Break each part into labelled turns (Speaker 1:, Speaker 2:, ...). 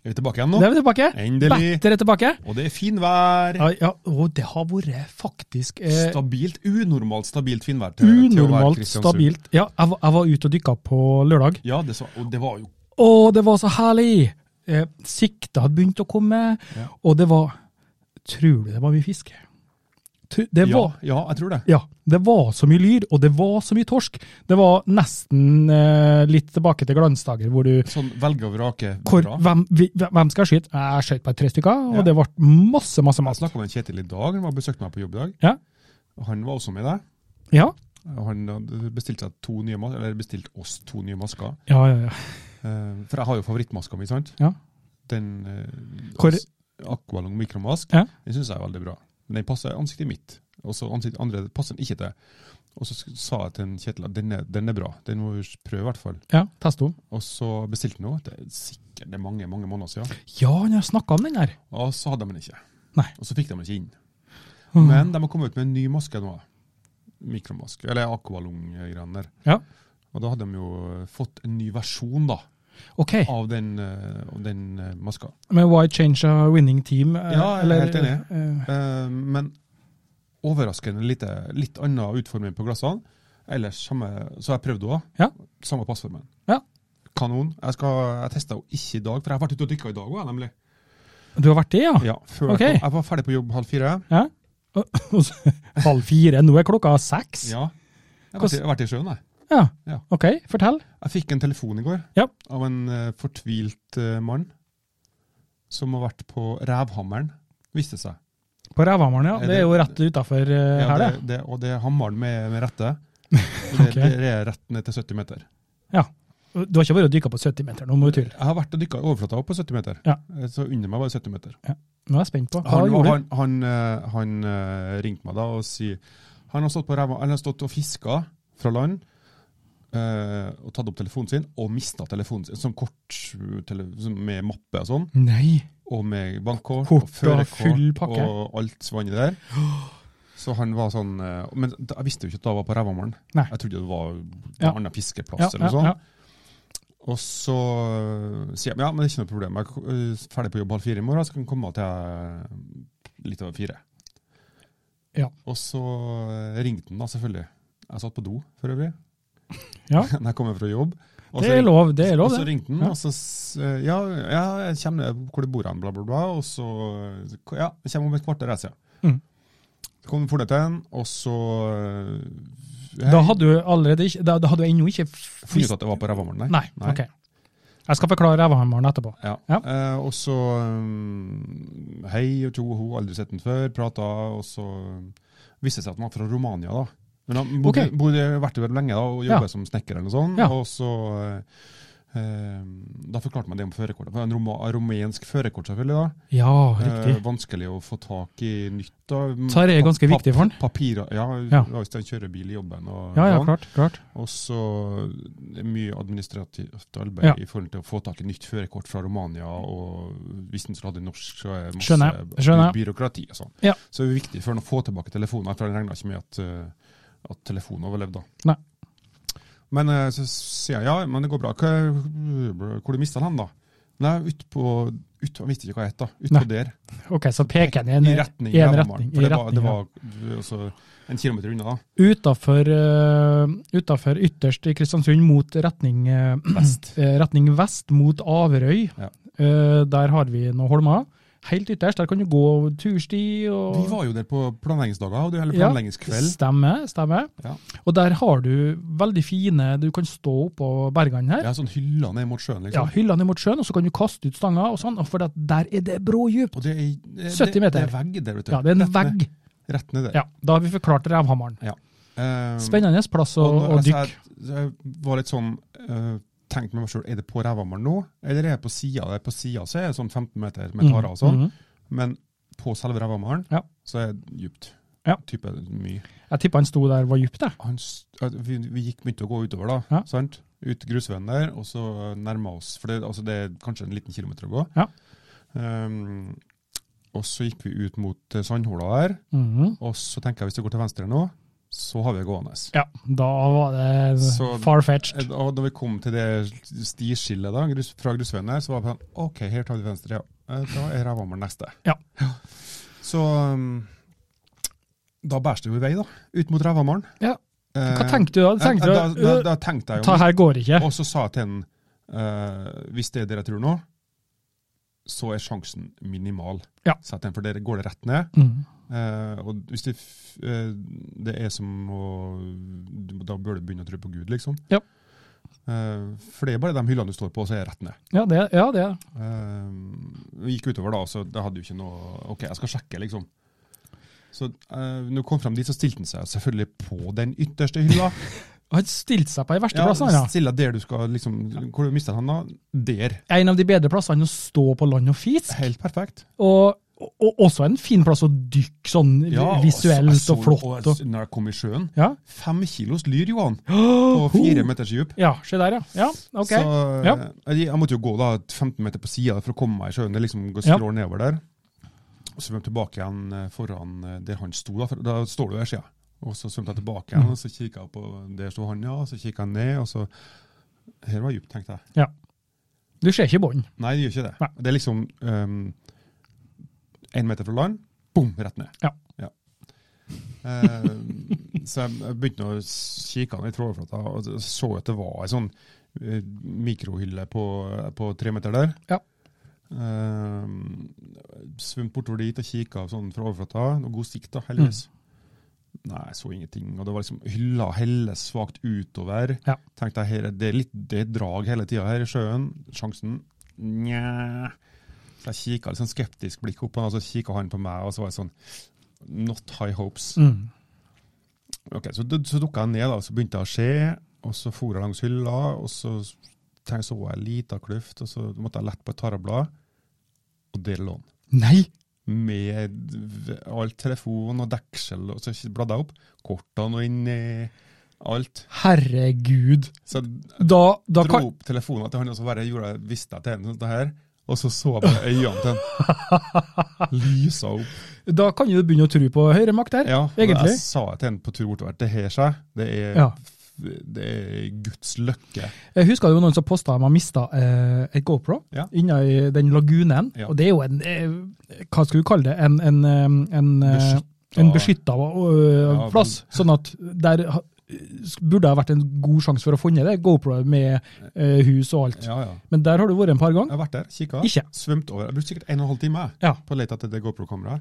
Speaker 1: Er vi tilbake igjen nå?
Speaker 2: det er vi tilbake.
Speaker 1: Endelig.
Speaker 2: Batter er tilbake.
Speaker 1: Og det er finvær.
Speaker 2: Ja, ja, og det har vært faktisk eh,
Speaker 1: Stabilt, unormalt stabilt finvær. til- til å være
Speaker 2: unormalt
Speaker 1: Kristiansund.
Speaker 2: stabilt. Ja, jeg, var- jeg var ute og dykka på lørdag.
Speaker 1: Ja, det, så, og det var jo
Speaker 2: Å, det var så herlig! Eh, sikta hadde begynt å komme,
Speaker 1: Ja.
Speaker 2: og det var Tror du det var mye fisk? Tr- Det
Speaker 1: ja,
Speaker 2: var,
Speaker 1: ja, jeg tror det.
Speaker 2: ja, det var så mye lyr, og det var så mye torsk. Det var nesten eh, litt tilbake til glansdager, hvor du
Speaker 1: Sånn velge og vrake.
Speaker 2: hvor,
Speaker 1: bra.
Speaker 2: hvem, vi- hvem skal jeg skyte? Jeg skjøt bare tre stykker, og
Speaker 1: Ja.
Speaker 2: det ble masse, masse
Speaker 1: Jeg
Speaker 2: mat.
Speaker 1: snakka med en Kjetil i dag, han var besøkte meg på jobb i dag.
Speaker 2: Ja.
Speaker 1: Og Han var også med deg.
Speaker 2: Ja,
Speaker 1: Og Han hadde bestilt seg to nye mas- eller bestilt oss to nye masker.
Speaker 2: ja, ja. ja.
Speaker 1: Eh, For jeg har jo favorittmaska mi, sant?
Speaker 2: Ja.
Speaker 1: Den eh,
Speaker 2: Hvor-
Speaker 1: as- Aqualung mikromask.
Speaker 2: Ja.
Speaker 1: Den syns jeg er veldig bra. Men den passer ansiktet mitt. Og så ansikt andre passer den ikke til. Og så sk- sa jeg til en Kjetil at den er, den er bra, den må vi prøve i hvert fall.
Speaker 2: ja Teste henne.
Speaker 1: Og så bestilte han noe, det er sikkert det er mange mange måneder siden.
Speaker 2: Ja, han har snakka om den der.
Speaker 1: Og så hadde de den ikke.
Speaker 2: Nei.
Speaker 1: Og så fikk de den ikke inn.
Speaker 2: Mm.
Speaker 1: Men de har kommet ut med en ny maske nå. Mikromaske, eller Aqualung-greiene der.
Speaker 2: Ja.
Speaker 1: Og da hadde de jo fått en ny versjon da,
Speaker 2: OK,
Speaker 1: av den, eh, av den eh, maska.
Speaker 2: men why change a winning team? eh,
Speaker 1: Ja, jeg er helt enig.
Speaker 2: eh,
Speaker 1: Eh, men overraskende lite, litt annen utforming på glassene. Ellers samme, så jeg prøvde òg.
Speaker 2: Ja.
Speaker 1: Samme passformen.
Speaker 2: Ja.
Speaker 1: Kanon. Jeg, skal, jeg testa jo ikke i dag, for jeg har vært ute og dykka i dag òg, nemlig.
Speaker 2: du har vært det, ja?
Speaker 1: Ja, før
Speaker 2: Ah. Ok.
Speaker 1: jeg, kom- jeg var ferdig på jobb halv fire.
Speaker 2: Ja. Og- og så- Halv fire, nå er klokka seks?
Speaker 1: Ja. Jeg har vært, i- jeg har vært i sjøen, jeg.
Speaker 2: Ja.
Speaker 1: Ja.
Speaker 2: OK, fortell.
Speaker 1: Jeg fikk en telefon i går
Speaker 2: Ja.
Speaker 1: av en eh, fortvilt eh, mann som har vært på Rævhammeren, viste det seg.
Speaker 2: På Rævhammeren, ja.
Speaker 1: Er
Speaker 2: Det er
Speaker 1: det-
Speaker 2: jo rett utafor her, det.
Speaker 1: det, det, og det er hammeren med, med rette. Det,
Speaker 2: Ok.
Speaker 1: det er rett ned til 70 meter.
Speaker 2: Du har ikke vært og dykka på 70-meteren, nå må du tulle.
Speaker 1: Jeg har vært og dykka i overflata opp på 70 meter.
Speaker 2: Ja.
Speaker 1: Eh, Så under meg var det 70 meter.
Speaker 2: Nå er jeg spent på. Hva
Speaker 1: Han,
Speaker 2: gjorde du?
Speaker 1: han, han, eh, han eh, ringte meg da og sier Han har stått, på ræva, han har stått og fiska fra land. eh, og tatt opp telefonen sin, og mista telefonen sin. Som kort eh, tele, som med mappe og sånn.
Speaker 2: Nei.
Speaker 1: Og med bankkort
Speaker 2: Kort og full
Speaker 1: førerkort
Speaker 2: pakke.
Speaker 1: og alt svannet der. Så han var sånn eh, Men da, jeg visste jo ikke at det var på Rævammeren.
Speaker 2: Nei.
Speaker 1: Jeg trodde det var en
Speaker 2: Ja.
Speaker 1: annen fiskeplass
Speaker 2: Ja,
Speaker 1: eller
Speaker 2: ja,
Speaker 1: noe sånt.
Speaker 2: ja.
Speaker 1: Og så øh, sier jeg ja, men det er ikke noe problem. Jeg er øh, ferdig på jobb halv fire i morgen, så kan jeg komme til jeg litt over fire.
Speaker 2: Ja.
Speaker 1: Og så øh, ringte han da, selvfølgelig. Jeg satt på do for øvrig
Speaker 2: Ja.
Speaker 1: når jeg kom hjem fra jobb. Og
Speaker 2: Det
Speaker 1: så
Speaker 2: er
Speaker 1: ring-
Speaker 2: lov, det er lov,
Speaker 1: Og så
Speaker 2: det.
Speaker 1: ringte han,
Speaker 2: Ja.
Speaker 1: og så s- øh, ja, ja, jeg kommer ned hvor du bor hen, bla, bla, bla. Og så øh, ja, jeg kommer om et kvarter, jeg sier.
Speaker 2: Mhm.
Speaker 1: Så kom han fortet til han, og så øh,
Speaker 2: Da hadde du allerede ikke Da, da hadde du ennå ikke f-
Speaker 1: funnet ut at det var på Rævammeren,
Speaker 2: Nei, ok. Jeg skal forklare Rævahammeren etterpå.
Speaker 1: Ja.
Speaker 2: Ja.
Speaker 1: Eh, og så um, hei og tjo og ho, aldri sett den før, prata, og så viste det seg at han var fra Romania, da. Men han bodde,
Speaker 2: Ok.
Speaker 1: bodde vært der lenge da, og
Speaker 2: Ja.
Speaker 1: jobba som snekker eller noe sånt.
Speaker 2: Ja.
Speaker 1: Og så eh, eh, Da forklarte man det om førerkortet. For det er En roma, rumensk førerkort, selvfølgelig. da.
Speaker 2: Ja, Ah, riktig.
Speaker 1: Eh, vanskelig å få tak i nytt. da.
Speaker 2: Så det er ganske
Speaker 1: Pa-
Speaker 2: viktig for han.
Speaker 1: Papirer, ja,
Speaker 2: Ja.
Speaker 1: Hvis han kjører bil i jobben. Og,
Speaker 2: Ja, ja,
Speaker 1: sånn.
Speaker 2: klart. klart.
Speaker 1: Og så det er mye administrativt arbeid
Speaker 2: Ja.
Speaker 1: i forhold til å få tak i nytt førerkort fra Romania, og hvis den skulle hatt det norsk, så er det masse
Speaker 2: Skjønner jeg, skjønner
Speaker 1: byråkrati og sånn.
Speaker 2: Ja.
Speaker 1: Så det er viktig for han å få tilbake telefoner, for han regna ikke med at, eh, at telefonen overlevde da.
Speaker 2: Nei.
Speaker 1: Men eh, så sier jeg ja, men det går bra. Hva, hvor du mista han da? Nei, utpå ut, Han visste ikke hva jeg het, da.
Speaker 2: Nei.
Speaker 1: Utpå der.
Speaker 2: Ok, så peker den
Speaker 1: I
Speaker 2: i en
Speaker 1: retning.
Speaker 2: i en
Speaker 1: Rævammeren,
Speaker 2: retning,
Speaker 1: For
Speaker 2: i
Speaker 1: det var, det
Speaker 2: retning,
Speaker 1: var eh, altså, en kilometer unna, da.
Speaker 2: Utafor, eh, utafor ytterst i Kristiansund, mot retning eh,
Speaker 1: Vest.
Speaker 2: eh, retning vest, mot Averøy.
Speaker 1: Ja.
Speaker 2: Eh, der har vi noen holmer. Helt ytterst, der kan du gå tursti og
Speaker 1: Vi var jo der på planleggingsdager, og det hele
Speaker 2: Ja.
Speaker 1: planleggingskveld.
Speaker 2: Stemmer. stemmer.
Speaker 1: Ja.
Speaker 2: Og der har du veldig fine Du kan stå oppå bergene her.
Speaker 1: Ja, sånn hylla ned mot sjøen,
Speaker 2: Ja,
Speaker 1: liksom.
Speaker 2: Hyllene mot sjøen, og så kan du kaste ut stanga, og sånn, og for at der er det brådjup.
Speaker 1: Og det er, det,
Speaker 2: 70 meter.
Speaker 1: Det er vegg der, vet du.
Speaker 2: Ja, det er en
Speaker 1: rett Ned,
Speaker 2: vegg.
Speaker 1: rett ned der.
Speaker 2: Ja, Da har vi forklart Revhammeren.
Speaker 1: Eh,
Speaker 2: Spennende plass å,
Speaker 1: og når
Speaker 2: å
Speaker 1: jeg sa-
Speaker 2: dykke.
Speaker 1: Jeg var litt sånn eh, Tenkte med meg sjøl, er det på Rævammeren nå, eller er jeg på sida der? På sida så er det sånn 15 meter med tarer og sånn,
Speaker 2: Mhm.
Speaker 1: men på selve rævhammeren,
Speaker 2: Mm. Ja.
Speaker 1: så er det djupt.
Speaker 2: Ja.
Speaker 1: Type mye.
Speaker 2: Jeg tippa han sto der var dypt, jeg.
Speaker 1: Han, s- at vi, vi gikk begynte å gå utover, da.
Speaker 2: Ja.
Speaker 1: sant? Ut grusveien der, og så nærma oss. For det, altså, det er kanskje en liten kilometer å gå.
Speaker 2: Ja.
Speaker 1: Ehm, og så gikk vi ut mot eh, sandhola her,
Speaker 2: Mhm.
Speaker 1: og så tenker jeg hvis det går til venstre nå, så har vi det gående.
Speaker 2: Ja, da var det
Speaker 1: Så-
Speaker 2: far-fetched.
Speaker 1: Eh, Og da vi kom til det stiskillet da, grus, fra grusveien der, så var det sånn OK, her tar vi venstre, ja. Eh, Da er Rævhammer neste.
Speaker 2: Ja.
Speaker 1: Så um, da bæres det jo i vei, da. Ut mot Rævhammeren.
Speaker 2: Ja.
Speaker 1: Eh,
Speaker 2: Hva tenkte du da? Du tenkte
Speaker 1: eh, da,
Speaker 2: du,
Speaker 1: da,
Speaker 2: øh,
Speaker 1: da tenkte jeg jo
Speaker 2: Ta her går ikke.
Speaker 1: Og så sa jeg til han eh, hvis det er det jeg tror nå, så er sjansen minimal.
Speaker 2: Ja.
Speaker 1: Sa jeg til han, for der går det rett ned.
Speaker 2: Mm.
Speaker 1: Eh, og hvis det, f- eh, det er som å du må- Da bør du begynne å tro på Gud, liksom.
Speaker 2: Ja.
Speaker 1: Eh, for det er bare de hyllene du står på, og så er jeg rett ned.
Speaker 2: Ja, det, ja, det er det.
Speaker 1: Eh, vi gikk utover da, så jeg hadde jo ikke noe OK, jeg skal sjekke, liksom. Så eh, når jeg kom frem dit, så stilte han seg selvfølgelig på den ytterste hylla.
Speaker 2: Han stilte seg på de verste
Speaker 1: Ja,
Speaker 2: plassene. Ja.
Speaker 1: Stille der du skal liksom Hvor du mistet han da? Der.
Speaker 2: En av de bedre plassene å stå på land og fisk.
Speaker 1: Helt perfekt.
Speaker 2: Og, og også en fin plass å dykke sånn
Speaker 1: og
Speaker 2: visuelt
Speaker 1: så-
Speaker 2: og flott.
Speaker 1: Og,
Speaker 2: Og,
Speaker 1: jeg- når jeg kom i sjøen
Speaker 2: ja,
Speaker 1: Fem kilos lyr, Johan, på fire meters dyp.
Speaker 2: ja, se der, ja. Ja, ok.
Speaker 1: Så
Speaker 2: Ja.
Speaker 1: jeg, jeg måtte jo gå da 15 meter på sida for å komme meg i sjøen. Det liksom går
Speaker 2: Ja.
Speaker 1: skrår nedover der. Og så svømte jeg tilbake igjen eh, foran eh, der han sto. Da, for da står du der sida. Og så svømte jeg tilbake
Speaker 2: Mm.
Speaker 1: igjen, og så kikka jeg på Der sto han, ja. Og så kikka jeg ned, og så Her var dypt, tenkte jeg.
Speaker 2: Du ser ikke bånd.
Speaker 1: Nei, det gjør ikke det.
Speaker 2: Nei.
Speaker 1: Det er liksom én meter fra land, bom, rett ned.
Speaker 2: Ja.
Speaker 1: Eh, så jeg jeg begynte å kikke ned i trålflata og så- så at det var ei sånn eh, mikrohylle på, på tre meter der.
Speaker 2: Ja.
Speaker 1: Eh, svømte bortover dit og kikka sånn fra overflata. Og god sikt, da, heldigvis.
Speaker 2: Mm.
Speaker 1: Nei, jeg så ingenting. Og det var liksom hylla helle svakt utover.
Speaker 2: Ja.
Speaker 1: Tenkte jeg, her, er- det er litt det er drag hele tida her i sjøen. Sjansen Nja. Så jeg kikka litt sånn skeptisk blikk opp på han, og så kikka han på meg, og så var jeg sånn Not high hopes.
Speaker 2: Mm.
Speaker 1: Ok, Så, d- så dukka jeg ned, da, og så begynte jeg å se, og så for jeg langs hylla, og så tenkte, så jeg ei lita kløft, og så måtte jeg lette på et tareblad, og der lå han.
Speaker 2: Nei!
Speaker 1: Med v- alt telefon og deksel, og så bladde jeg opp. Kortene og inni alt.
Speaker 2: Herregud.
Speaker 1: Så jeg
Speaker 2: Da, da
Speaker 1: dro
Speaker 2: kan
Speaker 1: opp telefonen til han, og så bare gjorde jeg visste jeg til henne sånn det her. Og så så jeg bare øynene til han. Lysa opp.
Speaker 2: Da kan jo du begynne å tro på høyre makt der,
Speaker 1: Ja, og
Speaker 2: egentlig.
Speaker 1: Jeg sa til henne på tur bortover at det her seg. Det er,
Speaker 2: Ja.
Speaker 1: det er Guds løkke.
Speaker 2: Jeg husker det var noen som posta at man mista eh, et GoPro
Speaker 1: Ja.
Speaker 2: inne i den lagunen.
Speaker 1: Ja.
Speaker 2: Og det er jo en eh, Hva skal vi kalle det? En, en, eh, en, eh, en beskytta
Speaker 1: Ja, vel.
Speaker 2: plass. Sånn at der ha- burde det ha vært en god sjanse for å funne det. GoPro med eh, hus og alt.
Speaker 1: Ja, ja.
Speaker 2: Men der har du vært en par ganger.
Speaker 1: Jeg har vært der, kikka,
Speaker 2: Ikke.
Speaker 1: svømt over. Jeg brukte sikkert en og en halv time jeg,
Speaker 2: Ja.
Speaker 1: på å lete etter det GoPro-kameraet,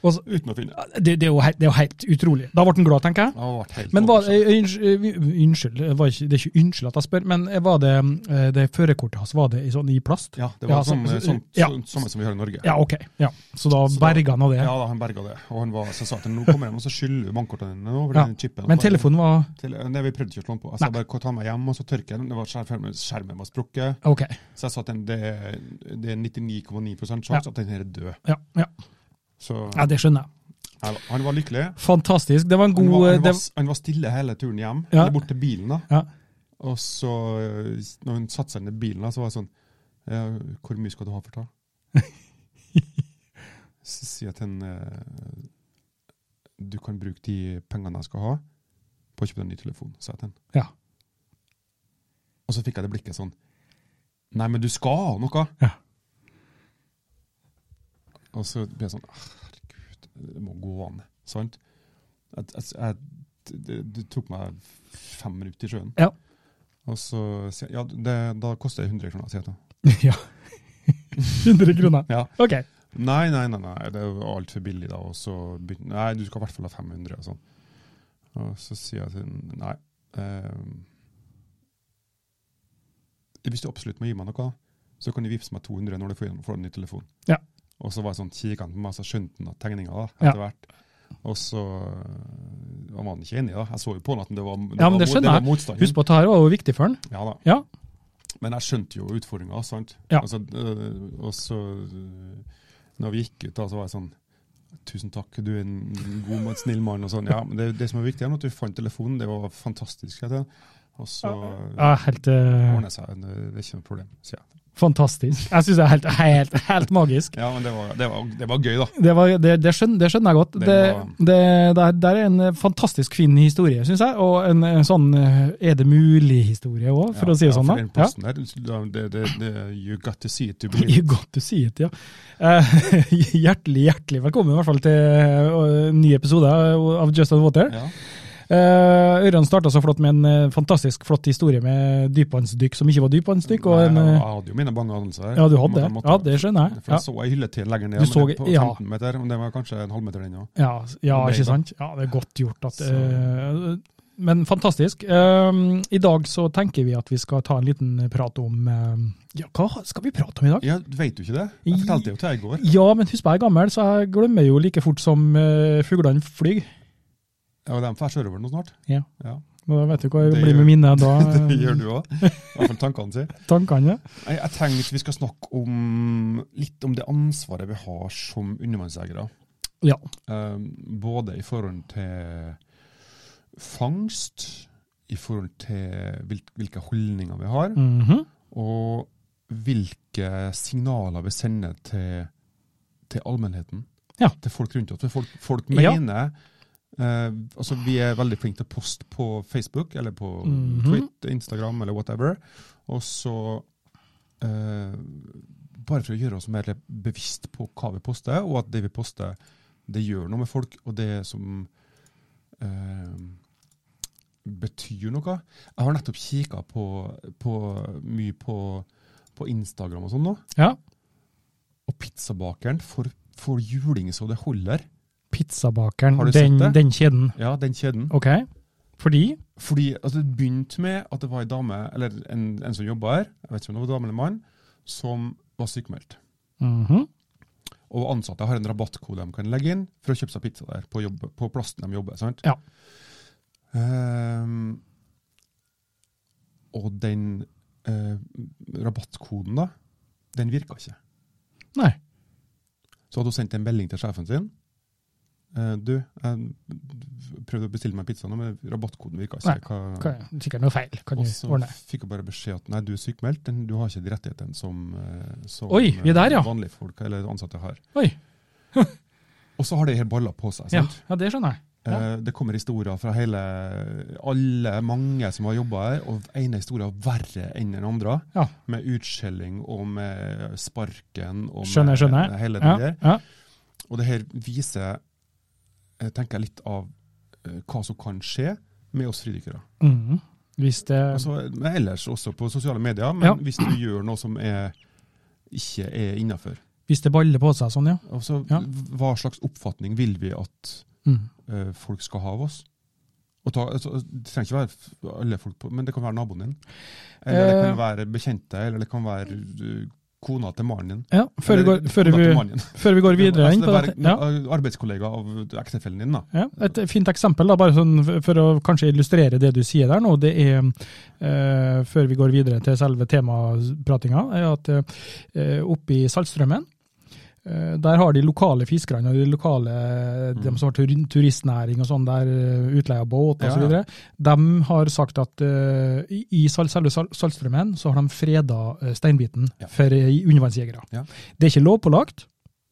Speaker 2: Og så,
Speaker 1: uten å finne det.
Speaker 2: det, det, er jo helt, det er jo helt utrolig. Da ble han glad, tenker jeg.
Speaker 1: Jeg har vært helt
Speaker 2: Men var,
Speaker 1: overrasket.
Speaker 2: eh, unnskyld, eh, vi- unnskyld det var ikke, det er ikke unnskyld at jeg spør, men eh, var det, eh, det førerkortet hans var det i, sånn, i plast?
Speaker 1: Ja, det var
Speaker 2: Ja,
Speaker 1: sånn,
Speaker 2: så-
Speaker 1: sånn, sånn,
Speaker 2: ja.
Speaker 1: samme som vi har i Norge.
Speaker 2: Ja, ok. Ja. Så da
Speaker 1: Så da-
Speaker 2: berga han av det.
Speaker 1: Ja, da, han berga det. Og han var, så sa jeg til ham nå kommer han og så skyller bankkortene dine nå. for
Speaker 2: Ja,
Speaker 1: den chipen.
Speaker 2: Men telefonen var
Speaker 1: Tele- eh, Nei, vi prøvde ikke å slå den på. Altså, Jeg sa bare ta meg hjem, og så tørker jeg den. Det var skjermen, skjermen var sprukket.
Speaker 2: Ok.
Speaker 1: Så jeg sa at den, det er det er 99,9 sjanse
Speaker 2: Ja.
Speaker 1: at den her er død.
Speaker 2: Ja, ja.
Speaker 1: Så
Speaker 2: ja, det skjønner jeg.
Speaker 1: jeg var- han var lykkelig.
Speaker 2: Fantastisk. Det var en
Speaker 1: Han
Speaker 2: god
Speaker 1: var,
Speaker 2: eh,
Speaker 1: han
Speaker 2: det,
Speaker 1: var, han var stille hele turen hjem,
Speaker 2: Ja.
Speaker 1: eller bort til bilen. da.
Speaker 2: ja.
Speaker 1: Og så, eh, når hun satte seg ned i bilen, da, så var jeg sånn ja, Hvor mye skal du ha for ta? så sier jeg til henne eh, Du kan bruke de pengene jeg skal ha, på å kjøpe deg en ny telefon, sa jeg til henne.
Speaker 2: Ja.
Speaker 1: Og så fikk jeg det blikket sånn Nei, men du skal ha noe!
Speaker 2: Ja.
Speaker 1: Og så ble jeg sånn «Ah, Herregud, det må gå an. Sant? At- at- jeg- Det det tok meg fem minutter i sjøen.
Speaker 2: Ja.
Speaker 1: Og så sier jeg ja, det, da koster det 100 kroner. sier jeg da.
Speaker 2: ja. 100 kroner.
Speaker 1: Ja.
Speaker 2: Ok.
Speaker 1: Nei, nei, nei, nei, det er jo altfor billig da. Og så begynner Nei, du skal i hvert fall ha 500. Og sånn. Og så sier jeg til henne, nei. eh, hvis du absolutt må gi meg noe, så kan du vippse meg 200 når du får, får en ny telefon.
Speaker 2: Ja.
Speaker 1: Og så var jeg sånn, kikket han på meg, så skjønte han at tegninga da,
Speaker 2: Ja.
Speaker 1: etter hvert. Og så eh, var han ikke enig, da. Jeg så jo på han at det var, det
Speaker 2: Ja, men det
Speaker 1: var, mot-
Speaker 2: skjønner
Speaker 1: var
Speaker 2: jeg.
Speaker 1: motstanden.
Speaker 2: Husk på at dette var jo viktig for han.
Speaker 1: Ja da.
Speaker 2: Ja.
Speaker 1: Men jeg skjønte jo utfordringa, sant. eh,
Speaker 2: Ja.
Speaker 1: Altså, øh, og så øh, Når vi eh, gikk ut, da, så var jeg sånn Tusen takk, du er en god mann, snill mann. og sånn. Ja, men det, det som er viktig, er at du fant telefonen. Det var fantastisk. heter det. Og så
Speaker 2: Ja, helt eh,
Speaker 1: ordner det seg. Det er ikke noe problem, sier jeg.
Speaker 2: fantastisk. Jeg syns det er helt, helt, helt magisk.
Speaker 1: Ja, men det var, det var, det var gøy, da.
Speaker 2: Det, var, det, det, skjønner, det skjønner jeg godt.
Speaker 1: Den
Speaker 2: Det,
Speaker 1: var-
Speaker 2: det, der, der er en eh, fantastisk fin historie, syns jeg. Og en, eh, sånn eh, er det mulig-historie òg, for
Speaker 1: Ja,
Speaker 2: å si det
Speaker 1: ja,
Speaker 2: sånn.
Speaker 1: for
Speaker 2: da.
Speaker 1: den plassen der, det, det, det, you got to see it to believe
Speaker 2: Ja. Godt du sier det, ja. Eh, Hjertelig, hjertelig velkommen i hvert fall til eh, en ny episode av Just Out of Water.
Speaker 1: Ja.
Speaker 2: Eh, Ørjan starta så flott med en eh, fantastisk flott historie med dypvannsdykk som ikke var dypvannsdykk. og en...
Speaker 1: Nei,
Speaker 2: eh,
Speaker 1: jeg hadde jo mine bange anelser. her.
Speaker 2: Ja, du
Speaker 1: Om
Speaker 2: hadde
Speaker 1: at
Speaker 2: det.
Speaker 1: jeg måtte-
Speaker 2: Ja, det skjønner jeg.
Speaker 1: For
Speaker 2: Ja,
Speaker 1: jeg så ei hylletel lenger ned,
Speaker 2: Du
Speaker 1: men
Speaker 2: så-
Speaker 1: det på
Speaker 2: ja.
Speaker 1: 15 meter, men det var kanskje en halvmeter den òg.
Speaker 2: ja, ja
Speaker 1: Nei, da.
Speaker 2: ikke sant? Ja, det er godt gjort. At,
Speaker 1: Så-
Speaker 2: eh, men fantastisk. Um, I dag så tenker vi at vi skal ta en liten prat om um, Ja, hva skal vi prate om i dag?
Speaker 1: Ja, vet du ikke det? Jeg fortalte det jo til deg i går.
Speaker 2: Ja, men husk jeg er gammel, så jeg glemmer jo like fort som eh, fuglene flyr.
Speaker 1: Ja, de får sørover nå snart.
Speaker 2: Ja.
Speaker 1: Ja.
Speaker 2: Da vet du hva
Speaker 1: Det
Speaker 2: det blir
Speaker 1: gjør-
Speaker 2: med minnet da. eh,
Speaker 1: Det gjør du òg. I hvert fall tankene sine.
Speaker 2: Tankene.
Speaker 1: Nei, Jeg tenkte vi skal snakke om litt om det ansvaret vi har som undervannsjegere.
Speaker 2: Ja.
Speaker 1: Eh, både i forhold til fangst, i forhold til hvil- hvilke holdninger vi har,
Speaker 2: Mhm.
Speaker 1: og hvilke signaler vi sender til, til allmennheten.
Speaker 2: Ja.
Speaker 1: Til folk rundt oss. For Folk, folk
Speaker 2: Ja.
Speaker 1: mener eh, altså Vi er veldig flinke til å poste på Facebook eller på
Speaker 2: Mhm.
Speaker 1: Twitter, Instagram eller whatever. Og så eh, Bare for å gjøre oss mer bevisst på hva vi poster, og at det vi poster, det gjør noe med folk, og det som eh, betyr noe. Jeg har nettopp kikka på, på mye på, på Instagram og sånn nå.
Speaker 2: ja.
Speaker 1: Og pizzabakeren får, får juling så det holder. Har
Speaker 2: Pizzabakeren,
Speaker 1: du sett
Speaker 2: den,
Speaker 1: det?
Speaker 2: den kjeden.
Speaker 1: Ja, den kjeden.
Speaker 2: OK. Fordi
Speaker 1: Fordi altså, det begynte med at det var ei dame, eller en, en som jobba her, jeg vet ikke om det var dame eller mann, som var sykemeldt.
Speaker 2: Mhm.
Speaker 1: Og ansatte har en rabattkode de kan legge inn for å kjøpe seg pizza der, på, jobb, på plassen de jobber. sant?
Speaker 2: Ja.
Speaker 1: Ehm, og den eh, rabattkoden, da, den virka ikke.
Speaker 2: Nei.
Speaker 1: Så hadde hun sendt en melding til sjefen sin. Eh, du, jeg prøvde å bestille meg pizza, nå, men rabattkoden virka ikke.
Speaker 2: Nei,
Speaker 1: Hva-
Speaker 2: Hva- Sikkert noe feil. Kan
Speaker 1: Og
Speaker 2: du
Speaker 1: så
Speaker 2: ordne?
Speaker 1: fikk jeg bare beskjed at nei, du er sykemeldt, den- du har ikke de rettighetene som, eh, som
Speaker 2: Oi, vi er der, ja.
Speaker 1: eh, vanlige folk eller ansatte har.
Speaker 2: Oi.
Speaker 1: Og så har det her balla på seg.
Speaker 2: Ja,
Speaker 1: sant?
Speaker 2: ja, det skjønner jeg. Ja.
Speaker 1: Eh, Det kommer historier fra hele, alle mange som har jobba her, og ene historien er verre enn den andre.
Speaker 2: Ja.
Speaker 1: Med utskjelling og med sparken og
Speaker 2: Skjønner,
Speaker 1: med
Speaker 2: skjønner.
Speaker 1: hele det
Speaker 2: Ja,
Speaker 1: der.
Speaker 2: ja.
Speaker 1: Og det her viser, eh, tenker jeg, litt av eh, hva som kan skje med oss fridykkere.
Speaker 2: Mhm. Hvis det
Speaker 1: Altså, men ellers også på sosiale medier, men
Speaker 2: Ja.
Speaker 1: hvis du gjør noe som er, ikke er innafor.
Speaker 2: Hvis det baller på seg sånn, ja.
Speaker 1: Altså,
Speaker 2: Ja.
Speaker 1: Hva slags oppfatning vil vi at
Speaker 2: Mm.
Speaker 1: eh, folk skal ha av oss. Og ta, altså, det trenger ikke være f- alle folk, på, men det kan være naboen din. Eller det
Speaker 2: Eh.
Speaker 1: kan være bekjente, eller det kan være uh, kona til mannen din.
Speaker 2: ja før, vi
Speaker 1: Eller
Speaker 2: går, før,
Speaker 1: kona til
Speaker 2: vi,
Speaker 1: mannen din.
Speaker 2: før vi går videre inn
Speaker 1: Altså,
Speaker 2: på
Speaker 1: det
Speaker 2: dette.
Speaker 1: kan
Speaker 2: Ja.
Speaker 1: være en Arbeidskollega av ektefellen din, da.
Speaker 2: Ja, et fint eksempel, da, bare sånn f- for å kanskje illustrere det du sier der nå, det er, eh, før vi går videre til selve temapratinga, er at eh, oppe i Saltstrømmen, eh, der har de lokale fiskerne og de lokale,
Speaker 1: Mm.
Speaker 2: de som har tur turistnæring og sånn der, eh, utleie av båt og
Speaker 1: Ja,
Speaker 2: så
Speaker 1: ja.
Speaker 2: videre, de har sagt at eh, i i sal selve sal Saltstrømmen så har de freda eh, steinbiten
Speaker 1: Ja.
Speaker 2: for eh, undervannsjegere.
Speaker 1: Ja.
Speaker 2: Det er ikke lovpålagt,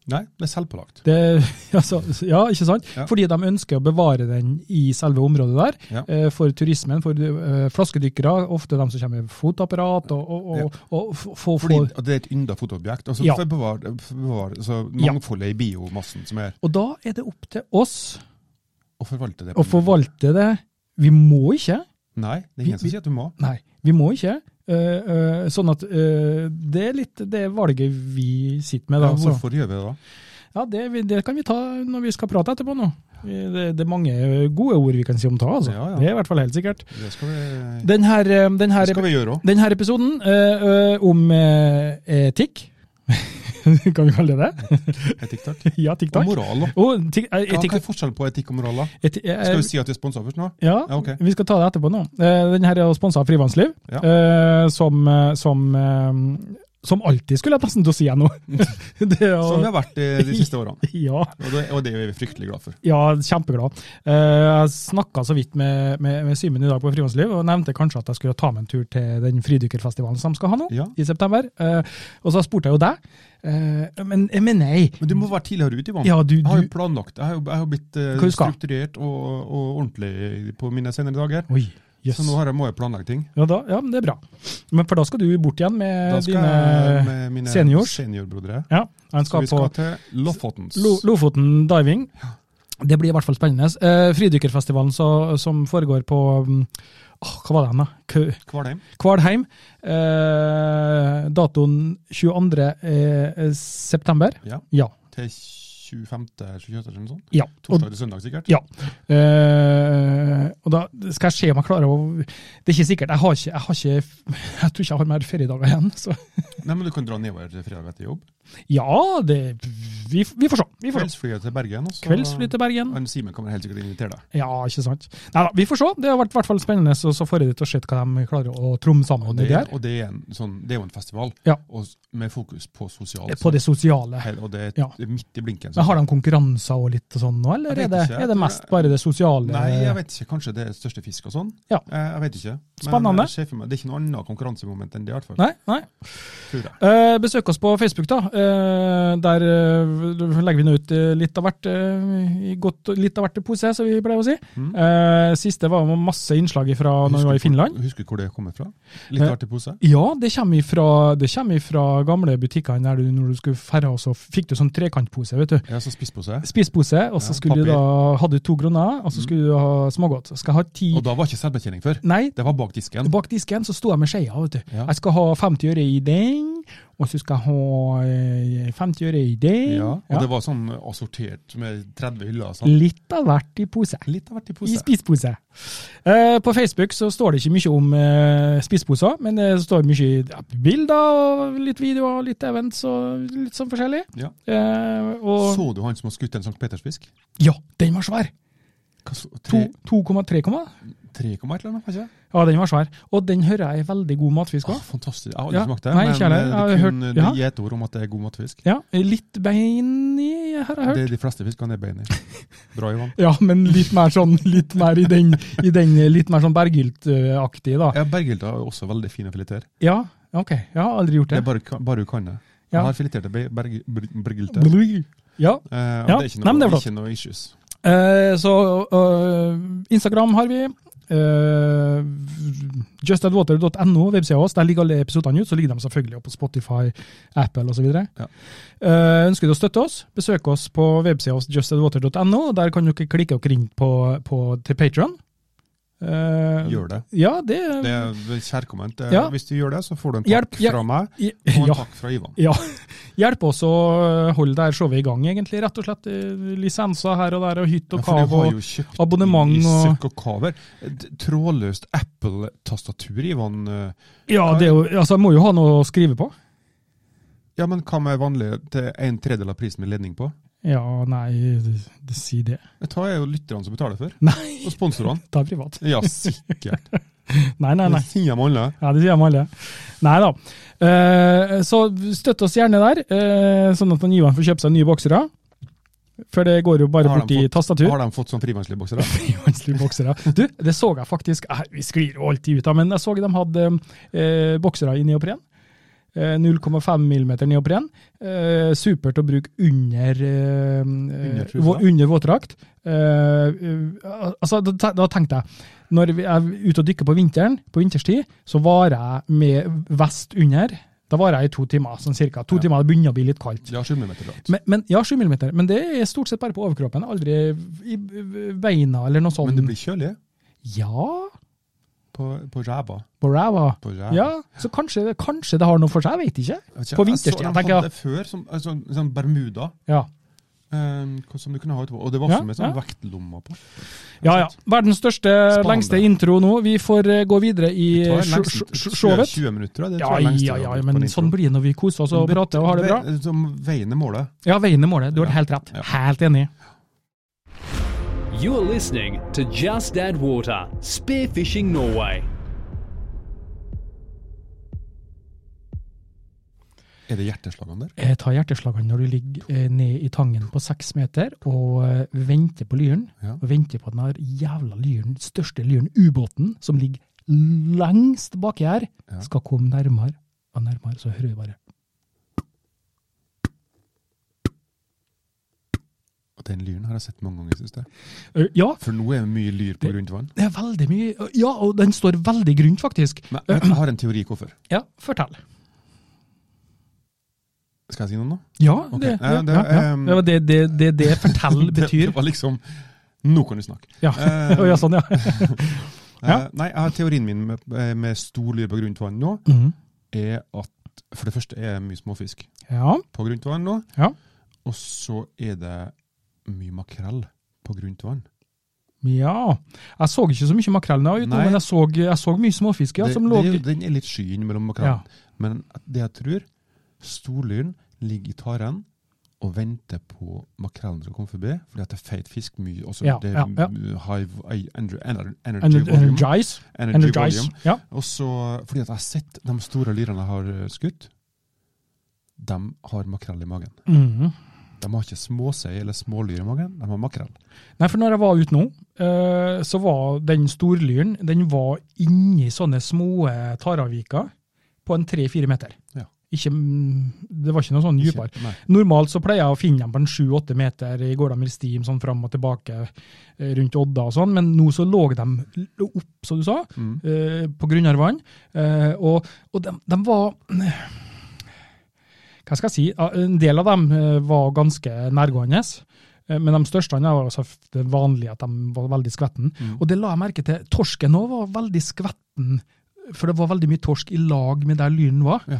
Speaker 1: Nei, det er selvpålagt.
Speaker 2: det, altså, ja, ikke sant?
Speaker 1: Ja.
Speaker 2: Fordi de ønsker å bevare den i selve området der,
Speaker 1: Ja.
Speaker 2: eh, for turismen, for eh, flaskedykkere, ofte de som kommer med fotapparat, og, og, og,
Speaker 1: Ja.
Speaker 2: og, f- få-
Speaker 1: Fordi
Speaker 2: få-
Speaker 1: at det er et ynda fotoobjekt. Altså,
Speaker 2: Ja.
Speaker 1: for å bevare, for å bevare altså,
Speaker 2: Ja.
Speaker 1: mangfoldet i biomassen som er
Speaker 2: Og da er det opp til oss
Speaker 1: å forvalte det.
Speaker 2: å
Speaker 1: på en-
Speaker 2: forvalte det. Vi må ikke,
Speaker 1: Nei, det er ingen som sier at du må.
Speaker 2: nei, vi må ikke. eh, eh, sånn at eh, det er litt det valget vi sitter med.
Speaker 1: Ja,
Speaker 2: Da, altså. så.
Speaker 1: hvorfor gjør vi det da?
Speaker 2: Ja, det, vi- det kan vi ta når vi skal prate etterpå nå. Vi- Det, det er mange gode ord vi kan si om ta, altså.
Speaker 1: Ja, ja.
Speaker 2: Det er i hvert fall helt sikkert.
Speaker 1: Det skal vi,
Speaker 2: Den her, eh, den her
Speaker 1: det skal vi gjøre òg.
Speaker 2: Denne episoden eh, ø, om eh, etikk Kan vi kalle det det?
Speaker 1: Etikk, takk.
Speaker 2: ja,
Speaker 1: Og
Speaker 2: TikTok.
Speaker 1: moral, da.
Speaker 2: Oh, tik, eh,
Speaker 1: Hva,
Speaker 2: etikk,
Speaker 1: hva er forskjellen på etikk og moral, da?
Speaker 2: eti, eh,
Speaker 1: Skal vi si at vi er sponsa først nå?
Speaker 2: ja,
Speaker 1: Ja, ok.
Speaker 2: vi skal ta det etterpå nå. Eh, den her er sponsa av Frivannsliv,
Speaker 1: Ja.
Speaker 2: eh, som, eh, som eh, Som alltid, skulle jeg nesten til å si jeg nå. Det er
Speaker 1: Som det
Speaker 2: jo-
Speaker 1: har vært eh, de, de siste årene.
Speaker 2: ja,
Speaker 1: Og det, og det er vi fryktelig glad for.
Speaker 2: ja, kjempeglad. Eh, Jeg snakka så vidt med, med, med Simen i dag på Frivannsliv, og nevnte kanskje at jeg skulle ta meg en tur til den fridykkerfestivalen som de skal ha nå,
Speaker 1: Ja.
Speaker 2: i september. Eh, Og så spurte jeg jo deg, eh, men, men nei.
Speaker 1: Men du må være tidligere ute, Ivan.
Speaker 2: Ja, du,
Speaker 1: jeg har
Speaker 2: du
Speaker 1: jo planlagt. Jeg har jo, jeg har jo blitt eh,
Speaker 2: Hva du skal?
Speaker 1: strukturert og, og ordentlig på mine senere dager.
Speaker 2: Oi, jøss.
Speaker 1: Så nå har jeg, må jeg planlegge ting.
Speaker 2: Ja, da, ja, men det er bra. Men for da skal du bort igjen
Speaker 1: Da
Speaker 2: med
Speaker 1: skal jeg
Speaker 2: Eh, dine
Speaker 1: med mine
Speaker 2: seniors?
Speaker 1: seniorbrodere.
Speaker 2: Ja, han
Speaker 1: Så
Speaker 2: skal
Speaker 1: vi skal
Speaker 2: på
Speaker 1: til Lofotens.
Speaker 2: Lo Lofoten diving. Det blir i hvert fall spennende. Eh, fridykkerfestivalen så, som foregår på mm, åh, Hva var det hen, da? Kø-
Speaker 1: Kvalheim.
Speaker 2: Kvalheim. Eh, datoen 22. Eh, september.
Speaker 1: Ja.
Speaker 2: Ja.
Speaker 1: Til 25. 28. eller noe sånt.
Speaker 2: ja. Og,
Speaker 1: Torsdag til søndag, sikkert.
Speaker 2: ja. Eh, og da skal jeg se om jeg klarer å Det er ikke sikkert. Jeg har ikke, jeg har ikke Jeg tror ikke jeg har mer feriedager igjen. Så
Speaker 1: Nei, men du kan dra nedover til fredag etter jobb.
Speaker 2: ja, det Vi, vi får se. Vi får se.
Speaker 1: Kveldsflyet til Bergen. og så-
Speaker 2: Kveldsfly til Bergen.
Speaker 1: Han Simen kommer helt sikkert til å invitere deg.
Speaker 2: Ja, ikke sant. Neida, vi får se. Det har vært i hvert fall spennende så, så får jeg det til å se hva de klarer å tromme sammen i
Speaker 1: Det,
Speaker 2: det
Speaker 1: er- og det er, en, sånn, det er jo en festival
Speaker 2: Ja.
Speaker 1: og s- med fokus på sosial
Speaker 2: her. På det sosiale.
Speaker 1: Hel- Og det er
Speaker 2: Ja.
Speaker 1: det er midt i blinken.
Speaker 2: Men Har de konkurranser og litt og sånn nå, eller
Speaker 1: Jeg
Speaker 2: er
Speaker 1: vet
Speaker 2: det,
Speaker 1: ikke.
Speaker 2: er det mest bare det sosiale?
Speaker 1: Nei, jeg vet ikke. Kanskje det er største fisk og sånn.
Speaker 2: Ja.
Speaker 1: Eh, Jeg vet ikke. Men
Speaker 2: Spennende.
Speaker 1: jeg ser for meg- Det er ikke noe annet konkurransemoment enn det, i hvert fall.
Speaker 2: Nei, nei.
Speaker 1: Tror jeg.
Speaker 2: Eh, besøk oss på Facebook, da. Eh, der eh, legger vi nå ut eh, litt av hvert eh, i godt, litt av hvert i pose, som vi pleier å si.
Speaker 1: Mm.
Speaker 2: Eh, siste var jo masse innslag fra når vi var i
Speaker 1: Husker
Speaker 2: Finland.
Speaker 1: hvor- Husker du hvor det kommer fra? Litt
Speaker 2: Eh.
Speaker 1: artig pose?
Speaker 2: Ja, det kommer ifra, det kommer ifra gamle butikkene der du, når du skulle ferde, og så fikk du sånn trekantpose, vet du.
Speaker 1: Ja, så spisspose.
Speaker 2: spisepose, og så
Speaker 1: Ja,
Speaker 2: skulle du
Speaker 1: papir. Mm.
Speaker 2: da, hadde du to kroner, og så skulle du ha smågodt. Skal jeg ha ti
Speaker 1: Og da var ikke selvbetjening før.
Speaker 2: Nei,
Speaker 1: Det var bak disken.
Speaker 2: bak disken så sto jeg med skeia, vet du.
Speaker 1: Ja.
Speaker 2: Jeg skal ha 50 øre i den, og så skal jeg ha eh, 50 øre i den.
Speaker 1: Ja, og
Speaker 2: Ja.
Speaker 1: det var sånn assortert med 30 hyller og sånn.
Speaker 2: Litt av hvert i pose.
Speaker 1: Litt av hvert i
Speaker 2: I
Speaker 1: pose.
Speaker 2: spisepose. Eh, på Facebook så står det ikke mye om eh, spiseposer, men det står mye ja, bilder, og litt videoer, litt events og litt sånn forskjellig.
Speaker 1: Ja.
Speaker 2: Eh, og
Speaker 1: Så du han som har skutt en Sankt Petersfisk?
Speaker 2: Ja, den var svær!
Speaker 1: Hva så- tre-
Speaker 2: 2,3, komma?
Speaker 1: 3,1 eller noe, var ikke det?
Speaker 2: Ja, den var svær. Og den hører jeg er veldig god matfisk
Speaker 1: Åh,
Speaker 2: òg.
Speaker 1: fantastisk. Jeg har
Speaker 2: Ja,
Speaker 1: aldri smakt det,
Speaker 2: nei,
Speaker 1: men
Speaker 2: ikke heller.
Speaker 1: eh,
Speaker 2: Jeg
Speaker 1: det
Speaker 2: har
Speaker 1: kun
Speaker 2: hørt-
Speaker 1: det
Speaker 2: ja.
Speaker 1: er et ord om at det er god matfisk.
Speaker 2: Ja, litt bein i, har jeg hørt.
Speaker 1: Det er de fleste fiskene er bein i. Bra, Ivan.
Speaker 2: Ja, men litt mer sånn litt mer i den, i den eh, litt mer sånn Berghylt-aktig, da.
Speaker 1: Ja, Berghild har også veldig fine fileter.
Speaker 2: Ja, ok. Jeg har aldri gjort
Speaker 1: Det
Speaker 2: det.
Speaker 1: er bare, bare hun kan det.
Speaker 2: Ja.
Speaker 1: Jeg har fileterte Berghild.
Speaker 2: Blui. Ja,
Speaker 1: Eh, og
Speaker 2: Ja,
Speaker 1: Det er ikke
Speaker 2: nei,
Speaker 1: noe,
Speaker 2: men det er flott.
Speaker 1: ikke noe issues.
Speaker 2: eh, så eh, Instagram har vi. eh, justadwater.no, websida vår. Der ligger alle episodene ut. Så ligger de selvfølgelig oppe på Spotify, Apple osv.
Speaker 1: Ja.
Speaker 2: Eh, ønsker du å støtte oss, besøk oss på websida vår justadwater.no. og Der kan dere klikke dere inn på, på, til Patron.
Speaker 1: Gjør det.
Speaker 2: Ja, det,
Speaker 1: Det er kjærkomment. Eh,
Speaker 2: Ja.
Speaker 1: Hvis du gjør det, så får du en
Speaker 2: Hjelp,
Speaker 1: takk
Speaker 2: hjelp.
Speaker 1: fra meg, og en
Speaker 2: ja.
Speaker 1: takk fra Ivan.
Speaker 2: Ja. Hjelpe oss å eh, holde det her showet i gang, egentlig. Rett og slett eh, lisenser her og der, og hytt og
Speaker 1: Ja, for du
Speaker 2: kav.
Speaker 1: har
Speaker 2: Og,
Speaker 1: jo kjøpt
Speaker 2: abonnement
Speaker 1: i
Speaker 2: og-
Speaker 1: søkk og kaver. Et Trådløst Apple-tastatur, Ivan. eh,
Speaker 2: ja, det er jo, altså, jeg må jo ha noe å skrive på.
Speaker 1: Ja, men hva med vanlig til en tredel av prisen med ledning på?
Speaker 2: Ja, nei, det- det- si det.
Speaker 1: Dette er jo lytterne som betaler for.
Speaker 2: Nei,
Speaker 1: Og sponsorene.
Speaker 2: det er privat.
Speaker 1: Ja, sikkert.
Speaker 2: Nei, nei, nei.
Speaker 1: Det sier de alle.
Speaker 2: Ja, det sier de alle. Nei da. Eh, så støtt oss gjerne der, eh, sånn at han Ivan får kjøpt seg nye boksere. For det går jo bare
Speaker 1: Har de
Speaker 2: bort i
Speaker 1: fått-
Speaker 2: tastatur.
Speaker 1: Har de fått sånn frivannslig bokser, da?
Speaker 2: Frivannslige boksere. Du, det så jeg faktisk. eh, Vi sklir jo alltid ut av, men jeg så de hadde eh, boksere i neopren. Eh, 0,5 mm neopren. Eh, supert å bruke under, eh,
Speaker 1: Under
Speaker 2: under,
Speaker 1: trusa?
Speaker 2: under våtdrakt. Eh, eh, altså, da, te- da tenkte jeg Når vi er ute og dykker på vinteren, på vinterstid, så varer jeg med vest under. Da varer jeg i to timer, sånn cirka. To
Speaker 1: Ja.
Speaker 2: timer, det begynner å bli litt kaldt.
Speaker 1: De har 7 mm drakt.
Speaker 2: Men, men, ja, 7 mm, men det er stort sett bare på overkroppen. Aldri i i beina eller noe sånt.
Speaker 1: Men det blir kjølig
Speaker 2: Ja,
Speaker 1: på, på ræva.
Speaker 2: på ræva.
Speaker 1: På ræva.
Speaker 2: Ja, så kanskje, kanskje det har noe for seg, jeg vet ikke.
Speaker 1: Jeg vet ikke,
Speaker 2: På
Speaker 1: jeg så
Speaker 2: vinterstid,
Speaker 1: de
Speaker 2: tenker jeg.
Speaker 1: hadde før, som, altså, en sånn Bermuda,
Speaker 2: Ja,
Speaker 1: eh, hva som du kunne ha etterpå. Og det var
Speaker 2: Ja,
Speaker 1: også med sånn
Speaker 2: ja.
Speaker 1: vektlommer på.
Speaker 2: ja. ja. Verdens største,
Speaker 1: Spennende.
Speaker 2: lengste intro nå. Vi får eh, gå videre i
Speaker 1: Det tar
Speaker 2: eh, sj-
Speaker 1: lengst-
Speaker 2: sj- sj-
Speaker 1: 20,
Speaker 2: showet.
Speaker 1: 20 minutter, tror jeg. Det
Speaker 2: Ja,
Speaker 1: tror jeg er lengste
Speaker 2: ja,
Speaker 1: vi har
Speaker 2: ja,
Speaker 1: brukt på
Speaker 2: men
Speaker 1: en
Speaker 2: sånn
Speaker 1: intro.
Speaker 2: blir det når vi koser oss og
Speaker 1: Men
Speaker 2: prater og har det bra.
Speaker 1: ve- Som veien er målet.
Speaker 2: Ja, veien er målet. Du har
Speaker 1: Ja,
Speaker 2: helt rett.
Speaker 1: ja.
Speaker 2: Helt enig.
Speaker 3: You're listening to Just Add Water, Spearfishing Norway.
Speaker 1: Er det hjerteslagene der?
Speaker 2: Jeg tar hjerteslagene når du ligger eh, ned i tangen på seks meter og eh, venter på lyren.
Speaker 1: Ja.
Speaker 2: Og venter på den her jævla lyren, største lyren, ubåten, som ligger lengst baki her,
Speaker 1: Ja.
Speaker 2: skal komme nærmere og nærmere. Så hører vi bare
Speaker 1: Og Den lyren har jeg sett mange ganger, syns jeg.
Speaker 2: Eh, Ja,
Speaker 1: For nå er det mye lyr på grunt vann.
Speaker 2: det er veldig mye Ja, og den står veldig grunt, faktisk.
Speaker 1: Men jeg har en teori hvorfor.
Speaker 2: Ja, fortell.
Speaker 1: Skal jeg si noe nå?
Speaker 2: Ja,
Speaker 1: Ok.
Speaker 2: det,
Speaker 1: Nei,
Speaker 2: ja,
Speaker 1: det,
Speaker 2: ja, ja.
Speaker 1: ehm,
Speaker 2: det var det det, det, det fortell
Speaker 1: Det,
Speaker 2: betyr.
Speaker 1: det var liksom Nå kan du snakke.
Speaker 2: Ja.
Speaker 1: Eh,
Speaker 2: ja, sånn, ja. ja.
Speaker 1: Eh, nei, jeg har teorien min med, eh, med stor lyr på grunt vann nå,
Speaker 2: Mhm.
Speaker 1: er at for det første er det mye småfisk
Speaker 2: Ja,
Speaker 1: på grunt vann nå.
Speaker 2: Ja.
Speaker 1: Og så er det mye makrell på grunt vann.
Speaker 2: Ja. Jeg så ikke så mye makrell, da, vet du,
Speaker 1: Nei.
Speaker 2: men jeg så, jeg så mye småfisk ja,
Speaker 1: det,
Speaker 2: som lå
Speaker 1: det er jo- den er litt sky innimellom makrellen. Men det jeg tror, storlyren ligger i taren og venter på makrellen som kommer forbi, fordi at det er feit fisk mye. Også
Speaker 2: Ja,
Speaker 1: det er
Speaker 2: ja, ja.
Speaker 1: high v- ener- ener- energy
Speaker 2: Ener-
Speaker 1: volume.
Speaker 2: Energize.
Speaker 1: Energy
Speaker 2: Energize.
Speaker 1: volume.
Speaker 2: Ja.
Speaker 1: Og så, fordi at jeg har sett de store lyrene jeg har eh, skutt, de har makrell i magen.
Speaker 2: Mhm.
Speaker 1: De har ikke småsei eller smålyr i magen, de har makrell.
Speaker 2: Nei, for når jeg var ute nå, eh, så var den storlyren den var inni sånne små taravviker på en tre-fire meter.
Speaker 1: Ja.
Speaker 2: Ikke, mm, det var ikke noe sånn dypere.
Speaker 1: Ikke- Nei.
Speaker 2: Normalt så pleier jeg å finne dem på en sju-åtte meter i går de i stim sånn fram og tilbake eh, rundt Odda og sånn, men nå så lå de l- opp, som du sa.
Speaker 1: Mm.
Speaker 2: eh, på Grunnarvann. Eh, og og de, var Hva skal jeg si? Ja, En del av dem eh, var ganske nærgående. eh, Men de største andre var altså det vanlige, at de var veldig skvetten.
Speaker 1: Mm.
Speaker 2: Og det la jeg merke til. Torsken òg var veldig skvetten, for det var veldig mye torsk i lag med der lyren var.
Speaker 1: Ja.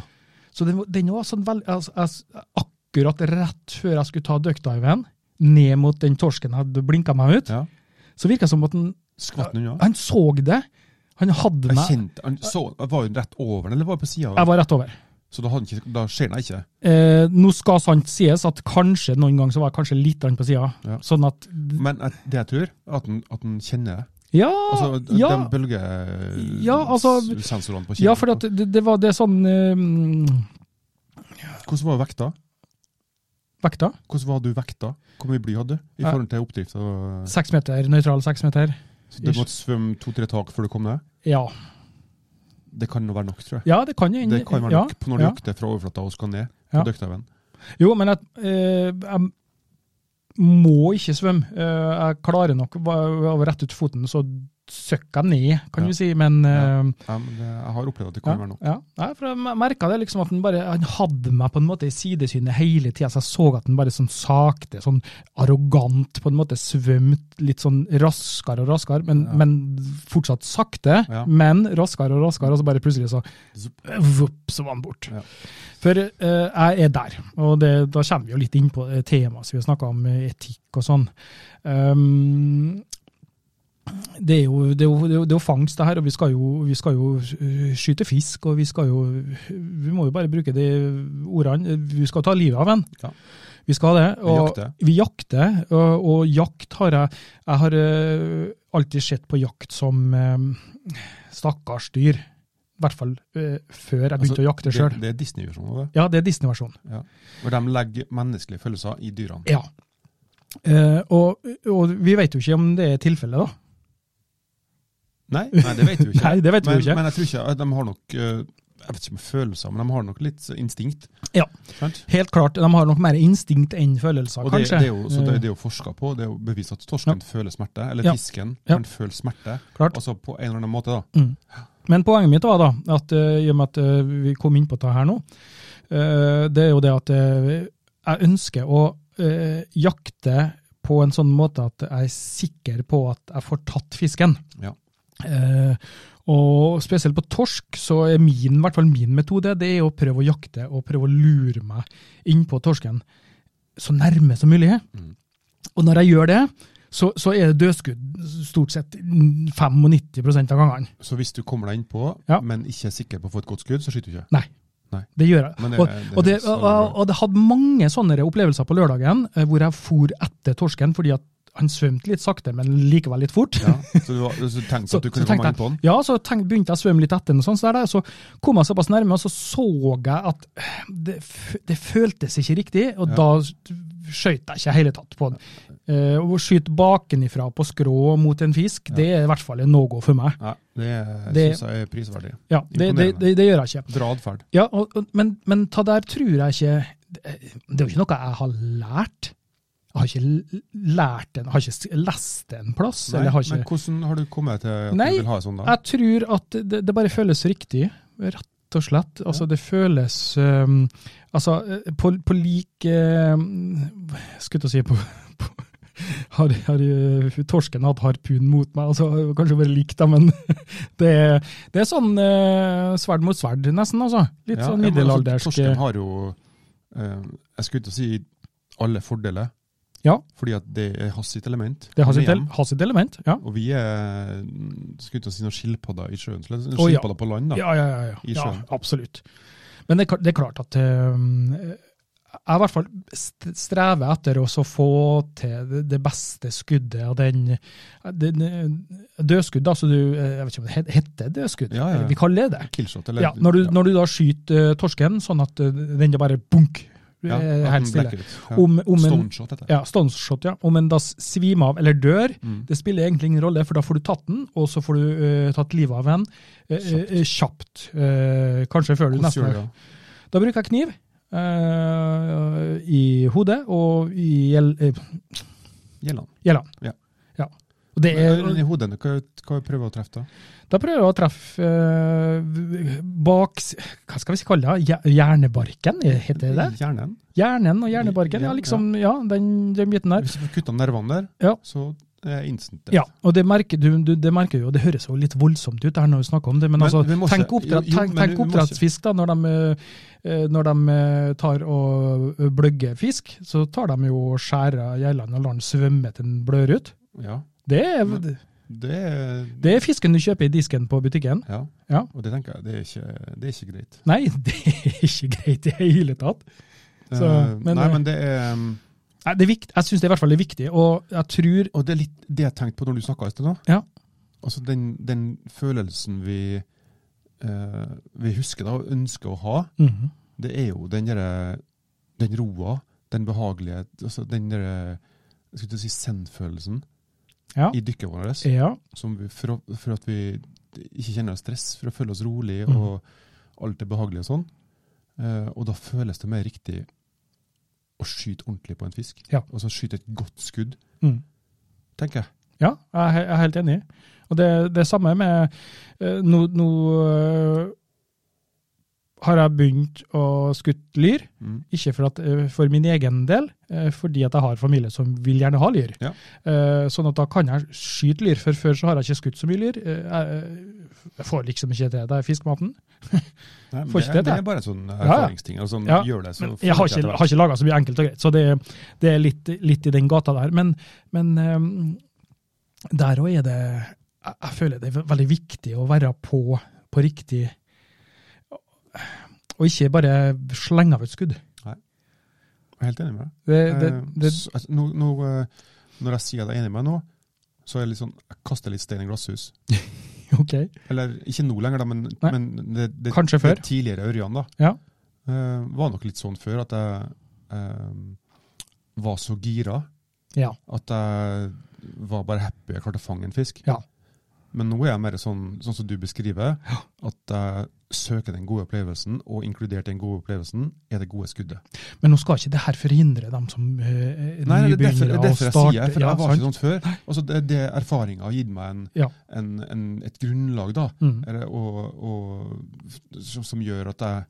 Speaker 2: Så den, var- den var sånn veldig altså, altså, Akkurat rett før jeg skulle ta duckdiven, ned mot den torsken hadde blinka meg ut,
Speaker 1: Ja.
Speaker 2: så virka det som at den
Speaker 1: Skvatt den unna?
Speaker 2: han så det. Han hadde
Speaker 1: Jeg
Speaker 2: meg.
Speaker 1: kjente, han så, var hun rett over den, eller var hun på sida?
Speaker 2: Jeg var rett over.
Speaker 1: Så da, hadde han ikke, da ser jeg ikke.
Speaker 2: Eh, nå skal sant sies at kanskje noen ganger så var jeg kanskje litt grann på sida.
Speaker 1: Ja.
Speaker 2: Sånn at
Speaker 1: Men at, det jeg tror, er at han, at han kjenner det.
Speaker 2: Ja!
Speaker 1: Altså,
Speaker 2: Ah, ja,
Speaker 1: den bølgesensorene
Speaker 2: Ja, altså-
Speaker 1: på kjelen.
Speaker 2: ja for at det, det var det sånn eh, mm,
Speaker 1: Hvordan var vekta?
Speaker 2: Vekta.
Speaker 1: Hvordan var du vekta? Hvor mye bly hadde du i
Speaker 2: Ja.
Speaker 1: forhold til oppdrift? Og,
Speaker 2: Seks meter, nøytral seks meter.
Speaker 1: så du måtte svømme to-tre tak før du kom ned?
Speaker 2: Ja.
Speaker 1: Det kan jo være nok, tror jeg.
Speaker 2: ja, det kan jo
Speaker 1: Det kan være
Speaker 2: ja,
Speaker 1: nok på når du
Speaker 2: ja.
Speaker 1: jakter fra overflata og skal ned
Speaker 2: Ja.
Speaker 1: på døkthaugen.
Speaker 2: Jo, men jeg, eh, jeg må ikke svømme. Eh, jeg klarer nok va- av å rette ut foten, så søkker jeg ned, kan
Speaker 1: Ja.
Speaker 2: du si. Men
Speaker 1: Ja.
Speaker 2: eh,
Speaker 1: Ja, men det- Jeg har opplevd at det kan være nok.
Speaker 2: Ja, Nei, for jeg merka det liksom at han bare han hadde meg på en måte i sidesynet hele tida, så jeg så at han bare sånn sakte, sånn arrogant, på en måte svømte litt sånn raskere og raskere, men,
Speaker 1: Ja.
Speaker 2: men fortsatt sakte.
Speaker 1: Ja.
Speaker 2: Men raskere og raskere, og så bare plutselig så
Speaker 1: Zup.
Speaker 2: vupp, så var han borte.
Speaker 1: Ja.
Speaker 2: For eh, jeg er der, og det, da kommer vi jo litt inn på eh, temaet som vi har snakka om, eh, etikk og sånn. Um, det er, jo, det, er jo, det, er jo, det er jo fangst, det her, og vi skal jo, vi skal jo øh, skyte fisk. Og vi skal jo Vi må jo bare bruke de ordene. Vi skal ta livet av en.
Speaker 1: Ja.
Speaker 2: Vi skal det. Og
Speaker 1: jakter.
Speaker 2: vi jakter. Og, og jakt har jeg Jeg har øh, alltid sett på jakt som øh, stakkars dyr. I hvert fall øh, før jeg begynte
Speaker 1: Altså,
Speaker 2: å jakte sjøl.
Speaker 1: Det, det er Disney-versjonen av det.
Speaker 2: Ja, det er Disney-versjonen.
Speaker 1: Hvor de legger menneskelige følelser i dyrene.
Speaker 2: Ja. Eh, og, og vi vet jo ikke om det er tilfellet, da.
Speaker 1: Nei, nei, det vet du ikke.
Speaker 2: Nei, det vet vi
Speaker 1: men,
Speaker 2: jo ikke.
Speaker 1: Men jeg tror ikke at de har nok eh, Jeg vet ikke om følelser, men de har nok litt eh, instinkt.
Speaker 2: Ja.
Speaker 1: Sant?
Speaker 2: Helt klart, de har nok mer instinkt enn følelser,
Speaker 1: Og det,
Speaker 2: kanskje. Eh.
Speaker 1: det er jo, så det, er- det er jo forska på, det er jo bevist at torsken føler smerte, eller
Speaker 2: Ja.
Speaker 1: fisken
Speaker 2: Ja.
Speaker 1: kan føle smerte.
Speaker 2: Klart.
Speaker 1: Altså på en eller annen måte, da.
Speaker 2: Mm. Men poenget mitt var da, at eh, i og med at eh, vi kom inn på det her nå, eh, det er jo det at eh, jeg ønsker å eh, jakte på en sånn måte at jeg er sikker på at jeg får tatt fisken.
Speaker 1: Ja.
Speaker 2: Eh, og spesielt på torsk, så er min, i hvert fall min metode, det er å prøve å jakte og prøve å lure meg innpå torsken så nærme som mulig.
Speaker 1: Mm.
Speaker 2: Og når jeg gjør det, så, så er det dødskudd stort sett 95 av gangene.
Speaker 1: Så hvis du kommer deg innpå,
Speaker 2: Ja.
Speaker 1: men ikke er sikker på å få et godt skudd, så skyter du ikke.
Speaker 2: Nei.
Speaker 1: Nei.
Speaker 2: Det gjør jeg.
Speaker 1: Men det-
Speaker 2: og,
Speaker 1: det
Speaker 2: og, det,
Speaker 1: høres
Speaker 2: og, og det hadde mange sånne opplevelser på lørdagen eh, hvor jeg for etter torsken fordi at han svømte litt sakte, men likevel litt fort.
Speaker 1: Ja, så du, var- så du tenkte
Speaker 2: Så-
Speaker 1: at du
Speaker 2: så
Speaker 1: kunne
Speaker 2: tenkte
Speaker 1: komme
Speaker 2: jeg-
Speaker 1: inn på den?
Speaker 2: Ja, så tenk, begynte jeg å svømme litt etter den, og sånn, så, der, der, så kom jeg såpass nærme, og så så jeg at eh, det, f- det føltes ikke riktig, og
Speaker 1: Ja.
Speaker 2: da skjøt jeg ikke i hele tatt på den. Eh, å skyte bakenifra på skrå mot en fisk, det er i hvert fall en no-go for meg.
Speaker 1: Ja, det,
Speaker 2: Det-
Speaker 1: synes jeg er prisverdig.
Speaker 2: Ja, det, det,
Speaker 1: Imponerende.
Speaker 2: det, det gjør jeg ikke.
Speaker 1: Bra atferd.
Speaker 2: Ja, og, og, men, men ta der tror jeg ikke Det er jo ikke noe jeg har lært. Jeg har ikke l- lært den, jeg har ikke s- lest den plass.
Speaker 1: Nei,
Speaker 2: eller jeg har ikke...
Speaker 1: Men hvordan har du kommet til at
Speaker 2: Nei,
Speaker 1: du vil ha sånn, da?
Speaker 2: Jeg tror at det, det bare føles riktig, rett og slett. Altså, det føles um, Altså, eh, på, på lik um, Skulle til å si på, på har, har eh, torsken hatt harpun mot meg? Altså, kanskje bare likt, da, men det, er- det er sånn eh, sverd mot sverd, nesten. altså. Litt
Speaker 1: Ja,
Speaker 2: sånn
Speaker 1: ja, men altså,
Speaker 2: middelaldersk
Speaker 1: Torsten har jo eh, Jeg skulle ikke si alle fordeler,
Speaker 2: Ja.
Speaker 1: fordi at det er hans sitt element.
Speaker 2: Det har sitt,
Speaker 1: Men-
Speaker 2: el- har sitt element, ja.
Speaker 1: Og vi er mm, skulle ikke si noen skilpadder i sjøen, så det er
Speaker 2: Å, ja.
Speaker 1: skilpadder på land, da.
Speaker 2: Ja, ja, ja. ja.
Speaker 1: I
Speaker 2: ja
Speaker 1: sjøen.
Speaker 2: absolutt. Men det, er kl- det er klart at eh, jeg i hvert fall st- strever etter også å få til det- det beste skuddet av den, den eh, Dødskudd, da, så du eh, Jeg vet ikke om det het- heter dødskudd,
Speaker 1: Ja, ja.
Speaker 2: vi kaller det det.
Speaker 1: Killshot, eller
Speaker 2: Ja, når, du, når du da skyter eh, torsken sånn at eh, den da bare bunk, ja,
Speaker 1: Ja, at den
Speaker 2: helt stille.
Speaker 1: blekker ut. Ja.
Speaker 2: Om, om en,
Speaker 1: Stoneshot heter det.
Speaker 2: ja, stoneshot, ja. Om en da s- svimer av eller dør,
Speaker 1: Mm.
Speaker 2: det spiller egentlig ingen rolle, for da får du tatt den, og så får du eh, tatt livet av en eh, eh, kjapt. Eh, kanskje før du
Speaker 1: Hvordan
Speaker 2: nesten
Speaker 1: gjør du
Speaker 2: har
Speaker 1: det?
Speaker 2: Da bruker jeg kniv eh, i hodet og i gjel- eh,
Speaker 1: Gjelland.
Speaker 2: gjellene.
Speaker 1: Ja.
Speaker 2: Ja. Og det er,
Speaker 1: Men, eh, I hodet, hva hva prøver du å treffe da?
Speaker 2: da prøver jeg å treffe eh, bak Hva skal vi kalle det? Hjer- Hjernebarken, heter det det?
Speaker 1: Hjernen.
Speaker 2: Hjernen og hjernebarken, ja,
Speaker 1: Ja,
Speaker 2: liksom, ja, den, den biten der.
Speaker 1: Hvis du får kutta nervene der,
Speaker 2: Ja.
Speaker 1: så er det instant. death.
Speaker 2: Ja, og det merker du, du det merker jo, det høres jo litt voldsomt ut det her når vi snakker om det, men,
Speaker 1: Men
Speaker 2: altså,
Speaker 1: vi må
Speaker 2: tenk,
Speaker 1: ikke-
Speaker 2: oppdrett,
Speaker 1: jo, jo,
Speaker 2: tenk,
Speaker 1: men
Speaker 2: tenk
Speaker 1: vi må ikke-
Speaker 2: oppdrettsfisk da, når de, eh, når de eh, tar og eh, bløgger fisk, så tar de jo og skjærer gjellene og lar den svømme til den blør ut.
Speaker 1: Ja.
Speaker 2: Det er,
Speaker 1: Men- Det er,
Speaker 2: det er fisken du kjøper i disken på butikken.
Speaker 1: ja.
Speaker 2: Ja.
Speaker 1: Og det tenker jeg, det er ikke, det er ikke greit.
Speaker 2: Nei, det er ikke greit i det hele tatt. Så,
Speaker 1: Eh,
Speaker 2: men-
Speaker 1: Nei, men det er um,
Speaker 2: Nei, det er vikt, jeg synes det i hvert fall er viktig, og jeg tror,
Speaker 1: Og det er litt det jeg tenkte på når du snakka i sted nå.
Speaker 2: Ja.
Speaker 1: Altså den, den følelsen vi, eh, vi husker da, og ønsker å ha,
Speaker 2: Mhm.
Speaker 1: det er jo den derre Den roa, den behagelige altså Den derre jeg skulle til å si zen-følelsen
Speaker 2: ja,
Speaker 1: i dykket vårt.
Speaker 2: ja,
Speaker 1: som vi- For, å- for at vi ikke kjenner oss stress, for å føle oss rolig
Speaker 2: Mhm.
Speaker 1: og alt er behagelig og sånn. Eh, og da føles det mer riktig å skyte ordentlig på en fisk.
Speaker 2: Ja.
Speaker 1: Og så skyte et godt skudd,
Speaker 2: mhm.
Speaker 1: tenker jeg.
Speaker 2: Ja, jeg er he- jeg er helt enig. Og det, det samme med eh, Nå, nå eh, har jeg begynt å skutte lyr.
Speaker 1: Mm.
Speaker 2: Ikke for, at, eh, for min egen del, eh, fordi at jeg har familie som vil gjerne ha lyr.
Speaker 1: Ja.
Speaker 2: Eh, Sånn at da kan jeg skyte lyr, for før så har jeg ikke skutt så mye lyr. Eh, Jeg, jeg får liksom ikke til det er fiskematen.
Speaker 1: Nei, men
Speaker 2: Får
Speaker 1: det,
Speaker 2: ikke det
Speaker 1: er- det
Speaker 2: til.
Speaker 1: er bare en sånn
Speaker 2: ja.
Speaker 1: erfaringsting. Altså,
Speaker 2: Ja,
Speaker 1: gjør det, så
Speaker 2: Men
Speaker 1: får
Speaker 2: jeg har
Speaker 1: det til
Speaker 2: ikke,
Speaker 1: etter hvert.
Speaker 2: har ikke laga så mye enkelt og greit, så det, det er litt, litt i den gata der. Men, men eh, der òg er det jeg, jeg føler det er ve- veldig viktig å være på, på riktig Og ikke bare slenge av et skudd.
Speaker 1: Jeg er helt enig med deg.
Speaker 2: Det, det,
Speaker 1: Eh,
Speaker 2: det,
Speaker 1: s- altså, nå, nå, eh, når jeg sier at jeg er enig med deg nå, så er jeg litt sånn Jeg kaster litt stein i glasshus.
Speaker 2: OK.
Speaker 1: Eller ikke nå lenger, da, men,
Speaker 2: Nei.
Speaker 1: men det, det,
Speaker 2: Kanskje før.
Speaker 1: det tidligere Ørjan, da.
Speaker 2: Ja.
Speaker 1: eh, var nok litt sånn før at jeg eh, var så gira
Speaker 2: Ja.
Speaker 1: at jeg var bare happy jeg klarte å fange en fisk.
Speaker 2: Ja.
Speaker 1: Men nå er jeg mer sånn, sånn som du beskriver, at jeg søker den gode opplevelsen, og inkludert den gode opplevelsen er det gode skuddet.
Speaker 2: Men nå skal ikke det her forhindre dem som eh, er
Speaker 1: Nei, nei, det er derfor, det
Speaker 2: nybegynnere
Speaker 1: er
Speaker 2: å
Speaker 1: derfor jeg
Speaker 2: starte.
Speaker 1: sier det, for
Speaker 2: ja,
Speaker 1: jeg var
Speaker 2: sant?
Speaker 1: ikke sånn før. Altså, det, det erfaringa har gitt meg en,
Speaker 2: Ja.
Speaker 1: en, en, et grunnlag, da,
Speaker 2: Mm.
Speaker 1: eller, og, og, som, som gjør at jeg,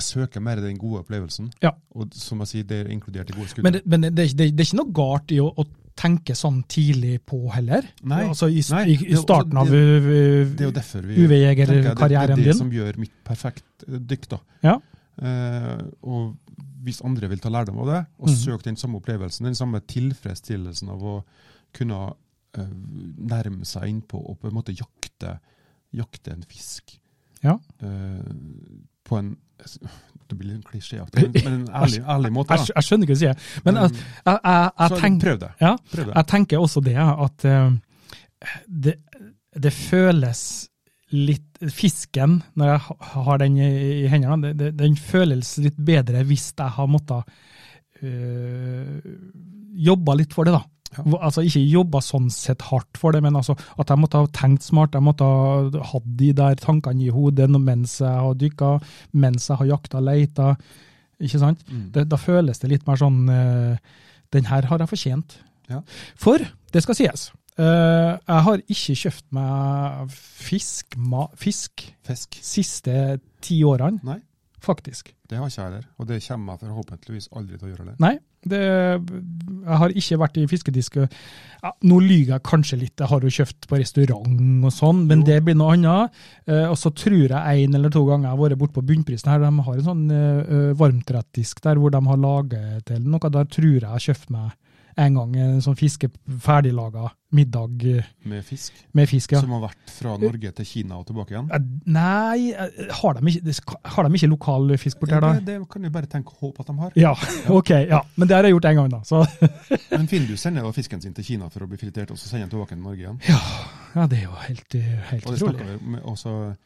Speaker 1: jeg søker mer den gode opplevelsen.
Speaker 2: Ja.
Speaker 1: Og som jeg sier, det er inkludert i gode skuddet.
Speaker 2: Men, det, men det, det, er ikke- det, det er ikke noe galt i å, å tenke sånn tidlig på heller.
Speaker 1: Nei.
Speaker 2: altså i,
Speaker 1: Nei,
Speaker 2: i,
Speaker 1: det er
Speaker 2: i
Speaker 1: jo-
Speaker 2: starten av
Speaker 1: det- det er jo
Speaker 2: uh,
Speaker 1: derfor vi tenker jeg, det, det er
Speaker 2: UV-jegerkarrieren
Speaker 1: det
Speaker 2: din.
Speaker 1: som gjør mitt perfekt eh, dykk, da.
Speaker 2: Ja.
Speaker 1: Eh, og hvis andre vil ta lærdom av det, og
Speaker 2: Mhm.
Speaker 1: søke den samme opplevelsen, den samme tilfredsstillelsen av å kunne eh, nærme seg innpå og på en måte jakte, jakte en fisk
Speaker 2: Ja.
Speaker 1: eh, på en Det blir litt klisjéaktig, men- men en ærlig, ærlig måte.
Speaker 2: Jeg,
Speaker 1: Da. Mm.
Speaker 2: skj- jeg skjønner ikke hva du sier, men jeg, jeg, jeg, jeg,
Speaker 1: Så
Speaker 2: tenk,
Speaker 1: prøv det.
Speaker 2: ja,
Speaker 1: Prøv det.
Speaker 2: jeg tenker også det at eh, det, det føles litt Fisken, når jeg ha- har den i, i hendene, det, det, den føles litt bedre hvis jeg har måttet øh, jobbe litt for det, da.
Speaker 1: Ja.
Speaker 2: Hvor- Altså Ikke jobba sånn sett hardt for det, men altså at jeg måtte ha tenkt smart. Jeg måtte ha hatt de der tankene i hodet nå mens jeg har dykka, mens jeg har jakta, leita. Ikke sant?
Speaker 1: Mm.
Speaker 2: det, da føles det litt mer sånn eh, Den her har jeg fortjent.
Speaker 1: Ja.
Speaker 2: For, det skal sies, eh, jeg har ikke kjøpt meg fisk, ma, fisk
Speaker 1: Fisk.
Speaker 2: siste ti årene,
Speaker 1: Nei,
Speaker 2: faktisk.
Speaker 1: det har ikke jeg heller. Og det kommer jeg forhåpentligvis aldri til å gjøre. heller.
Speaker 2: Nei, det, jeg har ikke vært i fiskedisk. Ja, nå lyver jeg kanskje litt, jeg har jo kjøpt på restaurant og sånn, men
Speaker 1: Jo.
Speaker 2: det blir noe annet. Eh, og så tror jeg en eller to ganger jeg har vært borte på bunnprisen her, de har en sånn eh, eh, varmtrettdisk der hvor de har laget til noe, der tror jeg jeg har kjøpt meg en gang en sånn fiske ferdiglaget middag eh,
Speaker 1: Med fisk
Speaker 2: med fisk. Ja.
Speaker 1: som har vært fra Norge til Kina og tilbake igjen.
Speaker 2: Eh, Nei, eh, har de ikke, det skal- har de ikke lokal fisk borti her da?
Speaker 1: det, det kan du bare tenke og håpe at de har.
Speaker 2: Ja, ok, ja. Men det har jeg gjort en gang da, så
Speaker 1: Men Findu sender da fisken sin til Kina for å bli filetert, og så sender han tilbake til Norge igjen.
Speaker 2: ja, det er jo helt, eh, helt
Speaker 1: Og det
Speaker 2: utrolig.
Speaker 1: snakket vi med også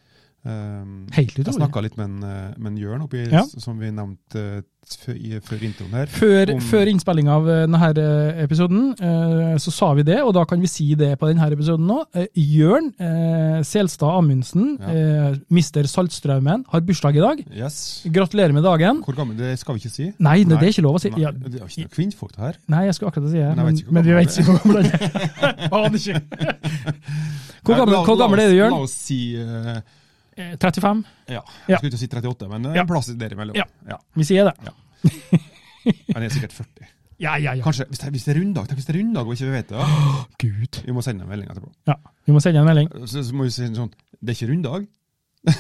Speaker 1: ehm,
Speaker 2: Helt
Speaker 1: Jeg
Speaker 2: utrolig.
Speaker 1: snakka litt med en, eh, med en Jørn oppi,
Speaker 2: Ja.
Speaker 1: s- som vi nevnte eh, før, i, før introen her.
Speaker 2: Før,
Speaker 1: om-
Speaker 2: før innspilling av eh, denne her, eh, episoden, eh, så sa vi det, og da kan vi si det på denne episoden nå. Eh, Jørn eh, Selstad Amundsen,
Speaker 1: Ja.
Speaker 2: eh, mister Saltstraumen, har bursdag i dag.
Speaker 1: Yes.
Speaker 2: Gratulerer med dagen.
Speaker 1: Hvor gammel Det skal vi ikke si.
Speaker 2: Nei, det,
Speaker 1: Nei.
Speaker 2: det er ikke lov å si.
Speaker 1: Nei,
Speaker 2: Ja,
Speaker 1: Det er jo ikke noe kvinnfolk, det her.
Speaker 2: nei, jeg skulle akkurat si det,
Speaker 1: Men jeg
Speaker 2: men,
Speaker 1: vet ikke hvor
Speaker 2: men vi
Speaker 1: gammel
Speaker 2: vet ikke hvor gammel den er. Aner ikke. Hvor gammel,
Speaker 1: Nei, la-
Speaker 2: hvor gammel
Speaker 1: la
Speaker 2: er du,
Speaker 1: oss-
Speaker 2: Jørn?
Speaker 1: La oss si eh,
Speaker 2: Eh, 35?
Speaker 1: ja.
Speaker 2: Ja.
Speaker 1: Jeg skulle ikke si 38, men det er
Speaker 2: Ja.
Speaker 1: en plass derimellom.
Speaker 2: Ja.
Speaker 1: Ja.
Speaker 2: Vi sier det.
Speaker 1: Han er sikkert 40.
Speaker 2: Ja, ja, ja.
Speaker 1: Kanskje, Hvis det, hvis det er runddag tenk hvis det er runddag og ikke vi vet det, da.
Speaker 2: Gud.
Speaker 1: Vi må sende en melding etterpå.
Speaker 2: Ja, vi må sende en melding.
Speaker 1: Så, så må vi si sånn Det er ikke runddag.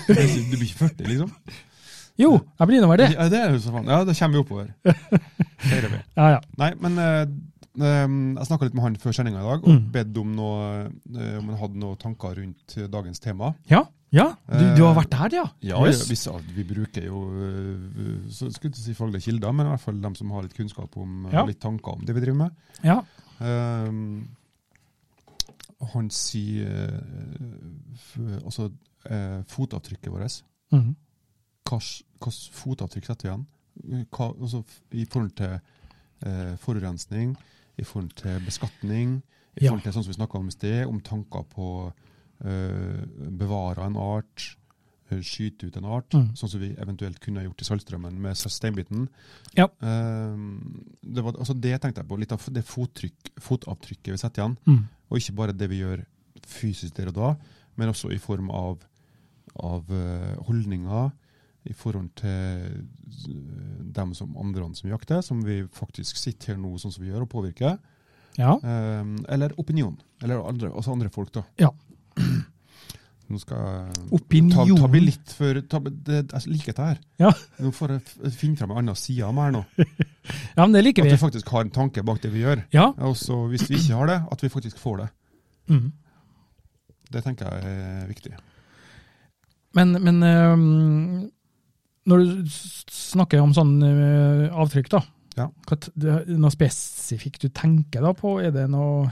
Speaker 1: du blir ikke 40, liksom.
Speaker 2: Jo, jeg blir innover det.
Speaker 1: Ja, det er jo så faen. Ja, da kommer vi oppover. Feirer vi.
Speaker 2: Ja, ja.
Speaker 1: Nei, men eh, ehm, jeg snakka litt med han før sendinga i dag og
Speaker 2: Mm.
Speaker 1: bedt om noe, eh, om han hadde noen tanker rundt eh, dagens tema.
Speaker 2: Ja, ja. Du, du har vært der, Eh, ja? Jøss.
Speaker 1: vi, sa- vi bruker jo eh, så skulle jeg ikke si faglige kilder, men i hvert fall dem som har litt kunnskap om eh,
Speaker 2: Ja.
Speaker 1: og litt tanker om det vi driver med.
Speaker 2: ja.
Speaker 1: Ehm, og han sier eh, f- altså eh, fotavtrykket vårt.
Speaker 2: Mhm.
Speaker 1: Hvilket fotavtrykk setter vi igjen? Hva, altså, f- I forhold til eh, forurensning, i forhold til beskatning, i
Speaker 2: Ja.
Speaker 1: forhold til sånn som vi snakka om i sted, om tanker på eh, bevare en art, eh, skyte ut en art,
Speaker 2: Mm.
Speaker 1: sånn som vi eventuelt kunne gjort i Saltstraumen med s- steinbiten.
Speaker 2: Ja.
Speaker 1: Eh, det, var, altså det tenkte jeg på, litt av det fottrykk, fotavtrykket vi setter igjen.
Speaker 2: Mm.
Speaker 1: Og ikke bare det vi gjør fysisk der og da, men også i form av, av eh, holdninger i forhold til eh, dem som andre som jakter, som vi faktisk sitter her nå sånn som vi gjør og påvirker.
Speaker 2: Ja.
Speaker 1: Eh, eller opinion. Eller andre, altså andre folk, da.
Speaker 2: Ja.
Speaker 1: Nå skal jeg ta,
Speaker 2: Opinion.
Speaker 1: ta meg litt for ta, det, Jeg liker dette her.
Speaker 2: Ja.
Speaker 1: Nå får jeg f- finne fram en annen side av meg her nå.
Speaker 2: ja, men det liker
Speaker 1: At
Speaker 2: vi.
Speaker 1: vi faktisk har en tanke bak det vi gjør.
Speaker 2: Ja.
Speaker 1: Og så hvis vi ikke har det, at vi faktisk får det.
Speaker 2: Mm.
Speaker 1: Det tenker jeg er viktig.
Speaker 2: Men, men øhm, når du s- snakker om sånn øh, avtrykk, da.
Speaker 1: Ja.
Speaker 2: Hva t- det er noe spesifikt du tenker da på? Er det noe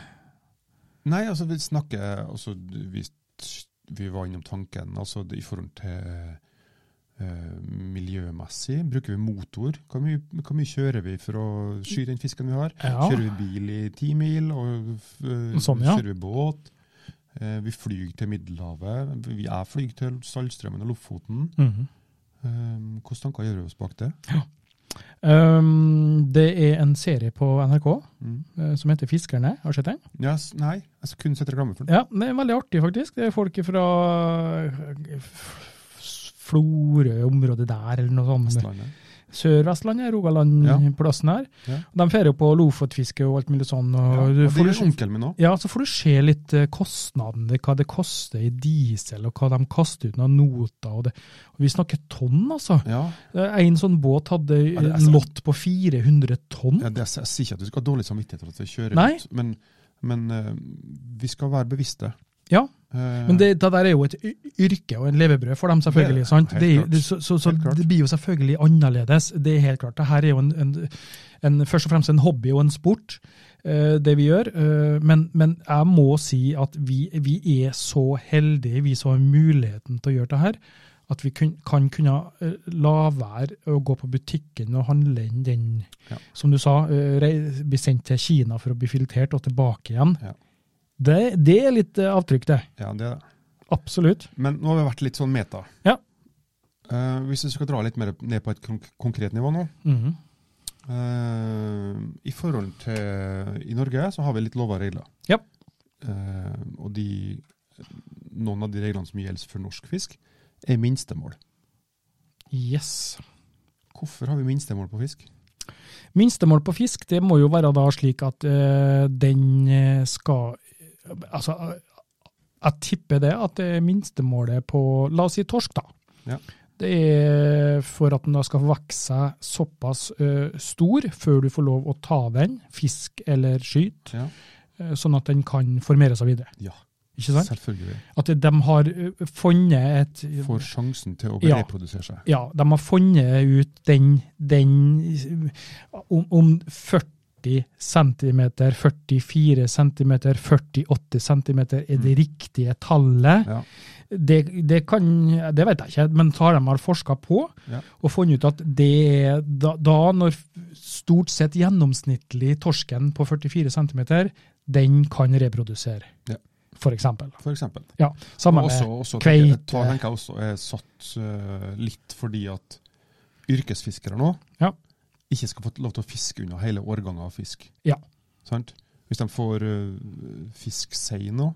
Speaker 1: Nei, altså vi snakker altså, vi, vi var innom tanken, altså det- i forhold til eh, miljømessig. Bruker vi motor? Hvor mye, hvor mye kjører vi for å skyte den fisken vi har?
Speaker 2: Ja.
Speaker 1: Kjører vi bil i ti mil? Og, eh,
Speaker 2: Sånn, ja.
Speaker 1: Kjører vi båt? Eh, vi flyr til Middelhavet. Vi- Jeg flyr til Saltstraumen og Lofoten.
Speaker 2: Mhm.
Speaker 1: Eh, Hvilke tanker gjør vi oss bak det?
Speaker 2: Øhm, Ehm, det er en serie på NRK
Speaker 1: Mm.
Speaker 2: øh, som heter Fiskerne. Har du sett den?
Speaker 1: Ja, s- nei, jeg skulle kun sett reklame for den.
Speaker 2: Ja, det er veldig artig, faktisk. Det er folk fra øh, F- Florø-området der, eller noe sånt.
Speaker 1: Vestlandet.
Speaker 2: Sør-Vestlandet, Rogaland-plassen her.
Speaker 1: Ja.
Speaker 2: De fer jo på lofotfiske og alt mulig sånn. Og
Speaker 1: Ja, og
Speaker 2: du
Speaker 1: det
Speaker 2: får,
Speaker 1: gjør onkelen min òg.
Speaker 2: ja, så får du se litt eh, kostnaden, det- hva det koster i diesel, og hva de kaster ut av noter. Og det. Og vi snakker tonn, altså.
Speaker 1: Ja,
Speaker 2: Det er En sånn båt hadde eh,
Speaker 1: Ja, det er sant.
Speaker 2: lott på 400 tonn.
Speaker 1: Ja, det, jeg sier ikke at du skal ha dårlig samvittighet for at vi kjører
Speaker 2: Nei.
Speaker 1: ut, men, men eh, vi skal være bevisste.
Speaker 2: Ja,
Speaker 1: Eh,
Speaker 2: men det, det der er jo et y- yrke og en levebrød for dem, selvfølgelig.
Speaker 1: Det er det,
Speaker 2: sant?
Speaker 1: helt
Speaker 2: Det, er-
Speaker 1: klart.
Speaker 2: det, så så, så
Speaker 1: Helt klart.
Speaker 2: det blir jo selvfølgelig annerledes. Det er helt klart. Dette er jo en, en, en, først og fremst en hobby og en sport, eh, det vi gjør. Eh, men, men jeg må si at vi, vi er så heldige, vi som har muligheten til å gjøre det her, at vi kun, kan kunne eh, la være å gå på butikken og handle inn den,
Speaker 1: Ja.
Speaker 2: som du sa, eh, rei- bli sendt til Kina for å bli filtrert og tilbake igjen.
Speaker 1: Ja.
Speaker 2: Det, det er litt eh, avtrykk, det.
Speaker 1: ja, det er det.
Speaker 2: Absolutt.
Speaker 1: Men nå har vi vært litt sånn meta.
Speaker 2: Ja.
Speaker 1: Eh, hvis vi skal dra litt mer ned på et konk konkret nivå nå.
Speaker 2: Mhm.
Speaker 1: Eh, I forhold til I Norge så har vi litt lover og regler.
Speaker 2: Ja.
Speaker 1: Eh, og de, noen av de reglene som gjelder for norsk fisk, er minstemål.
Speaker 2: Yes.
Speaker 1: Hvorfor har vi minstemål på fisk?
Speaker 2: Minstemål på fisk, det må jo være da slik at eh, den eh, skal Altså, eh, jeg tipper det at det er minstemålet på, la oss si torsk, da.
Speaker 1: Ja.
Speaker 2: Det er for at den da skal vokse seg såpass eh, stor før du får lov å ta den, fisk eller skyt,
Speaker 1: Ja,
Speaker 2: eh, sånn at den kan formere seg videre.
Speaker 1: ja
Speaker 2: Ikke sant?
Speaker 1: selvfølgelig.
Speaker 2: At de har eh, funnet et
Speaker 1: Får sjansen til å
Speaker 2: Ja.
Speaker 1: reprodusere seg.
Speaker 2: Ja, de har funnet ut den, den om, om 40 cm, 44 cm, 48 cm er det riktige tallet.
Speaker 1: Mm. Ja.
Speaker 2: Det, det, kan, det vet jeg ikke, men tar de har forska på
Speaker 1: Ja.
Speaker 2: og funnet ut at det er da, da når stort sett gjennomsnittlig torsken på 44 cm, den kan reprodusere,
Speaker 1: Ja.
Speaker 2: for eksempel.
Speaker 1: For eksempel.
Speaker 2: Ja, samme
Speaker 1: Og
Speaker 2: med
Speaker 1: også, også,
Speaker 2: kveite.
Speaker 1: tenker- Da tenker jeg også er satt eh, litt fordi at yrkesfiskere nå
Speaker 2: Ja.
Speaker 1: ikke skal få lov til å fiske unna hele årganger av fisk.
Speaker 2: Ja.
Speaker 1: Sant? Hvis de får eh, fisk sei nå,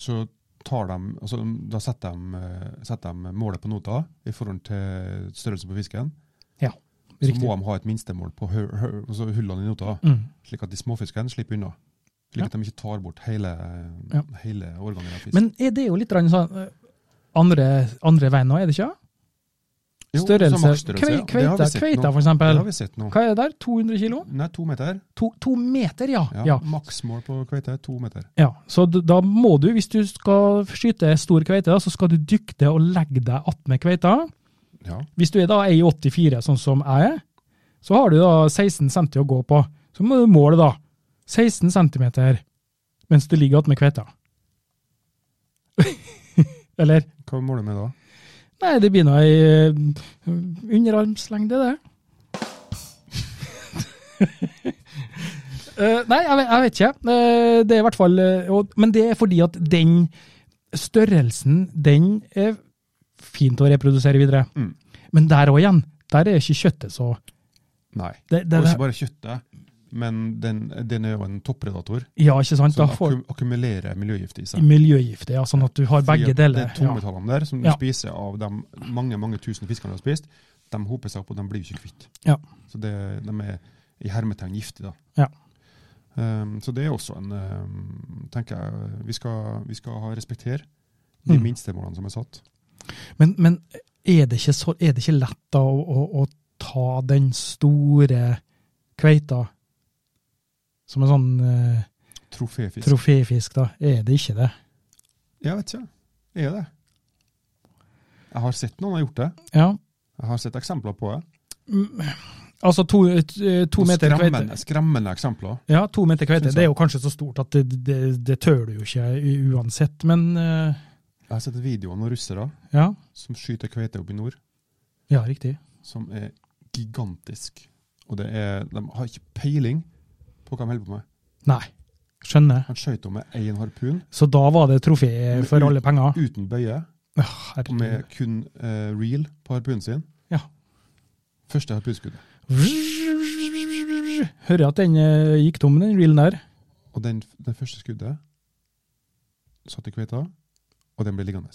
Speaker 1: så tar de, altså, da setter de, eh, setter de målet på nota i forhold til størrelsen på fisken. Så
Speaker 2: riktig.
Speaker 1: må de ha et minstemål på hø, hø, altså hullene i nota,
Speaker 2: Mm.
Speaker 1: slik at de småfiskene slipper unna. Slik
Speaker 2: Ja.
Speaker 1: at de ikke tar bort hele,
Speaker 2: Ja.
Speaker 1: hele årgangen av fisk.
Speaker 2: Men er det jo litt grann sånn eh, andre, andre veien nå, er det ikke?
Speaker 1: Jo, så
Speaker 2: Størrelse.
Speaker 1: maksstørrelse,
Speaker 2: Kvei,
Speaker 1: altså. ja. Det har vi
Speaker 2: kveita,
Speaker 1: sett nå.
Speaker 2: kveita, for
Speaker 1: Det
Speaker 2: eksempel.
Speaker 1: har vi sett nå.
Speaker 2: Hva er det der? 200 kilo?
Speaker 1: Nei, to meter.
Speaker 2: To, to meter, ja.
Speaker 1: Ja,
Speaker 2: ja.
Speaker 1: Maksmål på kveite er to meter.
Speaker 2: ja. Så d- da må du, hvis du skal skyte stor kveite, da, så skal du dykte og legge deg attmed kveita.
Speaker 1: Ja.
Speaker 2: Hvis du er da 1,84, sånn som jeg er, så har du da 16 cm å gå på. Så må du måle, da. 16 cm mens du ligger attmed kveita. Eller?
Speaker 1: Hva måler du med da?
Speaker 2: Nei, det blir nå ei eh, underarmslengde, det. Eh, nei, jeg, ve- jeg vet ikke. Eh, det er i hvert fall eh, og, Men det er fordi at den størrelsen, den er fint å reprodusere videre.
Speaker 1: Mm.
Speaker 2: Men der òg igjen, der er ikke kjøttet så
Speaker 1: Nei.
Speaker 2: det, det,
Speaker 1: Og
Speaker 2: det,
Speaker 1: ikke bare kjøttet, men den, den er jo en toppredator
Speaker 2: Ja, ikke sant? Da
Speaker 1: som
Speaker 2: får
Speaker 1: akkum- akkumulerer miljøgift i
Speaker 2: du
Speaker 1: seg.
Speaker 2: miljøgifter, ja. Sånn at du har
Speaker 1: Fordi
Speaker 2: begge
Speaker 1: at
Speaker 2: deler.
Speaker 1: Det
Speaker 2: Ja.
Speaker 1: tungmetallene der som du
Speaker 2: Ja.
Speaker 1: spiser av de mange mange tusen fiskene du har spist, de hoper seg opp, og de blir jo ikke kvitt.
Speaker 2: Ja.
Speaker 1: Så det, de er i hermetegn giftige. da.
Speaker 2: Ja.
Speaker 1: Um, så det er også en um, tenker jeg, Vi skal, vi skal ha respektere de
Speaker 2: Mm.
Speaker 1: minstemålene som er satt.
Speaker 2: Men, men er, det ikke så, er det ikke lett da å, å, å ta den store kveita som en sånn eh,
Speaker 1: Troféfisk.
Speaker 2: troféfisk, da? Er det ikke det?
Speaker 1: Jeg vet ikke. Er det? Jeg har sett noen har gjort det.
Speaker 2: Ja.
Speaker 1: Jeg har sett eksempler på det.
Speaker 2: Mm, Altså to, eh, to
Speaker 1: Og
Speaker 2: meter
Speaker 1: skremmende,
Speaker 2: kveite.
Speaker 1: skremmende eksempler.
Speaker 2: Ja, to meter kveite.
Speaker 1: Synes jeg.
Speaker 2: Det er jo kanskje så stort at det, det, det tør du jo ikke u- uansett, men eh,
Speaker 1: Jeg har sett videoer av russere
Speaker 2: ja.
Speaker 1: som skyter kveite opp i nord,
Speaker 2: Ja, riktig.
Speaker 1: som er gigantisk. Og det er, de har ikke peiling på hva de holder på med.
Speaker 2: Nei. Skjønner.
Speaker 1: Han skjøt henne med én harpun,
Speaker 2: Så da var det trofé for alle penger?
Speaker 1: uten bøye,
Speaker 2: Ja,
Speaker 1: og med
Speaker 2: Herregud.
Speaker 1: kun eh, reel på harpunen sin.
Speaker 2: Ja.
Speaker 1: Første harpunskuddet.
Speaker 2: Hører at den eh, gikk tom, den reelen der.
Speaker 1: Og den, den første skuddet satt i kveita, og den ble liggende.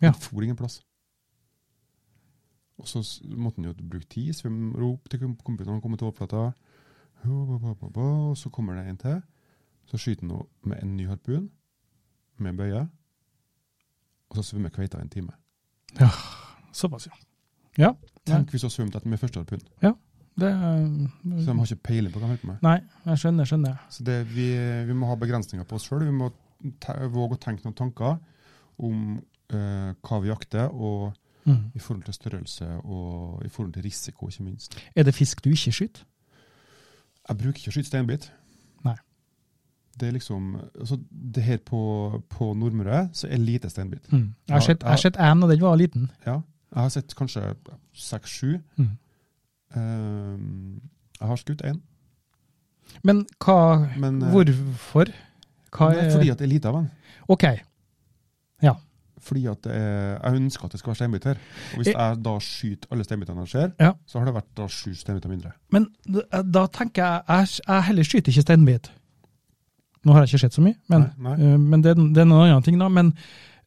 Speaker 2: Ja.
Speaker 1: Den for ingen plass. Og så s- måtte den jo bruke tid, svømme, rope til kom- kompisen når han kom til overflata. Ho, bo, bo, bo, bo. Og så kommer det en til. Så skyter han henne med en ny harpun, med en bøye. Og så svømmer kveita en time.
Speaker 2: Såpass, ja. Ja. Mm.
Speaker 1: Tenk hvis hun svømte etter med første harpun.
Speaker 2: Det,
Speaker 1: Så de
Speaker 2: eh,
Speaker 1: har ikke peiling på hva de holder på med.
Speaker 2: nei, jeg skjønner, skjønner.
Speaker 1: Så det, vi, vi må ha begrensninger på oss sjøl. Vi må te- våge å tenke noen tanker om eh, hva vi jakter, og
Speaker 2: Mm.
Speaker 1: i forhold til størrelse og i forhold til risiko, ikke minst.
Speaker 2: Er det fisk du ikke skyter?
Speaker 1: Jeg bruker ikke å skyte steinbit.
Speaker 2: Nei.
Speaker 1: Det er liksom altså, det her på, på Nordmøre så er lite steinbit.
Speaker 2: Mm. Jeg
Speaker 1: Ja,
Speaker 2: har sett- jeg har
Speaker 1: ja.
Speaker 2: sett én, og den var liten.
Speaker 1: Ja. Jeg har sett kanskje seks-sju.
Speaker 2: Mm.
Speaker 1: Ehm, jeg har skutt én.
Speaker 2: Men hva
Speaker 1: Men, eh,
Speaker 2: Hvorfor? Hva
Speaker 1: Nei,
Speaker 2: er
Speaker 1: Fordi at det er lite av den.
Speaker 2: OK.
Speaker 1: Fordi at det er, Jeg ønsker at det skal være steinbit her. Og hvis
Speaker 2: Jeg-
Speaker 1: jeg da skyter alle steinbitene jeg ser,
Speaker 2: Eh. Ja.
Speaker 1: så har det vært da sju steinbiter mindre.
Speaker 2: Men da da tenker jeg Jeg, jeg heller skyter ikke steinbit. Nå har jeg ikke sett så mye, men,
Speaker 1: Nei,
Speaker 2: eh, men det, er- det er noen annen ting, da. Men,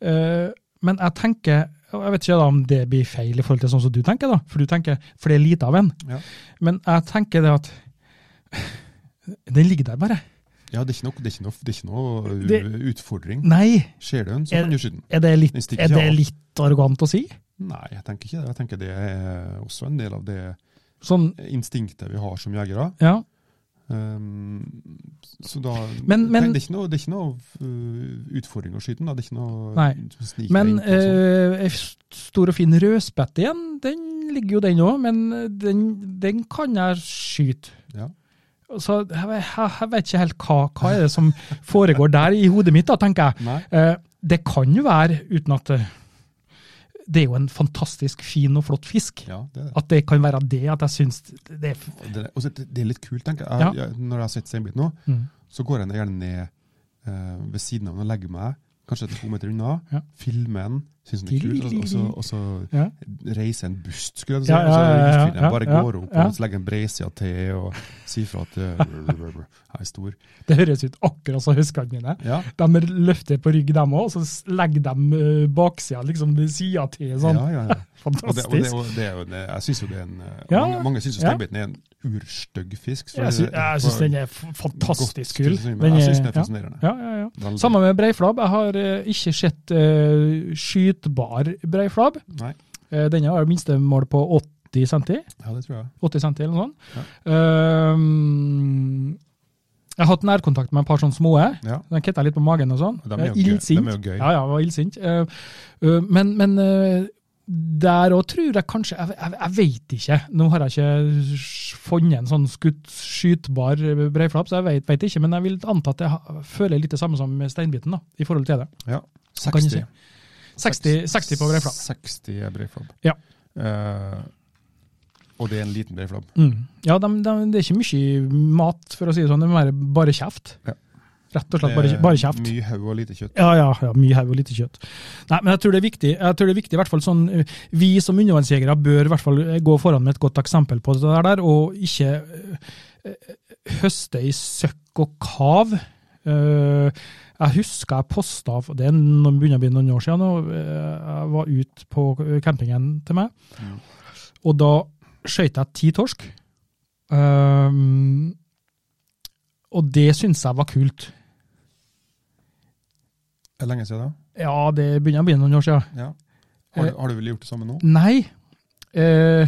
Speaker 2: eh, men jeg tenker og Jeg vet ikke da om det blir feil i forhold til sånn som du tenker, da, for du tenker, for det er lite av en.
Speaker 1: Ja.
Speaker 2: Men jeg tenker det at Den ligger der bare.
Speaker 1: Ja, det er ikke noe, det er ikke noe, det er ikke noe uh,
Speaker 2: Det-
Speaker 1: utfordring.
Speaker 2: Nei,
Speaker 1: Ser du den, så
Speaker 2: Er-
Speaker 1: kan du skyte den.
Speaker 2: er det litt,
Speaker 1: Den stikker
Speaker 2: er
Speaker 1: ikke
Speaker 2: det
Speaker 1: av.
Speaker 2: litt arrogant å si?
Speaker 1: Nei, jeg tenker ikke det. Jeg tenker det er også en del av det
Speaker 2: Sånn,
Speaker 1: instinktet vi har som jegere.
Speaker 2: ja.
Speaker 1: Ehm, så da
Speaker 2: Men- men-
Speaker 1: det, er ikke noe, det er ikke noe uh, utfordring å skyte den. da. Det er ikke noe
Speaker 2: Nei.
Speaker 1: som sniker
Speaker 2: Men
Speaker 1: deg inn på og sånn.
Speaker 2: eh, ei stor og fin rødspett igjen, den ligger jo den òg, men den, den kan jeg skyte.
Speaker 1: Ja.
Speaker 2: Så jeg, ve- jeg, jeg vet ikke helt hva, hva er det som foregår der i hodet mitt, da, tenker jeg.
Speaker 1: Nei.
Speaker 2: Eh, det kan jo være, uten at eh, Det er jo en fantastisk fin og flott fisk.
Speaker 1: Ja, det er det.
Speaker 2: At det kan være det at jeg syns det er
Speaker 1: Og det, er- og så det, det er litt kult, tenker jeg. jeg,
Speaker 2: Ja.
Speaker 1: jeg når jeg har sett seinbit nå,
Speaker 2: mm.
Speaker 1: så går jeg gjerne ned eh, ved siden av den og legger meg, kanskje to meter unna,
Speaker 2: Ja.
Speaker 1: filmer den, syns den er kul, og, og, så, og så
Speaker 2: ja.
Speaker 1: reiser en bust, skulle jeg til å
Speaker 2: Ja,
Speaker 1: si.
Speaker 2: ja, ja, ja,
Speaker 1: altså, utfyller den,
Speaker 2: ja,
Speaker 1: bare
Speaker 2: ja,
Speaker 1: går opp
Speaker 2: ja.
Speaker 1: og så legger en breisida til og sier fra at eh, jeg er stor.
Speaker 2: Det høres ut akkurat som huskene mine.
Speaker 1: Ja,
Speaker 2: De løfter på rygg, dem òg, og så s- legger de eh, baksida liksom ved sida til. sånn.
Speaker 1: ja, ja, ja. Og det,
Speaker 2: Fantastisk.
Speaker 1: og det, og det, er jo- det, jeg synes jo det er en eh,
Speaker 2: Ja,
Speaker 1: Mange, mange syns jo
Speaker 2: ja.
Speaker 1: steinbiten er en urstygg fisk.
Speaker 2: jeg sy jeg syns den er f- fantastisk kul.
Speaker 1: Men jeg syns den er
Speaker 2: ja.
Speaker 1: fascinerende.
Speaker 2: Ja, ja, ja.
Speaker 1: Veldig.
Speaker 2: Samme med breiflabb. Jeg har eh, ikke sett eh, skytbar breiflabb.
Speaker 1: Nei,
Speaker 2: Eh, denne har minstemål på 80 cm.
Speaker 1: ja, det tror jeg.
Speaker 2: 80 cm eller noe sånt. Ehm, jeg har hatt nærkontakt med et par sånne små.
Speaker 1: Ja.
Speaker 2: Den kitta litt på magen og sånn.
Speaker 1: De er jo
Speaker 2: Eh,
Speaker 1: gøy.
Speaker 2: Ildsint.
Speaker 1: De er jo gøy.
Speaker 2: Ja, ja, var ildsint. Eh, eh, Men, men eh, der òg tror jeg kanskje Jeg, jeg, jeg veit ikke. Nå har jeg ikke s- funnet en sånn skutt, skytbar breiflapp, så jeg veit, veit ikke. Men jeg vil anta at jeg ha- føler litt det samme som med steinbiten, da, i forhold til det.
Speaker 1: Ja.
Speaker 2: Hva kan du
Speaker 1: 60.
Speaker 2: si? 60, 60 på breiflabb.
Speaker 1: 60 er breiflabb.
Speaker 2: Ja.
Speaker 1: Eh, og det er en liten breiflabb.
Speaker 2: Mm. Ja, dem- dem- det er ikke mye mat, for å si det sånn. Det må være bare kjeft.
Speaker 1: Ja.
Speaker 2: Rett og slett bare,
Speaker 1: Det er
Speaker 2: kje- bare kjeft.
Speaker 1: Mye haug og lite kjøtt.
Speaker 2: Ja, ja, ja, mye haug og lite kjøtt. Nei, men jeg tror det er viktig. Jeg tror det er viktig, i hvert fall sånn, eh, Vi som undervannsjegere bør i hvert fall eh, gå foran med et godt eksempel på det der, der og ikke eh, eh, høste i søkk og kav. Eh, Jeg husker jeg posta, for det er noen- begynner å bli noen år siden, nå, eh, jeg var ute på eh, campingen til meg,
Speaker 1: Mm.
Speaker 2: og da skøyt jeg ti torsk. Ehm, og det syns jeg var kult.
Speaker 1: Er det lenge siden,
Speaker 2: Ja, det begynner å bli noen år siden.
Speaker 1: da? Ja. Har,
Speaker 2: Eh,
Speaker 1: du- har du vel gjort det samme nå?
Speaker 2: Nei. Eh,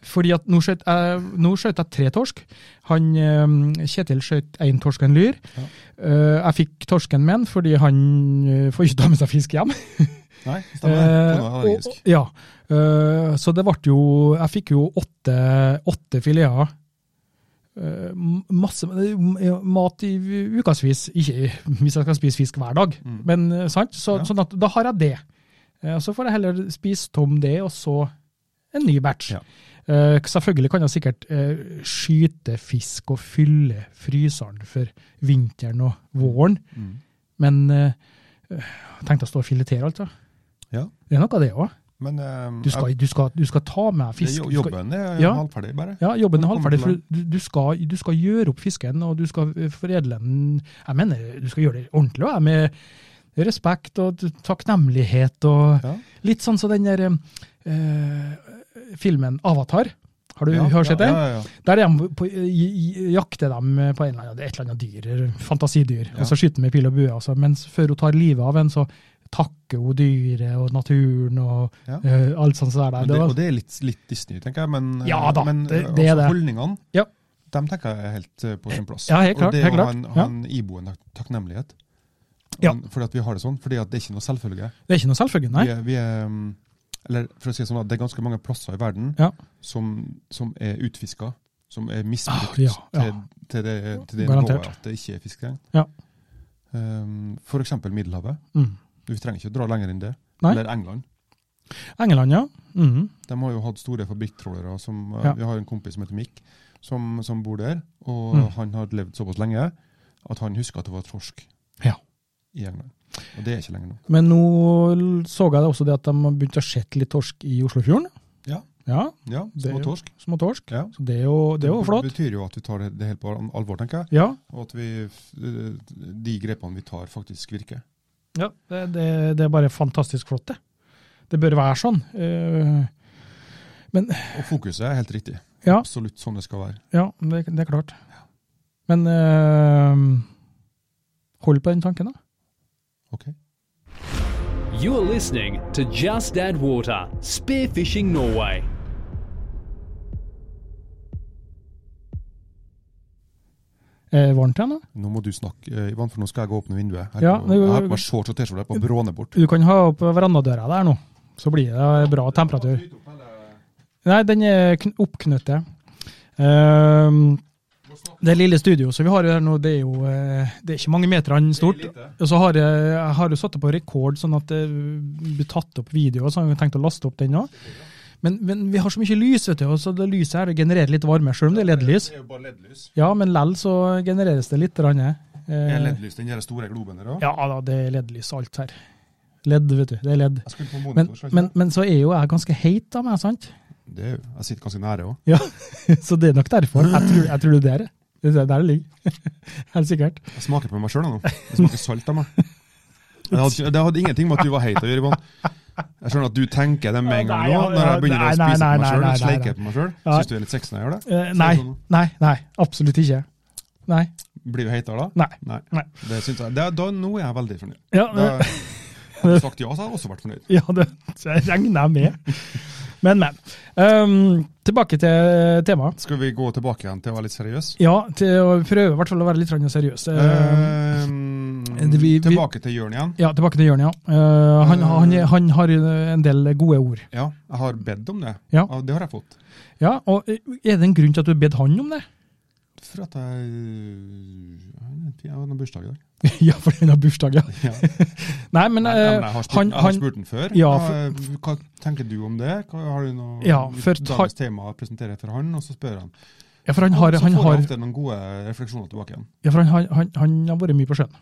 Speaker 2: fordi at nå skjøt, jeg- nå skjøt jeg tre torsk. Han, eh, Kjetil skjøt én torsk og en lyr.
Speaker 1: Ja.
Speaker 2: Eh, jeg fikk torsken med han fordi han eh, får ikke ta med seg fisk hjem.
Speaker 1: Nei, stemmer det.
Speaker 2: Eh,
Speaker 1: Kona er
Speaker 2: og-
Speaker 1: allergisk.
Speaker 2: og- ja. Eh, så det ble jo Jeg fikk jo åtte, åtte fileter. Eh, m- masse m- mat i ukevis. Ikke hvis jeg skal spise fisk hver dag,
Speaker 1: Mm.
Speaker 2: men eh, sant? Så,
Speaker 1: Ja.
Speaker 2: sånn at da har jeg det. Eh, og så får jeg heller spise tom det, og så en ny batch.
Speaker 1: Ja.
Speaker 2: Eh, selvfølgelig kan jeg sikkert eh, skyte fisk og fylle fryseren for vinteren og våren,
Speaker 1: Mm.
Speaker 2: men eh, jeg tenkte å stå og filetere alt, da.
Speaker 1: Ja.
Speaker 2: Det er noe av det òg.
Speaker 1: Men eh,
Speaker 2: Du, skal- du, skal- du skal ta med
Speaker 1: jeg-
Speaker 2: fisk.
Speaker 1: jo-
Speaker 2: Du skal,
Speaker 1: jobben er
Speaker 2: Ja.
Speaker 1: halvferdig, bare.
Speaker 2: ja, jobben er
Speaker 1: Når kommer
Speaker 2: halvferdig. for
Speaker 1: til
Speaker 2: Du, du, skal, du skal gjøre opp fisken, og du skal eh, foredle den Jeg mener, du skal gjøre det ordentlig, og jeg, med respekt og t- takknemlighet. og
Speaker 1: Ja.
Speaker 2: Litt sånn som den der eh, filmen Avatar. Har du
Speaker 1: Ja,
Speaker 2: har sett
Speaker 1: ja,
Speaker 2: den?
Speaker 1: Ja, ja, ja.
Speaker 2: Der er de på, i- i- jakter de eh, på en eller annen, et eller annet dyr, fantasidyr,
Speaker 1: Ja.
Speaker 2: og så skyter de med pil og bue. Altså. Mens før hun tar livet av en, så takker hun dyret og naturen og
Speaker 1: Ja.
Speaker 2: eh, alt sånt. der.
Speaker 1: Men
Speaker 2: Det
Speaker 1: det,
Speaker 2: var-
Speaker 1: og det er litt, litt Disney, tenker jeg. Men, eh,
Speaker 2: Ja da,
Speaker 1: men
Speaker 2: det-
Speaker 1: eh,
Speaker 2: det er
Speaker 1: altså,
Speaker 2: det.
Speaker 1: holdningene
Speaker 2: Ja.
Speaker 1: dem tenker jeg er helt eh, på sin plass.
Speaker 2: Ja, helt klart,
Speaker 1: og det
Speaker 2: helt
Speaker 1: å ha
Speaker 2: klart,
Speaker 1: en,
Speaker 2: ja.
Speaker 1: ha en iboende tak- takknemlighet
Speaker 2: Ja.
Speaker 1: Men Fordi at vi har det sånn. Fordi at det er ikke noe selvfølge.
Speaker 2: Det er ikke noe selvfølge, nei.
Speaker 1: Vi er, vi er, mm, eller for å si det sånn, at det er ganske mange plasser i verden
Speaker 2: Ja.
Speaker 1: som, som er utfiska. Som er
Speaker 2: Ah,
Speaker 1: misbrukt
Speaker 2: ja, ja.
Speaker 1: Til, til det, til det
Speaker 2: Garantert.
Speaker 1: nivået at det ikke er fiskering.
Speaker 2: Ja.
Speaker 1: Um, for eksempel Middelhavet.
Speaker 2: Mm.
Speaker 1: Vi trenger ikke å dra lenger enn det.
Speaker 2: Nei.
Speaker 1: Eller England.
Speaker 2: England, ja. Mhm.
Speaker 1: De har jo hatt store fabrikktrålere. Som, eh,
Speaker 2: Ja.
Speaker 1: Vi har en kompis som heter Mikk, som, som bor der. Og
Speaker 2: Mm.
Speaker 1: han har levd såpass lenge at han husker at det var torsk
Speaker 2: Ja.
Speaker 1: i England. Og det er ikke lenger nå.
Speaker 2: Men nå l- så jeg det også det at de har begynt å sette litt torsk i Oslofjorden.
Speaker 1: Ja.
Speaker 2: Ja,
Speaker 1: Ja,
Speaker 2: Det er
Speaker 1: små
Speaker 2: jo-
Speaker 1: torsk.
Speaker 2: Små torsk.
Speaker 1: Ja.
Speaker 2: Så det er jo, det er jo flott.
Speaker 1: Det betyr jo at vi tar det, det helt på al- alvor, tenker jeg.
Speaker 2: Ja,
Speaker 1: Og at vi, f- de grepene vi tar, faktisk virker.
Speaker 2: ja det, det, det er bare fantastisk flott, det. Det bør være sånn. Eh,
Speaker 1: Og fokuset er helt riktig.
Speaker 2: Ja.
Speaker 1: Absolutt sånn det skal være.
Speaker 2: Ja, det, det er klart. Men eh, hold på den tanken, da.
Speaker 1: Ok?
Speaker 3: You're listening to Just Add Water Spearfishing Norway.
Speaker 2: Er det varmt igjen, da?
Speaker 1: Nå må du snakke, eh, Ivan, for nå skal jeg gå opp med vinduet. Jeg
Speaker 2: Ja,
Speaker 1: har på-
Speaker 2: det-
Speaker 1: jeg har på meg shorts og T-skjorte på bråne bort.
Speaker 2: Du kan ha opp verandadøra der nå, så blir det bra temperatur. Nei, den er kn- oppknøttet. Ehm, det lille studioet som vi har her nå, det er jo eh, det er ikke mange meterne stort. Og så har jeg, jeg har jo satt det på rekord, sånn at det blir tatt opp video, og så har jeg tenkt å laste opp den òg. Men, men vi har så mye lys, vet du, og så det lyset her det genererer litt varme, selv om det er LED-lys.
Speaker 1: er jo bare LED-lys.
Speaker 2: Ja, men lell så genereres det litt. Rann,
Speaker 1: Er
Speaker 2: eh,
Speaker 1: LED-lys den der store globen der òg?
Speaker 2: ja da, det er LED-lys alt her. LED, vet du. Det er LED.
Speaker 1: Jeg skulle på
Speaker 2: Men,
Speaker 1: monitor, skal jeg
Speaker 2: men,
Speaker 1: ikke?
Speaker 2: men så er jo jeg ganske heit av meg, sant?
Speaker 1: det er jo, jeg sitter ganske nære òg.
Speaker 2: Ja, Så det er nok derfor. Jeg tror, jeg tror det er der det. Det er der det ligger. Helt sikkert.
Speaker 1: Jeg smaker på meg sjøl nå. Det smaker salt av meg. Det hadde, ikke- det hadde ingenting med at du var heit å gjøre, Ivan. Jeg skjønner at du tenker det med en gang
Speaker 2: Nei, ja,
Speaker 1: nå, når jeg begynner
Speaker 2: nei, nei,
Speaker 1: å spise
Speaker 2: nei,
Speaker 1: på meg
Speaker 2: nei, nei,
Speaker 1: sjøl.
Speaker 2: nei,
Speaker 1: Sleiker jeg på meg sjøl.
Speaker 2: Ja.
Speaker 1: Syns du det er litt sexy når jeg gjør det?
Speaker 2: Eh, nei, nei, nei, absolutt ikke. Nei.
Speaker 1: Blir du heitere da?
Speaker 2: nei.
Speaker 1: Nei.
Speaker 2: Nei.
Speaker 1: Det synes jeg. Det, da, nå er jeg veldig fornøyd.
Speaker 2: Ja,
Speaker 1: Da, hadde du sagt ja, så hadde jeg også vært fornøyd.
Speaker 2: ja det det regner jeg med. Men, men. Ehm, tilbake til temaet.
Speaker 1: Skal vi gå tilbake igjen til å være litt seriøs?
Speaker 2: Ja, til å prøve i hvert fall å være litt grann seriøs.
Speaker 1: Eh,
Speaker 2: Ehm,
Speaker 1: Ehm,
Speaker 2: det- vi- vi-
Speaker 1: tilbake til Jørn igjen.
Speaker 2: ja, tilbake til Jørn, ja. Eh, han, han, han har en del gode ord.
Speaker 1: Ja, jeg har bedt om det.
Speaker 2: Ja.
Speaker 1: Det har jeg fått.
Speaker 2: Ja, og eh, Er det en grunn til at du har bedt han om det?
Speaker 1: For at jeg Jeg har noen bursdag i dag.
Speaker 2: ja, for han har bursdag, ja.
Speaker 1: Ja.
Speaker 2: Nei, men
Speaker 1: Nei,
Speaker 2: eh,
Speaker 1: men jeg har spurt,
Speaker 2: han,
Speaker 1: jeg har
Speaker 2: han,
Speaker 1: spurt den før.
Speaker 2: Ja,
Speaker 1: Hva- Hva tenker du om det? Hva, har du noe
Speaker 2: Ja, for ta-
Speaker 1: dagens tema å presentere for han, og så spør han.
Speaker 2: ja, for han har,
Speaker 1: så
Speaker 2: han
Speaker 1: får
Speaker 2: har
Speaker 1: jeg ofte noen gode refleksjoner tilbake igjen.
Speaker 2: Ja, for han, har- han, han har vært mye på sjøen.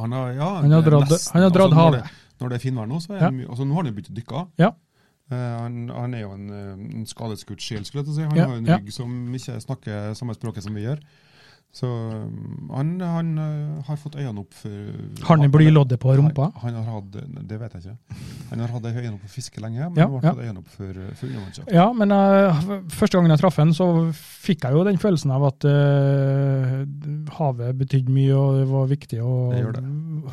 Speaker 1: Han har, ja,
Speaker 2: Han har
Speaker 1: det er
Speaker 2: dratt-
Speaker 1: nesten- altså,
Speaker 2: han har dratt
Speaker 1: når
Speaker 2: havet.
Speaker 1: det- Når det er finvær nå, så er
Speaker 2: Ja.
Speaker 1: han mye altså, Nå har han jo begynt å dykke.
Speaker 2: Ja.
Speaker 1: Eh, han, han er jo en, eh, en skadeskutt sjel, skulle jeg til å si. Han
Speaker 2: Ja,
Speaker 1: har jo en
Speaker 2: ja.
Speaker 1: rygg som ikke snakker samme språket som vi gjør. Så um, han, han eh, har fått øynene opp for
Speaker 2: Har han blyloddet på rumpa?
Speaker 1: Han, han har hatt, Det vet jeg ikke. Han har hatt øynene opp for fiske lenge, men
Speaker 2: Ja,
Speaker 1: nå har
Speaker 2: ja.
Speaker 1: han fått øynene opp for, for undervannsjakt.
Speaker 2: Ja, men eh, første gangen jeg traff han, så fikk jeg jo den følelsen av at eh, havet betydde mye og det var viktig. Og,
Speaker 1: Det gjør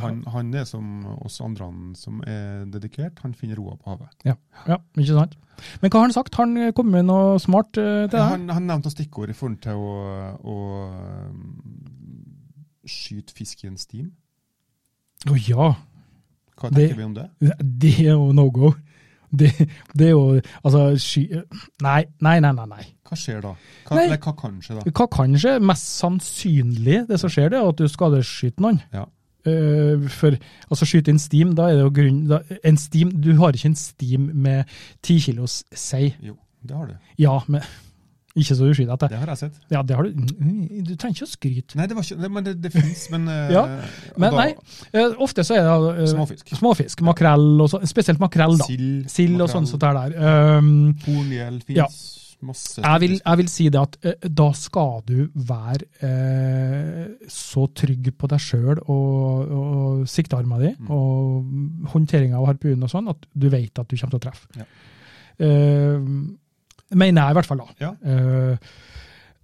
Speaker 1: Han, han er som oss andre han som er dedikert, han finner roa på havet.
Speaker 2: Ja, ikke sant? Men hva har han sagt? Har han kommet med noe smart eh, til deg?
Speaker 1: Han, han nevnte stikkord i forhold til å, å um, skyte fisk i en stim.
Speaker 2: Å ja,
Speaker 1: Hva
Speaker 2: Det-
Speaker 1: tenker vi om det?
Speaker 2: det er jo no go. Det, det er jo Altså, sky... Nei, nei, nei, nei. nei.
Speaker 1: Hva skjer da? Hva,
Speaker 2: Nei.
Speaker 1: eller hva kan skje da?
Speaker 2: Hva kan skje? Mest sannsynlig det som skjer, det er at du skadeskyter noen.
Speaker 1: Ja.
Speaker 2: Eh, for altså skyte en steam, da er det jo grunn da, en steam, Du har ikke en steam med ti kilos sei.
Speaker 1: Jo, det har du.
Speaker 2: Ja, men ikke så du skyter etter.
Speaker 1: Det har jeg sett.
Speaker 2: Ja, det har du. mm, Du trenger ikke å skryte.
Speaker 1: Nei, det var ikke det, Men det, det fins, men eh,
Speaker 2: Ja,
Speaker 1: og
Speaker 2: Men
Speaker 1: da-
Speaker 2: nei, eh, ofte så er det eh,
Speaker 1: Småfisk.
Speaker 2: småfisk, makrell og så, spesielt makrell, da.
Speaker 1: Sild,
Speaker 2: Sild og
Speaker 1: makrell.
Speaker 2: sånn som det er der. Um,
Speaker 1: Korngjeld fins.
Speaker 2: Ja.
Speaker 1: Masse.
Speaker 2: jeg vil, jeg vil si det at eh, da skal du være eh, så trygg på deg sjøl og, og siktearma di
Speaker 1: Mm.
Speaker 2: og håndteringa av harpunen og sånn, at du vet at du kommer til å treffe.
Speaker 1: Ja.
Speaker 2: Eh, mener jeg i hvert fall, da.
Speaker 1: Ja.
Speaker 2: Eh,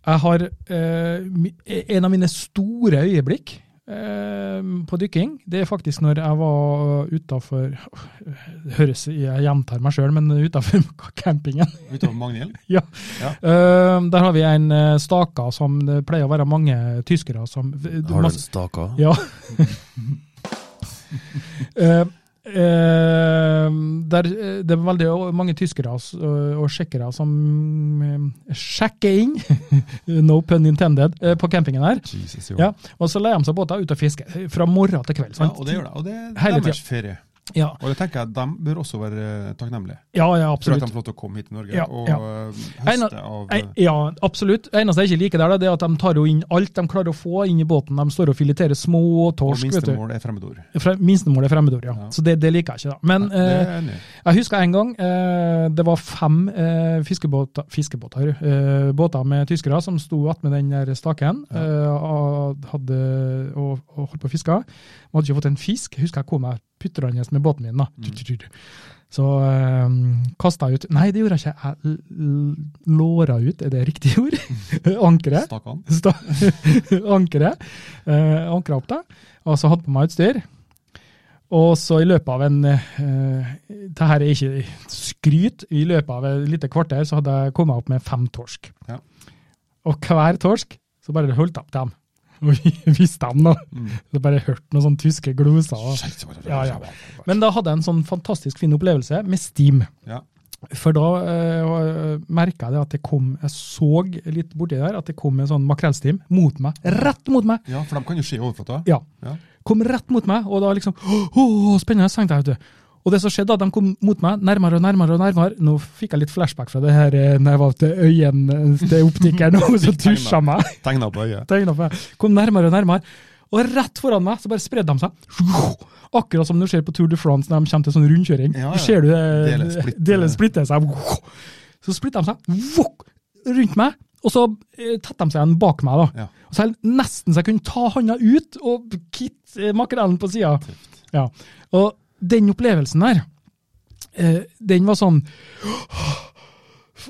Speaker 2: jeg har eh, mi- En av mine store øyeblikk eh, på dykking, det er faktisk når jeg var utafor Det høres Jeg gjentar meg sjøl, men utafor campingen.
Speaker 1: Utover Magnhild.
Speaker 2: Eh, der har vi en eh, staka som det pleier å være mange tyskere som
Speaker 4: Har du en staka?
Speaker 2: Ja. Eh, eh, der, eh, det er veldig mange tyskere s- og sjekkere som eh, sjekker inn, no pun intended, eh, på campingen her.
Speaker 1: Jesus, jo.
Speaker 2: Ja, og så leier de seg båter ut og fisker eh, fra morgen til kveld.
Speaker 1: Ja,
Speaker 2: Sant?
Speaker 1: og det gjør det. Og det er
Speaker 2: Hele
Speaker 1: deres ferie.
Speaker 2: Ja,
Speaker 1: Og det tenker jeg at de bør også være eh, takknemlige
Speaker 2: ja, ja
Speaker 1: for at de
Speaker 2: absolutt.
Speaker 1: får lov til å komme hit til Norge
Speaker 2: Ja,
Speaker 1: og
Speaker 2: ja.
Speaker 1: eh,
Speaker 2: Einar-
Speaker 1: høste av eh,
Speaker 2: Nei, Ja, absolutt. Det eneste jeg ikke liker der, da, det er at de tar jo inn alt de klarer å få inn i båten. De står og fileterer små
Speaker 1: Og
Speaker 2: torsk. vet du.
Speaker 1: minstemål er fremmedord.
Speaker 2: Fra- Minstemål er fremmedord, ja.
Speaker 1: Ja.
Speaker 2: Så det, det liker jeg ikke, da. Men
Speaker 1: Nei, det
Speaker 2: eh,
Speaker 1: er jeg enig i.
Speaker 2: Jeg husker en gang eh, det var fem eh, fiskebåter, fiskebåter eh, båter med tyskere som sto attmed den der staken
Speaker 1: Ja.
Speaker 2: eh, og, hadde, og, og holdt på å fiske. De hadde ikke fått en fisk. Jeg husker jeg kom her putrende med båten min. da.
Speaker 1: Mm.
Speaker 2: Tut, tut, tut. Så eh, kasta jeg ut Nei, det gjorde jeg ikke. Jeg l- l- låra ut, er det riktig ord? Ankeret.
Speaker 1: Stakk han.
Speaker 2: Sta- ankeret. Eh, ankra opp det. Og så hadde på meg utstyr. Og så i løpet av en eh, det her er ikke skryt. I løpet av et lite kvarter så hadde jeg kommet opp med fem torsk.
Speaker 1: Ja.
Speaker 2: Og hver torsk så bare holdt jeg opp dem. Og vi visste dem, da.
Speaker 1: Mm.
Speaker 2: Så bare hørte noen sånne tyske gloser. og- Ja, ja. Men da hadde jeg en sånn fantastisk fin opplevelse med steam.
Speaker 1: Ja.
Speaker 2: For da eh, merka jeg det at det kom Jeg så litt borti der at det kom en sånn makrellstim mot meg. Rett mot meg!
Speaker 1: Ja, for de kan jo se i overflata.
Speaker 2: Ja.
Speaker 1: Ja.
Speaker 2: Kom rett mot meg, og da liksom «Åh, åh, Spennende, tenkte jeg. vet du. Og det som skjedde, da, de kom mot meg nærmere og nærmere. og nærmere. Nå fikk jeg litt flashback fra det her eh, når jeg var til øyen eh, til optikeren, og så tusja meg.
Speaker 1: Tegna på øyet.
Speaker 2: Tegnet på meg. Kom nærmere og nærmere. Og rett foran meg så bare spredde de seg. Akkurat som du ser på Tour de France når de kommer til sånn rundkjøring.
Speaker 1: Ja, ja.
Speaker 2: Ser du
Speaker 1: Delen
Speaker 2: det?
Speaker 1: splitter.
Speaker 2: Delen splitter seg. Så splitter de seg vokk, rundt meg, og så eh, tetter de seg igjen bak meg. da.
Speaker 1: Ja.
Speaker 2: Og så er det nesten så jeg kunne ta handa ut og kitte eh, makrellen på sida. Ja. Og den opplevelsen der, eh, den var sånn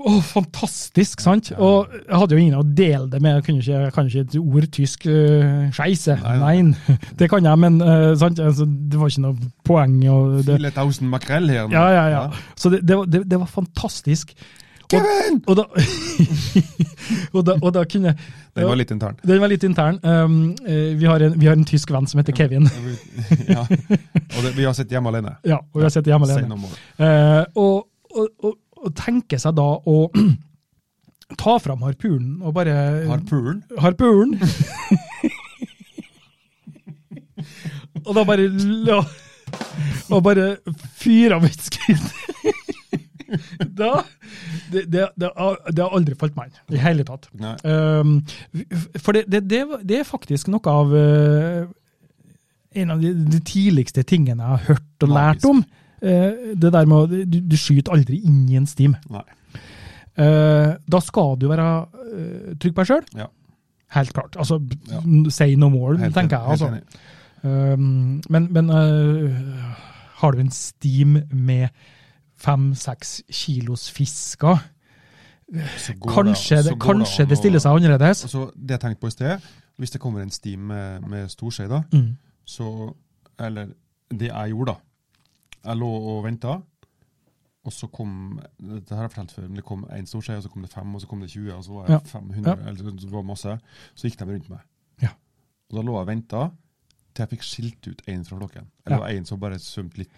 Speaker 2: Åh, fantastisk, sant?
Speaker 1: Ja.
Speaker 2: Og jeg hadde jo ingen å dele det med. Jeg kunne ikke, jeg kan ikke et ord tysk. Uh, Scheisse.
Speaker 1: Nei,
Speaker 2: Nei,
Speaker 1: nei.
Speaker 2: det kan jeg, men eh, sant? Altså, det var ikke noe poeng. Og det,
Speaker 1: File tusen makrell her. nå.
Speaker 2: ja, ja, ja. Så det, det, var- det, det var fantastisk. Og, og, da, og, da, og da kunne
Speaker 1: Den var litt intern.
Speaker 2: Den var litt intern. Um, eh, vi, har en, vi har en tysk venn som heter Kevin.
Speaker 1: ja. Og det, vi har sett hjemme alene.
Speaker 2: Ja, og vi har sett hjemme
Speaker 1: Say
Speaker 2: alene.
Speaker 1: no more.
Speaker 2: Eh, og, og, og, og tenke seg da å ta fram harpunen og bare
Speaker 1: Harpulen.
Speaker 2: Harpulen! og da bare la Og bare fyre av et skudd. da det, det, det, har- det har aldri falt meg inn i hele tatt.
Speaker 1: Nei.
Speaker 2: Um, for det, det, det, var- det er faktisk noe av eh, en av de, de tidligste tingene jeg har hørt og lært
Speaker 1: Magisk.
Speaker 2: om. Eh, det der med å Du, du skyter aldri inn i en stim.
Speaker 1: Nei.
Speaker 2: Eh, da skal du være eh, trygg på deg sjøl.
Speaker 1: Ja.
Speaker 2: Helt klart. Altså,
Speaker 1: Ja.
Speaker 2: say no more,
Speaker 1: Helt
Speaker 2: tenker jeg.
Speaker 1: enig,
Speaker 2: Altså.
Speaker 1: helt enig.
Speaker 2: Um, men men øh, har du en steam med fem-seks kilos fisker,
Speaker 1: Så går
Speaker 2: kanskje,
Speaker 1: så
Speaker 2: det,
Speaker 1: går
Speaker 2: kanskje det
Speaker 1: an å- Altså
Speaker 2: stiller seg annerledes?
Speaker 1: Og så Det jeg tenkte på i sted, hvis det kommer en stim med, med storskje, da,
Speaker 2: Mm.
Speaker 1: så Eller det jeg gjorde, da. Jeg lå og venta, og så kom Dette har jeg fortalt før, men det kom én storskje, og så kom det fem, og så kom det 20, og så var jeg
Speaker 2: Ja.
Speaker 1: 500, eller så var det masse. Så gikk de rundt meg.
Speaker 2: Ja.
Speaker 1: Og da lå jeg og venta til jeg fikk skilt ut én fra flokken.
Speaker 2: Ja.
Speaker 1: Eller det var én som bare svømte litt.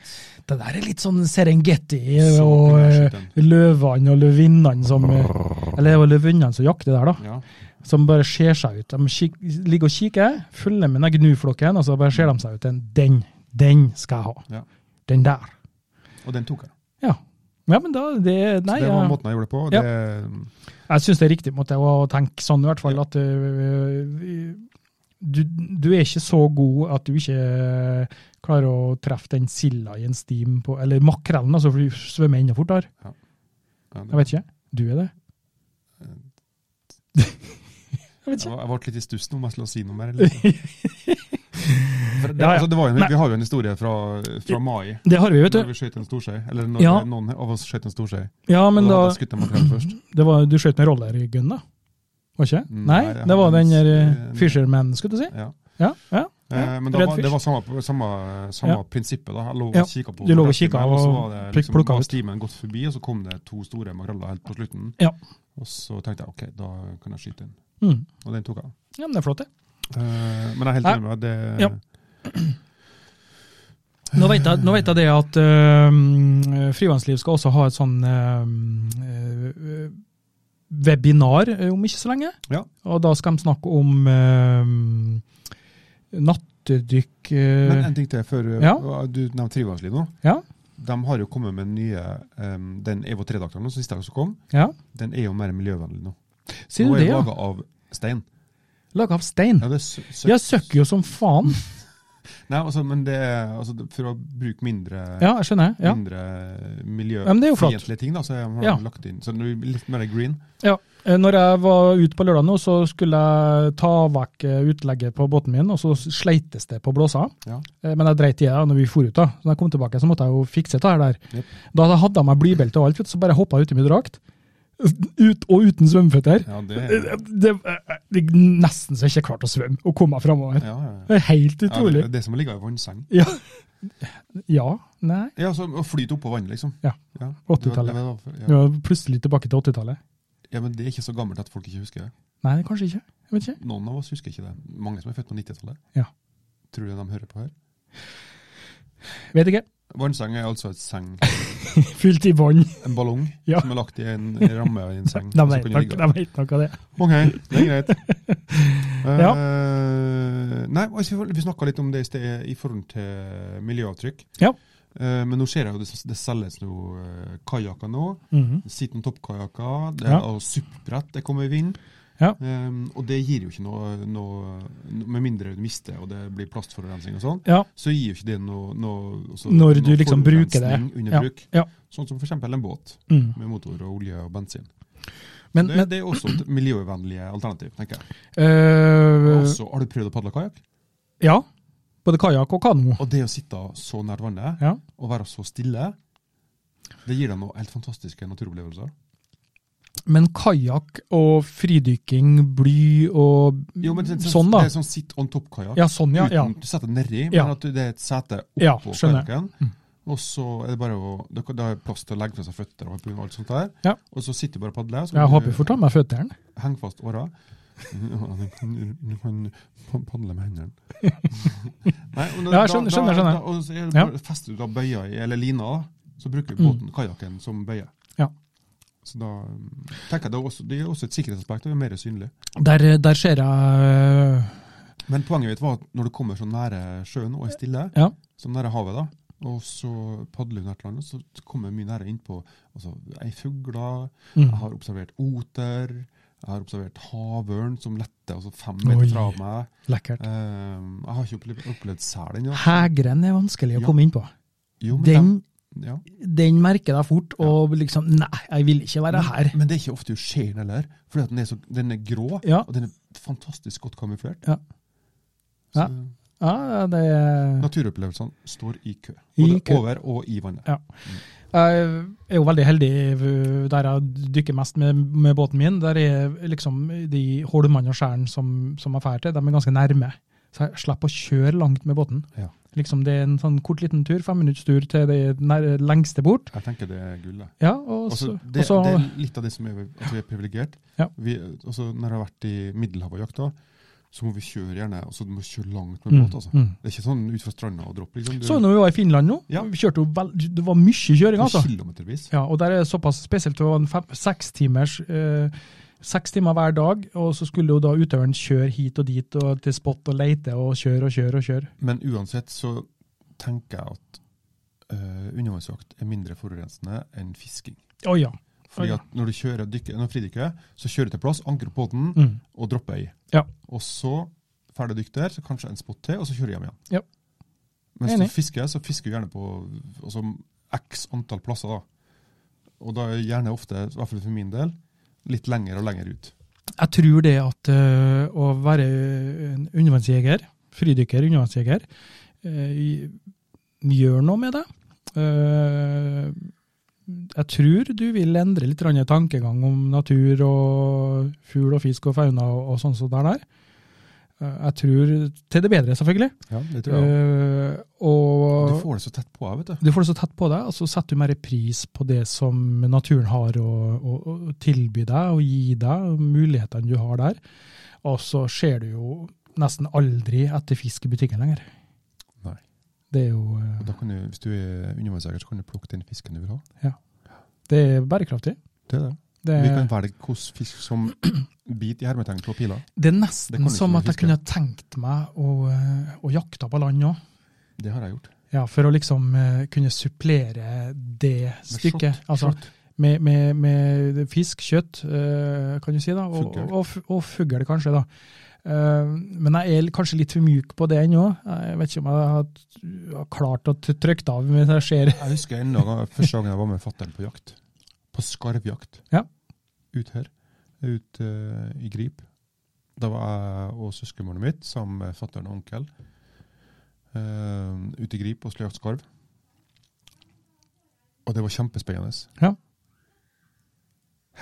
Speaker 2: Det der er litt sånn Serengeti
Speaker 1: Så
Speaker 2: og
Speaker 1: kunne jeg
Speaker 2: øh,
Speaker 1: skyte den.
Speaker 2: løvene og løvinnene som øh, Eller det var løvinnene som jakter der, da.
Speaker 1: Ja.
Speaker 2: Som bare ser seg ut. De kik, ligger og kikker, følger med den gnuflokken, og så bare ser de seg ut. Den, den, den skal jeg ha.
Speaker 1: Ja.
Speaker 2: Den der.
Speaker 1: Og den tok jeg.
Speaker 2: Ja. Ja, men da det, nei,
Speaker 1: så det var
Speaker 2: jeg-
Speaker 1: måten jeg gjorde det på. og
Speaker 2: Ja.
Speaker 1: Det,
Speaker 2: Jeg syns det er riktig måte å tenke sånn, i hvert fall.
Speaker 1: Ja.
Speaker 2: At øh, du, du er ikke så god at du ikke eh, klarer å treffe den silda i en stim på Eller makrellen, altså, for du svømmer enda fortere.
Speaker 1: ja, det-
Speaker 2: Jeg vet ikke. Du er det.
Speaker 1: Jeg, var, jeg ble litt i stuss nå om jeg skulle si noe mer. Eller? For det,
Speaker 2: Ja, ja.
Speaker 1: Altså, det var jo en,
Speaker 2: Nei.
Speaker 1: vi har jo en historie fra, fra mai,
Speaker 2: Det har vi, vet
Speaker 1: når
Speaker 2: du.
Speaker 1: vi skjøt en storskje. Eller når
Speaker 2: Ja.
Speaker 1: noen av oss skjøt en storskje.
Speaker 2: Ja, men
Speaker 1: og da
Speaker 2: da
Speaker 1: hadde jeg skutt en makrell først.
Speaker 2: det var, Du skjøt med rollergun, da? Var ikke?
Speaker 1: Nei,
Speaker 2: Nei,
Speaker 1: jeg
Speaker 2: det
Speaker 1: har
Speaker 2: var den der
Speaker 1: en-
Speaker 2: eh, Fisherman, skulle du si?
Speaker 1: Ja.
Speaker 2: Ja, ja.
Speaker 1: Eh, men da
Speaker 2: Red
Speaker 1: var, det
Speaker 2: fish.
Speaker 1: var samme, samme, samme
Speaker 2: Ja.
Speaker 1: prinsippet. da. Jeg lå og
Speaker 2: Ja,
Speaker 1: kikka på
Speaker 2: du lå og
Speaker 1: retten,
Speaker 2: kikket
Speaker 1: og så
Speaker 2: og
Speaker 1: var det
Speaker 2: plukk-
Speaker 1: liksom,
Speaker 2: plukket
Speaker 1: var
Speaker 2: ut.
Speaker 1: stimen gått forbi, og så kom det to store makreller helt på slutten.
Speaker 2: Ja.
Speaker 1: Og så tenkte jeg ok, da kan jeg skyte den.
Speaker 2: Mm.
Speaker 1: Og den tok jeg.
Speaker 2: ja men det er flott, det.
Speaker 1: Eh, men jeg er helt
Speaker 2: Nei.
Speaker 1: enig med deg. det-
Speaker 2: Ja. Nå vet jeg, nå vet jeg det at øh, Frivannsliv skal også ha et sånn øh, øh, webinar om ikke så lenge.
Speaker 1: Ja.
Speaker 2: Og da skal de snakke om øh, nattdykk øh,
Speaker 1: Men en ting til før eh,
Speaker 2: Ja.
Speaker 1: du nevnte Frivannsliv nå.
Speaker 2: Ja.
Speaker 1: De har jo kommet med nye um, Den Evo 3-dakteren som siste jeg også kom,
Speaker 2: ja.
Speaker 1: den er jo mer miljøvennlig nå.
Speaker 2: Sier
Speaker 1: nå
Speaker 2: du
Speaker 1: er
Speaker 2: det,
Speaker 1: den
Speaker 2: ja?
Speaker 1: laga av stein.
Speaker 2: Laga av stein.
Speaker 1: Ja, det er sø- sø-
Speaker 2: Ja, søkker jo som faen.
Speaker 1: Nei, altså, men det er altså, det- for å bruke mindre,
Speaker 2: Ja, jeg skjønner. Ja.
Speaker 1: mindre
Speaker 2: Ja, men det er jo flott.
Speaker 1: miljøfiendtlige ting, da, så har de
Speaker 2: Ja.
Speaker 1: lagt inn så det blir litt mer green.
Speaker 2: Ja. Eh, Når jeg var ute på lørdag nå, så skulle jeg ta vekk eh, utlegget på båten min, og så sleites det på blåsa.
Speaker 1: Ja.
Speaker 2: Eh, Men jeg dreit i det da når vi for ut. da. Så når jeg kom tilbake, så måtte jeg jo fikse det her der.
Speaker 1: Jep.
Speaker 2: Da hadde jeg meg blybelte og alt, vet du, så bare hoppa jeg uti med drakt. Ut, og uten svømmeføtter.
Speaker 1: Ja, det er
Speaker 2: Eh, Det, eh, det er nesten så jeg ikke klarte å svømme og komme meg framover.
Speaker 1: ja, ja.
Speaker 2: Det er helt
Speaker 1: Ja, det
Speaker 2: utrolig.
Speaker 1: er det som ligger i vannseng.
Speaker 2: Ja. ja. Nei.
Speaker 1: Ja, så Å flyte oppå vannet, liksom.
Speaker 2: Ja.
Speaker 1: Ja,
Speaker 2: 80-tallet.
Speaker 1: det var- det var-
Speaker 2: Vi
Speaker 1: Ja.
Speaker 2: var plutselig tilbake til 80-tallet.
Speaker 1: ja, men det er ikke så gammelt at folk ikke husker det.
Speaker 2: Nei, kanskje ikke. Jeg vet ikke.
Speaker 1: Noen av oss husker ikke det. Mange som er født på 90-tallet.
Speaker 2: Ja.
Speaker 1: Tror du de hører på her?
Speaker 2: Vet ikke.
Speaker 1: Vannseng er altså et seng,
Speaker 2: Fylt i vann.
Speaker 1: en ballong,
Speaker 2: Ja.
Speaker 1: som er lagt i en ramme i en seng.
Speaker 2: De
Speaker 1: og så
Speaker 2: vet
Speaker 1: kan du
Speaker 2: nok,
Speaker 1: ligge
Speaker 2: de vet nok av det.
Speaker 1: Ok, det er greit.
Speaker 2: Ja.
Speaker 1: Eh, nei, altså, vi snakka litt om det i sted i forhold til miljøavtrykk.
Speaker 2: Ja.
Speaker 1: Eh, men nå ser jeg jo det, det selges nå eh, kajakker nå.
Speaker 2: Mhm.
Speaker 1: Sitten toppkajakker, det er
Speaker 2: Ja.
Speaker 1: og SUP-brett det kommer i vind.
Speaker 2: Ja.
Speaker 1: Eh, og det gir jo ikke noe, noe Med mindre du mister og det blir plastforurensning og sånn,
Speaker 2: Ja,
Speaker 1: så gir jo ikke det noe, noe altså,
Speaker 2: Når du
Speaker 1: noe
Speaker 2: liksom bruker det.
Speaker 1: forurensning Under
Speaker 2: Ja,
Speaker 1: bruk.
Speaker 2: ja.
Speaker 1: Sånn som f.eks. en båt
Speaker 2: mm.
Speaker 1: med motor og olje og bensin.
Speaker 2: Men,
Speaker 1: det,
Speaker 2: men
Speaker 1: det er også et miljøvennlig alternativ, tenker jeg.
Speaker 2: øh,
Speaker 1: Og så har du prøvd å padle kajakk?
Speaker 2: Ja. Både kajakk og kano.
Speaker 1: Og det å sitte så nært vannet
Speaker 2: Ja.
Speaker 1: og være så stille, det gir deg noen helt fantastiske naturopplevelser.
Speaker 2: Men kajakk og fridykking, bly og
Speaker 1: Jo, men det, det,
Speaker 2: sånn, da.
Speaker 1: Det er sånn sitt on top-kajakk.
Speaker 2: Ja, sånn, ja. ja.
Speaker 1: Uten- Du setter deg nedi, men
Speaker 2: Ja.
Speaker 1: at det er et sete
Speaker 2: Ja,
Speaker 1: oppå
Speaker 2: skjønner.
Speaker 1: kajakken.
Speaker 2: Mm.
Speaker 1: Og så er det bare å Da kan- da er det plass til å legge fra seg føtter og alt sånt der.
Speaker 2: Ja.
Speaker 1: Og så sitter du bare og padler. og så
Speaker 2: Jeg
Speaker 1: kan
Speaker 2: håper
Speaker 1: du
Speaker 2: jeg får ta med føttene.
Speaker 1: Henge fast åra. Du kan, du kan padle med hendene. Nei, og da-
Speaker 2: Ja, jeg skjønner,
Speaker 1: da-
Speaker 2: skjønner,
Speaker 1: da-
Speaker 2: skjønner.
Speaker 1: Da, og så er det
Speaker 2: Ja.
Speaker 1: bare- fester du da bøya i, eller lina, da, så bruker du
Speaker 2: Mm.
Speaker 1: båten, kajakken, som bøye.
Speaker 2: Ja.
Speaker 1: Så da um, tenker jeg det er også, det er også et sikkerhetsaspekt, og det er mer synlig.
Speaker 2: Der, der ser øh, jeg
Speaker 1: Men poenget mitt var at når du kommer så nære sjøen og er stille,
Speaker 2: Ja.
Speaker 1: så nære havet, da, og så padler du nært landet, så kommer du mye nære innpå altså, ei fugler,
Speaker 2: mm.
Speaker 1: jeg har observert oter, jeg har observert havørn som letter altså fem
Speaker 2: Oi.
Speaker 1: meter fra meg.
Speaker 2: Lekkert.
Speaker 1: Ehm, jeg har ikke opplevd, opplevd sel ennå.
Speaker 2: Hegren er vanskelig å
Speaker 1: Ja.
Speaker 2: komme inn på.
Speaker 1: Jo, men
Speaker 2: Den,
Speaker 1: dem- ja.
Speaker 2: den merker deg fort, og liksom Nei, jeg vil ikke være her.
Speaker 1: Men det er ikke ofte du ser den heller, fordi at den er, så, den er grå,
Speaker 2: Ja.
Speaker 1: og den er fantastisk godt kamuflert.
Speaker 2: Ja. Ja.
Speaker 1: Så
Speaker 2: Ja, det er
Speaker 1: Naturopplevelsene står i kø.
Speaker 2: I
Speaker 1: Både
Speaker 2: kø.
Speaker 1: over og i vannet.
Speaker 2: Jeg er jo veldig heldig øh, der jeg dykker mest med, med båten min. Der er liksom de holmene og skjærene som, som jeg drar til, de er ganske nærme. Så jeg slipper å kjøre langt med båten.
Speaker 1: Ja.
Speaker 2: Liksom Det er en sånn kort liten tur, femminuttstur til det nær, lengste bort.
Speaker 1: Jeg tenker det er gullet.
Speaker 2: Ja, og
Speaker 1: Altså,
Speaker 2: så,
Speaker 1: det,
Speaker 2: og så
Speaker 1: det er litt av det som er at vi er privilegert.
Speaker 2: Ja.
Speaker 1: Vi, altså, når jeg har vært i Middelhavet og jakta, så må vi kjøre gjerne, altså, du må kjøre langt med
Speaker 2: Mm,
Speaker 1: båt. Altså.
Speaker 2: mm. Sånn
Speaker 1: Det er ikke sånn ut fra stranda og dropp. Liksom. Du,
Speaker 2: Så når vi var i Finland nå,
Speaker 1: Ja.
Speaker 2: vi kjørte jo veld, det var mye kjøring,
Speaker 1: på
Speaker 2: altså.
Speaker 1: kilometervis.
Speaker 2: Ja, og der er det såpass spesielt. Det var en fem, seks timers eh, Seks timer hver dag, og så skulle jo da utøveren kjøre hit og dit og til spot og leite og kjøre og kjøre og kjøre.
Speaker 1: Men uansett så tenker jeg at uh, undervannsjakt er mindre forurensende enn fisking.
Speaker 2: Å ja.
Speaker 1: Fordi
Speaker 2: Ja.
Speaker 1: at når du kjører og dykker, når du fridykker, så kjører du til plass, anker opp båten
Speaker 2: Mm.
Speaker 1: og dropper i.
Speaker 2: Ja.
Speaker 1: Og så ferdig dykk der, så kanskje en spot til, og så kjører du hjem igjen.
Speaker 2: Ja.
Speaker 1: Mens
Speaker 2: Enig.
Speaker 1: du fisker, så fisker du gjerne på altså, x antall plasser. da. Og da er gjerne ofte, i hvert fall for min del, litt lenger og lenger ut.
Speaker 2: Jeg tror det at eh, å være en undervannsjeger, fridykker, undervannsjeger, eh, i- gjør noe med deg. Eh, jeg tror du vil endre litt grann tankegang om natur og fugl og fisk og fauna og, og sånn som det der. Eh, jeg tror til det bedre, selvfølgelig.
Speaker 1: Ja, det
Speaker 2: Eh, og
Speaker 1: Du får det så tett på, vet du.
Speaker 2: du får det så tett på deg, og så setter du mer pris på det som naturen har å, å, å tilby deg og gi deg, og mulighetene du har der. Og så ser du jo nesten aldri etter fisk i butikken lenger.
Speaker 1: Nei.
Speaker 2: Det er jo eh,
Speaker 1: Og Da kan du, hvis du er undervannsjeger, så kan du plukke den fisken du vil ha.
Speaker 2: det er bærekraftig.
Speaker 1: Det er det.
Speaker 2: Det
Speaker 1: Vi kan
Speaker 2: er,
Speaker 1: velge hvilken fisk som biter i hermetegn på pila.
Speaker 2: det er
Speaker 1: det
Speaker 2: nesten
Speaker 1: kan du ikke
Speaker 2: som
Speaker 1: med
Speaker 2: at jeg
Speaker 1: fisken.
Speaker 2: kunne tenkt meg å, eh, å jakte på land òg.
Speaker 1: Det har jeg gjort.
Speaker 2: Ja, for å liksom eh, kunne supplere det stykket. Altså
Speaker 1: Short.
Speaker 2: med, med, med fisk, kjøtt, eh, kan du si, da. Og,
Speaker 1: Fugl.
Speaker 2: og, og, fu- og fugl, kanskje, da. Eh, men jeg er kanskje litt for mjuk på det ennå. Jeg vet ikke om jeg har, har klart å t- trykke det av mens jeg ser
Speaker 1: Jeg husker en gang, første gangen jeg var med fatter'n på jakt. På skarvjakt.
Speaker 2: Ja.
Speaker 1: Ut her. Ut eh, i Grip. Da var jeg og søskenbarnet mitt sammen med fatter'n og onkel eh, ute i Grip og skulle jakte skarv. Og det var kjempespennende.
Speaker 2: Ja.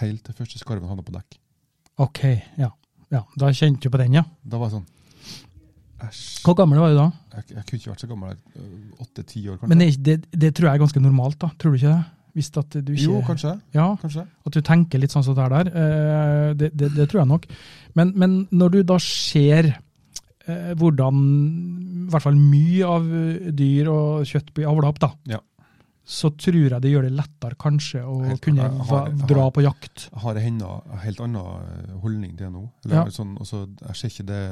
Speaker 1: Helt til første skarven havna på dekk.
Speaker 2: OK, ja. ja. Da kjente du på den, ja.
Speaker 1: Da var jeg sånn Æsj.
Speaker 2: Hvor gammel var du da?
Speaker 1: Jeg, jeg kunne ikke vært så gammel. Åtte-ti år, kanskje.
Speaker 2: Men det, er ikke- det, det tror jeg er ganske normalt, da. Tror du ikke det? Hvis at du ikke
Speaker 1: jo, kanskje.
Speaker 2: Ja,
Speaker 1: kanskje.
Speaker 2: At du tenker litt sånn som det er der. eh, Det, det, det tror jeg nok. Men, men når du da ser eh, hvordan i hvert fall mye av eh, dyr og kjøtt blir avla opp, da,
Speaker 1: Ja.
Speaker 2: så tror jeg det gjør det lettere kanskje å
Speaker 1: Helt klart.
Speaker 2: kunne
Speaker 1: Jeg har-
Speaker 2: va-
Speaker 1: jeg har-
Speaker 2: dra på jakt.
Speaker 1: Jeg har en annen- helt annen eh, holdning til det nå. Eller,
Speaker 2: Ja.
Speaker 1: sånn, altså, jeg, ser ikke det,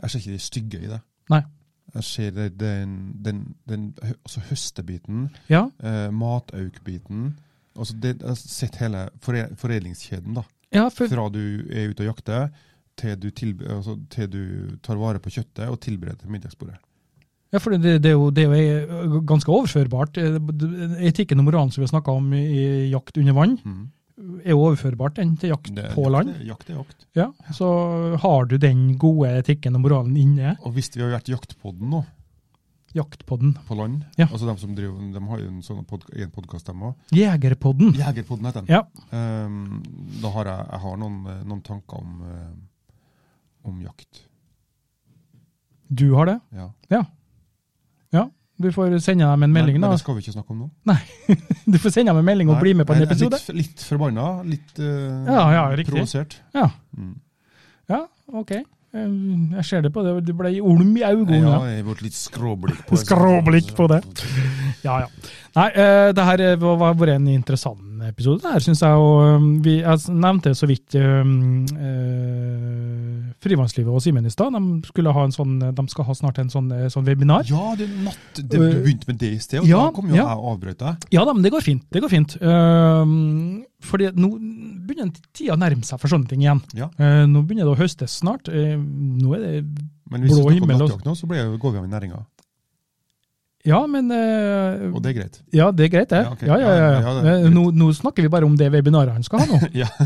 Speaker 1: jeg ser ikke det stygge i det.
Speaker 2: Nei.
Speaker 1: Jeg ser det, den, den, den hø- altså høstebiten,
Speaker 2: Ja,
Speaker 1: eh, mataukbiten altså det, Jeg har sett hele fore, foredlingskjeden. da.
Speaker 2: ja for,
Speaker 1: Fra du er ute og jakter, til du, tilbe, altså, til du tar vare på kjøttet og tilbereder til middagsbordet.
Speaker 2: ja, for det, det, er jo, det er jo eh, ganske overførbart. Eh, Etikken og moralen som vi har snakka om i jakt under vann,
Speaker 1: Mm.
Speaker 2: er jo overførbart den til jakt
Speaker 1: Det-
Speaker 2: på
Speaker 1: jakt
Speaker 2: land.
Speaker 1: er- Jakt er jakt.
Speaker 2: Ja, Så har du den gode etikken og moralen inne,
Speaker 1: Og hvis vi har vært i jaktpodden nå,
Speaker 2: jaktpodden.
Speaker 1: på land
Speaker 2: Ja.
Speaker 1: altså de som driver, de har jo en sånn pod, en podkast, de òg.
Speaker 2: Jegerpodden.
Speaker 1: Jegerpodden heter den.
Speaker 2: Ja.
Speaker 1: Ehm, da har jeg, jeg har noen, eh, noen tanker om, eh, om jakt.
Speaker 2: Du har det?
Speaker 1: Ja.
Speaker 2: Du får sende dem en melding,
Speaker 1: men, men
Speaker 2: da.
Speaker 1: det skal vi ikke snakke om nå.
Speaker 2: Du får sende dem en melding og
Speaker 1: Nei,
Speaker 2: bli med på en
Speaker 1: jeg er
Speaker 2: episode.
Speaker 1: Litt, litt forbanna, litt eh,
Speaker 2: Ja, ja, riktig.
Speaker 1: provosert.
Speaker 2: Ja.
Speaker 1: Mm.
Speaker 2: Ja, OK. Um, Jeg ser det på det. Du ble olm i
Speaker 4: Ja,
Speaker 2: øynene.
Speaker 4: jeg har fått litt skråblikk på det.
Speaker 1: sånn
Speaker 2: Skråblikk på det. Ja, ja. Nei, eh, det her eh, var var en interessant episode, det her, syns jeg. Og um, vi jeg nevnte så vidt um, eh, Frivannslivet og Simen i stad. De, skulle ha en sånn, de skal ha snart en sånn, eh, sånn webinar.
Speaker 1: Ja, det er natt. Det, du begynte med det i sted, og
Speaker 2: Øh, Ja,
Speaker 1: da kom jo
Speaker 2: ja.
Speaker 1: jeg og avbrøt deg.
Speaker 2: Ja da, men det går fint. Det går fint. Ehm, fordi at nå begynner tida å nærme seg for sånne ting igjen.
Speaker 1: Ja.
Speaker 2: Eh, nå begynner det å høstes snart. Eh, nå er det
Speaker 1: Men hvis
Speaker 2: Blå
Speaker 1: vi snakker om
Speaker 2: himmel altså. og-
Speaker 1: nattjakt nå, så blir jeg- går vi av i næringa.
Speaker 2: Ja, men eh,
Speaker 1: Og det er greit.
Speaker 2: Ja, det er greit, det.
Speaker 1: Ja, ok.
Speaker 2: Ja, ja, ja.
Speaker 1: Ja, ja, det er
Speaker 2: Eh, nå, nå snakker vi bare om det webinaret han skal ha nå.
Speaker 1: Ja.
Speaker 2: Eh,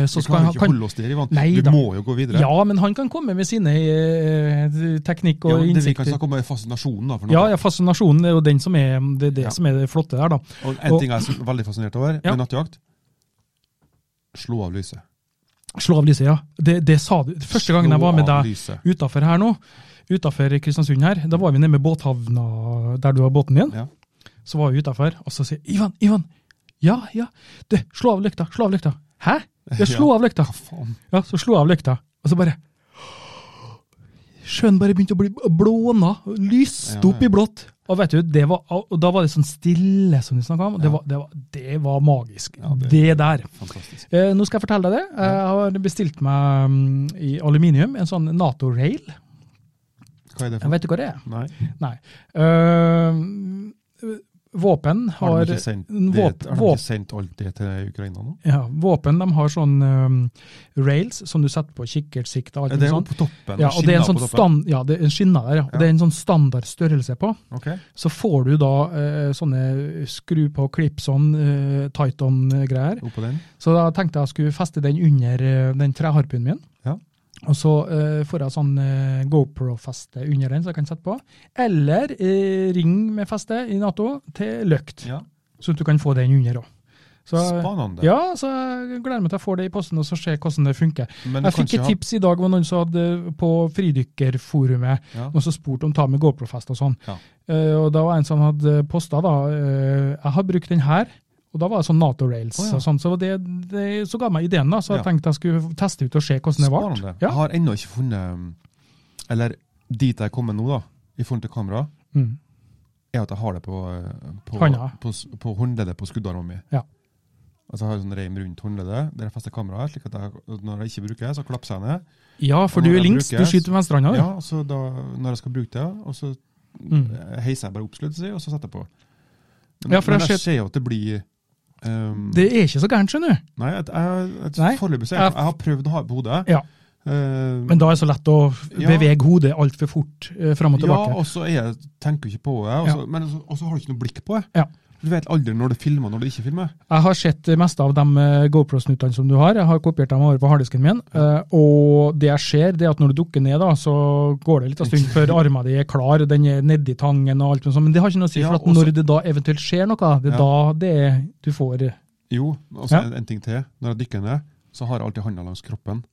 Speaker 1: Vi
Speaker 2: så skal
Speaker 1: kan jo
Speaker 2: han,
Speaker 1: ikke
Speaker 2: kan,
Speaker 1: holde oss der, Ivan.
Speaker 2: Nei
Speaker 1: Du
Speaker 2: da.
Speaker 1: må jo gå videre.
Speaker 2: ja, men han kan komme med sine eh, teknikk
Speaker 1: Ja,
Speaker 2: og
Speaker 1: det vi kan
Speaker 2: innsikter.
Speaker 1: snakke om, er fascinasjonen. da.
Speaker 2: Ja,
Speaker 1: For nattjakt.
Speaker 2: ja, fascinasjonen er jo den som er det, er det
Speaker 1: Ja.
Speaker 2: som er det flotte der, da.
Speaker 1: Og en
Speaker 2: Og-
Speaker 1: ting jeg er veldig fascinert over
Speaker 2: Ja.
Speaker 1: med nattjakt Slå av lyset.
Speaker 2: Slå av lyset, ja. Det, det sa du. Første gangen jeg var med
Speaker 1: Slå av
Speaker 2: deg
Speaker 1: lyset.
Speaker 2: utafor her nå, utafor Kristiansund her, da var vi nede med båthavna der du har båten din.
Speaker 1: Ja.
Speaker 2: Så var vi utafor, og så sier Ivan, Ivan, ja, ja, du, slå av lykta, slå av lykta. Hæ? Jeg slo av lykta.
Speaker 1: Hva faen?
Speaker 2: Ja, så slo jeg av lykta, og så bare Sjøen bare begynte å bli blåna, lyste opp
Speaker 1: Ja, ja.
Speaker 2: i blått. Og vet du, det var, og da var det sånn stille som du snakka om. og Det,
Speaker 1: Ja.
Speaker 2: var, det, var, det var magisk.
Speaker 1: Ja,
Speaker 2: det.
Speaker 1: det-
Speaker 2: der.
Speaker 1: Fantastisk.
Speaker 2: Eh, nå skal jeg fortelle deg det. Jeg har bestilt meg mm, i aluminium en sånn Nato-rail.
Speaker 1: Hva er det
Speaker 2: Jeg
Speaker 1: for noe?
Speaker 2: vet ikke hva det er.
Speaker 1: Nei,
Speaker 2: Nei. Eh, våpen
Speaker 1: har
Speaker 2: har
Speaker 1: de ikke sendt, det,
Speaker 2: våp-
Speaker 1: har de
Speaker 2: våp-
Speaker 1: ikke sendt alt det til Ukraina nå?
Speaker 2: ja, Våpen de har sånn eh, rails som du setter på kikkertsikt og alt
Speaker 1: Er
Speaker 2: mulig
Speaker 1: det jo
Speaker 2: sånt.
Speaker 1: på toppen?
Speaker 2: Ja, og det er en
Speaker 1: skinner
Speaker 2: sånn
Speaker 1: på toppen?
Speaker 2: stand, ja, det er en skinne der, ja. Og
Speaker 1: Ja.
Speaker 2: det er en sånn standard størrelse på.
Speaker 1: Ok.
Speaker 2: Så får du da eh, sånne skru på clips-on, eh, tight-on-greier.
Speaker 1: Oppå den?
Speaker 2: Så da tenkte jeg jeg skulle feste den under eh, den treharpuen min.
Speaker 1: Ja.
Speaker 2: Og så eh, får jeg sånn eh, GoPro-feste under den, så jeg kan sette på. Eller eh, ring med feste i Nato til løkt,
Speaker 1: Ja.
Speaker 2: så du kan få den under òg.
Speaker 1: Spennende.
Speaker 2: Ja, så jeg gleder meg til jeg får det i posten og så ser hvordan det funker.
Speaker 1: Men
Speaker 2: Jeg fikk
Speaker 1: kanskje
Speaker 2: et
Speaker 1: ha-
Speaker 2: tips i dag hvor noen som hadde på fridykkerforumet
Speaker 1: Ja.
Speaker 2: noen som spurte om ta med GoPro-fest og sånn.
Speaker 1: Ja.
Speaker 2: Eh, og da var en som hadde posta da, eh, jeg har brukt den her, og da var det sånn Nato-rails
Speaker 1: Å, ja.
Speaker 2: og sånn. Så det, det så ga meg ideen da, så jeg
Speaker 1: Ja.
Speaker 2: tenkte jeg skulle teste ut og se hvordan det var.
Speaker 1: Spennende.
Speaker 2: Ja.
Speaker 1: Jeg har ennå ikke funnet um, Eller dit jeg kommer nå, da, i forhold til kamera,
Speaker 2: Mm.
Speaker 1: er at jeg har det på, eh, på,
Speaker 2: Hånda.
Speaker 1: på, s- på håndleddet på skuddarmen min.
Speaker 2: Ja.
Speaker 1: Altså jeg har en sånn reim rundt håndleddet der jeg fester kameraet, slik at jeg, når jeg ikke bruker det, så klapser jeg ned.
Speaker 2: Ja, for
Speaker 1: Og
Speaker 2: du
Speaker 1: når
Speaker 2: er
Speaker 1: den
Speaker 2: links, du
Speaker 1: brukes-
Speaker 2: skyter med venstrehånda.
Speaker 1: Ja,
Speaker 2: du. Mm.
Speaker 1: og så da, når jeg skal bruke det, og så eh, heiser jeg bare opp skuddet, sier jeg, og så setter jeg på. Men,
Speaker 2: Ja, for
Speaker 1: men
Speaker 2: jeg
Speaker 1: jeg ser jo at det blir ehm,
Speaker 2: Det er ikke så gærent, skjønner du.
Speaker 1: Nei, at jeg, at
Speaker 2: Nei,
Speaker 1: foreløpig så
Speaker 2: jeg-
Speaker 1: jeg, jeg har prøvd å ha det på hodet.
Speaker 2: Ja.
Speaker 1: Eh,
Speaker 2: Men da er det så lett å
Speaker 1: Ja.
Speaker 2: bevege hodet altfor fort eh, fram og
Speaker 1: Ja,
Speaker 2: tilbake.
Speaker 1: og så er jeg- tenker jeg ikke på det, og så, men så- og så har du ikke noe blikk på det.
Speaker 2: Ja.
Speaker 1: Du vet aldri når det filmer og når det ikke filmer.
Speaker 2: Jeg har sett det meste av de eh, GoPro-snuttene som du har. Jeg har kopiert dem over på harddisken min. eh, Og det jeg ser, det er at når du dukker ned, da, så går det litt en stund før armen din er klar. Den er nedi tangen og alt mulig sånt. Men det har ikke noe å si,
Speaker 1: Ja,
Speaker 2: for at
Speaker 1: og så-
Speaker 2: når det da eventuelt skjer noe, det er
Speaker 1: Ja.
Speaker 2: da det er du får eh,
Speaker 1: Jo, og så
Speaker 2: Ja.
Speaker 1: en, en ting til. Når jeg dykker ned, så har jeg alltid handa langs kroppen.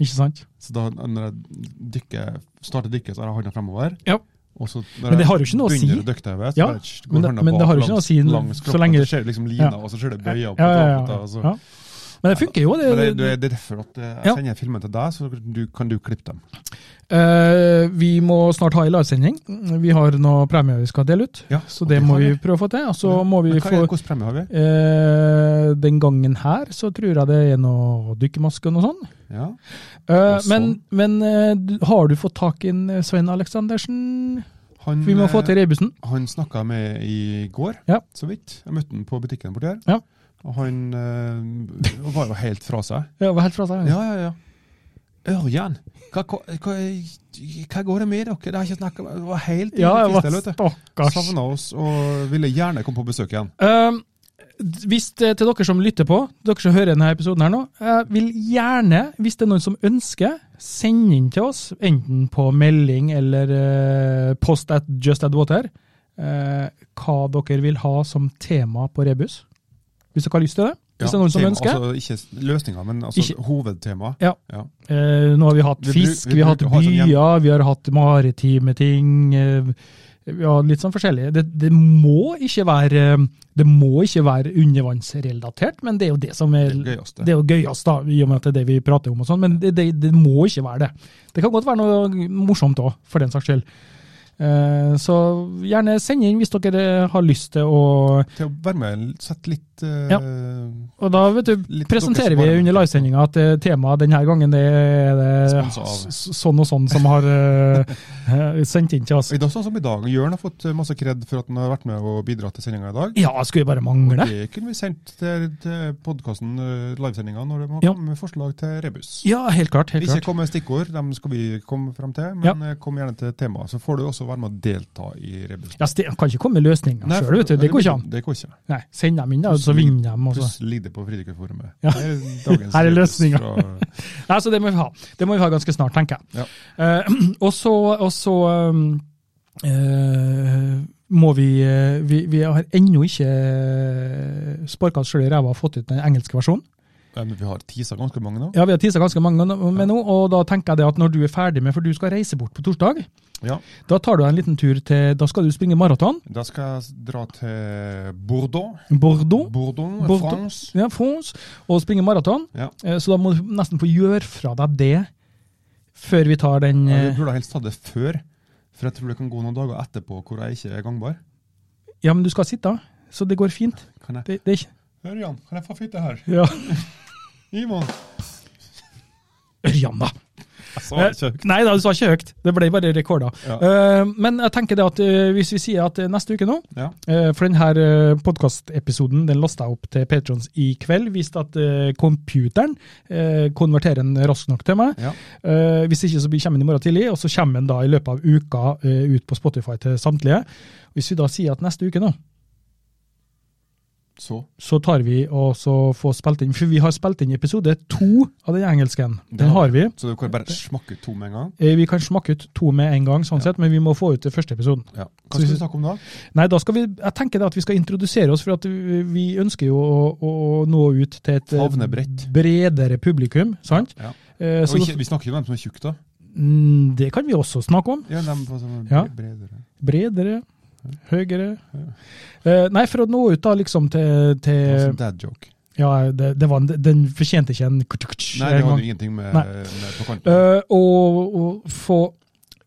Speaker 2: Ikke sant?
Speaker 1: Så da når jeg dykker, starter dykket, så har jeg handa fremover.
Speaker 2: Ja.
Speaker 1: Og så når
Speaker 2: Men det
Speaker 1: jeg
Speaker 2: har jo ikke noe å si.
Speaker 1: Begynner å dykkdøve, så
Speaker 2: Ja,
Speaker 1: bare tsk,
Speaker 2: men
Speaker 1: går
Speaker 2: det-
Speaker 1: handa
Speaker 2: men det
Speaker 1: bak
Speaker 2: har jo ikke noe å si
Speaker 1: langs
Speaker 2: så
Speaker 1: kroppen.
Speaker 2: lenge-
Speaker 1: Så ser du liksom lina,
Speaker 2: Ja.
Speaker 1: og så ser du bøya opp.
Speaker 2: Ja, ja,
Speaker 1: og
Speaker 2: ja,
Speaker 1: opp, og så-
Speaker 2: ja. Men det funker jo, det.
Speaker 1: altså. Men det, det, det er derfor at eh,
Speaker 2: Ja.
Speaker 1: jeg sender filmen til deg, så du, kan du klippe dem.
Speaker 2: Eh, vi må snart ha en livesending. Vi har noen premier vi skal dele ut,
Speaker 1: Ja,
Speaker 2: så
Speaker 1: og
Speaker 2: det
Speaker 1: det
Speaker 2: må
Speaker 1: har
Speaker 2: vi
Speaker 1: vi.
Speaker 2: prøve å få til. Og så må vi
Speaker 1: Men hva
Speaker 2: få
Speaker 1: er, hvilken premie har vi?
Speaker 2: Eh, den gangen her så tror jeg det er noe dykkermaske og noe sånt.
Speaker 1: Ja.
Speaker 2: Eh,
Speaker 1: Og sånn.
Speaker 2: men men eh, du- har du fått tak i en, eh, Svein Aleksandersen?
Speaker 1: Han,
Speaker 2: Vi må
Speaker 1: eh,
Speaker 2: få til Reibussen.
Speaker 1: Han snakka med i går,
Speaker 2: Ja.
Speaker 1: så vidt. Jeg møtte han på butikken borti her.
Speaker 2: Ja.
Speaker 1: Og han eh, var jo helt fra seg.
Speaker 2: Ja, var helt fra seg.
Speaker 1: Ja, ja, ja. Ørjan, hva, hva, hva, hva går det med dere? Det har ikke snakket om, det var helt i
Speaker 2: ja jeg var
Speaker 1: fistel, vet du.
Speaker 2: stakkars.
Speaker 1: Savna oss og ville gjerne komme på besøk igjen.
Speaker 2: Eh, hvis det til dere som lytter på, dere som hører denne episoden her nå, jeg vil gjerne, hvis det er noen som ønsker, sende inn til oss, enten på melding eller eh, post at Just Add Water, eh, hva dere vil ha som tema på Rebus. Hvis dere har lyst til det. Hvis det er noen som
Speaker 1: tema,
Speaker 2: ønsker.
Speaker 1: Altså, ikke løsninga, men altså,
Speaker 2: Ikke-
Speaker 1: hovedtema.
Speaker 2: Ja. Eh, nå har vi hatt
Speaker 1: Vi bru-
Speaker 2: fisk,
Speaker 1: vi
Speaker 2: vi, har hatt
Speaker 1: bruker å ha sånn
Speaker 2: byer,
Speaker 1: hjem-
Speaker 2: vi har hatt maritime ting. Eh, vi har litt sånn forskjellig. Det, det må ikke være eh, det må ikke være undervannsrelatert, men det er jo det som er
Speaker 1: Det gøyeste.
Speaker 2: det er jo gøyest, da, i og med at det er det vi prater om, og sånn, men det, det, det må ikke være det. Det kan godt være noe morsomt òg, for den saks skyld. Eh, så gjerne send inn hvis dere har lyst til å
Speaker 1: Til å være med og sette litt eh,
Speaker 2: Ja. Og da vet du,
Speaker 1: Litt
Speaker 2: presenterer
Speaker 1: dere som
Speaker 2: vi
Speaker 1: har-
Speaker 2: under livesendinga at eh, temaet denne gangen det er det
Speaker 1: Sponset av.
Speaker 2: s- sånn og sånn som har eh, sendt inn til oss.
Speaker 1: Og I dag, sånn som i dag, Jørn har fått masse kred for at han har vært med og bidratt til sendinga i dag.
Speaker 2: Ja, skulle bare mangle.
Speaker 1: Det kunne vi sendt til, til podkasten, livesendinga, når de har
Speaker 2: Ja.
Speaker 1: kommet med forslag til rebus.
Speaker 2: Ja, helt klart. helt
Speaker 1: Ikke
Speaker 2: klart.
Speaker 1: kom med stikkord, dem skal vi komme frem til. Men eh, kom gjerne til temaet. Så får du også være med å delta i Rebus.
Speaker 2: Ja, ste- kan ikke komme med løsninger
Speaker 1: Nei,
Speaker 2: sjøl, vet du. Det går ikke an.
Speaker 1: Det går ikke.
Speaker 2: Nei, Send dem inn, da, så
Speaker 1: Plutselig-
Speaker 2: vinner de. og så-
Speaker 1: Pluss ligger det på Fridikerforumet.
Speaker 2: Ja.
Speaker 1: Det er dagens
Speaker 2: Her er
Speaker 1: Rebus
Speaker 2: løsninga.
Speaker 1: fra-
Speaker 2: Nei, så det må vi ha. Det må vi ha ganske snart, tenker jeg.
Speaker 1: Ja.
Speaker 2: Eh, og så, og så um, eh, må vi, eh, vi Vi har ennå ikke sparka oss sjøl i ræva og fått ut den engelske versjonen.
Speaker 1: Ja, men vi har tisa ganske mange nå.
Speaker 2: Ja, Vi har tisa ganske mange nå- med nå, og da tenker jeg det at når du er ferdig med, for du skal reise bort på torsdag,
Speaker 1: Ja.
Speaker 2: da tar du deg en liten tur til Da skal du springe maraton.
Speaker 1: Da skal jeg dra til Bordeaux.
Speaker 2: Bordeaux.
Speaker 1: Bordeaux,
Speaker 2: Bordeaux.
Speaker 1: France.
Speaker 2: Ja, France, og springe maraton.
Speaker 1: Ja.
Speaker 2: Eh, Så da må du nesten få gjøre fra deg det før vi tar den
Speaker 1: Ja, Vi
Speaker 2: eh,
Speaker 1: burde helst ta det før, for jeg tror det kan gå noen dager etterpå hvor jeg ikke er gangbar.
Speaker 2: Ja, men du skal sitte, så det går fint.
Speaker 1: Kan jeg?
Speaker 2: Det, det er ikke
Speaker 1: Ørjan, kan jeg få fitte her?
Speaker 2: Ja.
Speaker 1: Ivan!
Speaker 2: Ørjan, da!
Speaker 1: Jeg sa det ikke.
Speaker 2: Eh, Nei da, du sa ikke høyt. Det ble bare rekorder.
Speaker 1: Ja.
Speaker 2: Eh, men jeg tenker det at eh, hvis vi sier at eh, neste uke nå
Speaker 1: Ja.
Speaker 2: eh, For denne podkastepisoden den lasta jeg opp til Patrons i kveld. Viste at eh, computeren eh, konverterer den raskt nok til meg.
Speaker 1: ja.
Speaker 2: Eh, hvis ikke så blir- kommer den i morgen tidlig, og så kommer den da i løpet av uka eh, ut på Spotify til samtlige. Hvis vi da sier at neste uke nå,
Speaker 1: Så.
Speaker 2: så tar vi og så får spilt inn For vi har spilt inn episode to av den engelsken. Den har vi.
Speaker 1: Så du kan bare smakke ut to med en gang.
Speaker 2: Eh, Vi kan smakke ut to med en gang, sånn sett, men vi må få ut den første episoden.
Speaker 1: Ja.
Speaker 2: Så
Speaker 1: Hva skal
Speaker 2: hvis-
Speaker 1: vi snakke om da?
Speaker 2: Nei, da skal vi, Jeg tenker det at vi skal introdusere oss, for at vi vi ønsker jo å, å å nå ut til et eh,
Speaker 1: Favne bredt.
Speaker 2: bredere publikum. sant?
Speaker 1: Ja.
Speaker 2: Eh,
Speaker 1: Og
Speaker 2: Så
Speaker 1: ikke, vi snakker jo om dem som er tjukke, da.
Speaker 2: Mm, det kan vi også snakke om.
Speaker 1: Ja, dem på sånn
Speaker 2: Ja. Eh,
Speaker 1: bredere.
Speaker 2: Bredere, høyere Eh, Nei, for å nå ut da liksom til,
Speaker 1: Det var
Speaker 2: til
Speaker 1: sånn dad joke.
Speaker 2: Ja, det, det var en, den fortjente ikke en
Speaker 1: Nei, det hadde jo ingenting med,
Speaker 2: Nei.
Speaker 1: med på kanten.
Speaker 2: Eh, og, og få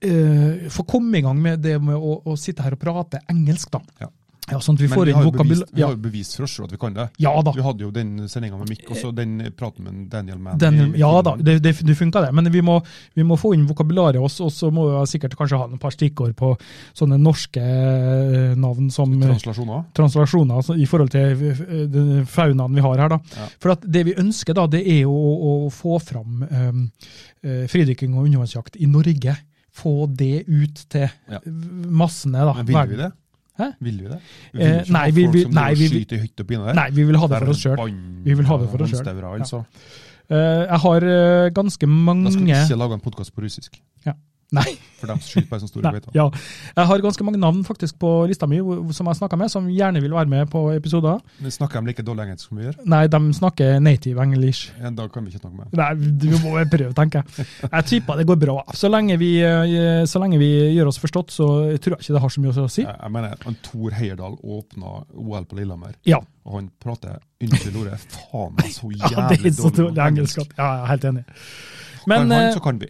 Speaker 2: eh, få komme i gang med det med å, å sitte her og prate engelsk, da.
Speaker 1: Ja.
Speaker 2: Ja, sånn at vi
Speaker 1: Men
Speaker 2: får
Speaker 1: vi
Speaker 2: inn
Speaker 1: har jo
Speaker 2: vokabul...
Speaker 1: bevist, vi
Speaker 2: Ja,
Speaker 1: har jo bevist for oss selv at vi kan det.
Speaker 2: ja da.
Speaker 1: Vi hadde jo den sendinga med Mick, og så den praten med Daniel Mann.
Speaker 2: Den, ja da, det, det, det funka det. Men vi må, vi må få inn vokabularet også, og så må vi sikkert kanskje ha et par stikkord på sånne norske eh, navn som eh,
Speaker 1: Translasjoner.
Speaker 2: translasjoner altså, i forhold til eh, den faunaen vi har her. Da.
Speaker 1: Ja.
Speaker 2: For at det vi ønsker, da, det er jo å, å få fram eh, eh, fridykking og undervannsjakt i Norge. Få det ut til
Speaker 1: Ja.
Speaker 2: massene. da.
Speaker 1: Men vil
Speaker 2: verden.
Speaker 1: vi det?
Speaker 2: Hæ?
Speaker 1: Vil vi det? Vi
Speaker 2: Eh,
Speaker 1: vil ikke
Speaker 2: nei,
Speaker 1: ha
Speaker 2: vi-
Speaker 1: folk
Speaker 2: vi-
Speaker 1: som
Speaker 2: nei,
Speaker 1: driver og
Speaker 2: vi-
Speaker 1: skyter i hytte og pine der.
Speaker 2: Nei, vi vil ha det
Speaker 1: Der
Speaker 2: for oss
Speaker 1: er
Speaker 2: sjøl.
Speaker 1: band-
Speaker 2: Vi vil ha det for oss selv. Mm,
Speaker 1: håndstauere, Altså.
Speaker 2: jeg har eh, ganske mange
Speaker 1: Da skal vi ikke lage en podkast på russisk.
Speaker 2: Ja. Nei.
Speaker 1: For dem som skyter på en sånn stor
Speaker 2: Nei,
Speaker 1: beite.
Speaker 2: ja. Jeg har ganske mange navn faktisk på lista mi hvor- som jeg snakker med, som gjerne vil være med på episoder.
Speaker 1: Men Snakker de like dårlig engelsk som vi gjør?
Speaker 2: Nei, de snakker native english.
Speaker 1: Ja, da kan vi ikke snakke med dem.
Speaker 2: Nei, du må vel prøve, tenker jeg. Jeg tipper det går bra. Så lenge vi, eh, så lenge vi gjør oss forstått, så tror jeg ikke det har så mye å si.
Speaker 1: Jeg, jeg mener, han Tor Heyerdahl åpna OL på Lillehammer,
Speaker 2: Ja.
Speaker 1: og han prater unnskyld ordet, faen meg så jævlig
Speaker 2: ja det er så
Speaker 1: dårlig
Speaker 2: dårlig engelsk at Ja, jeg er helt enig. Men,
Speaker 1: Men, kan
Speaker 2: eh,
Speaker 1: han, så kan vi.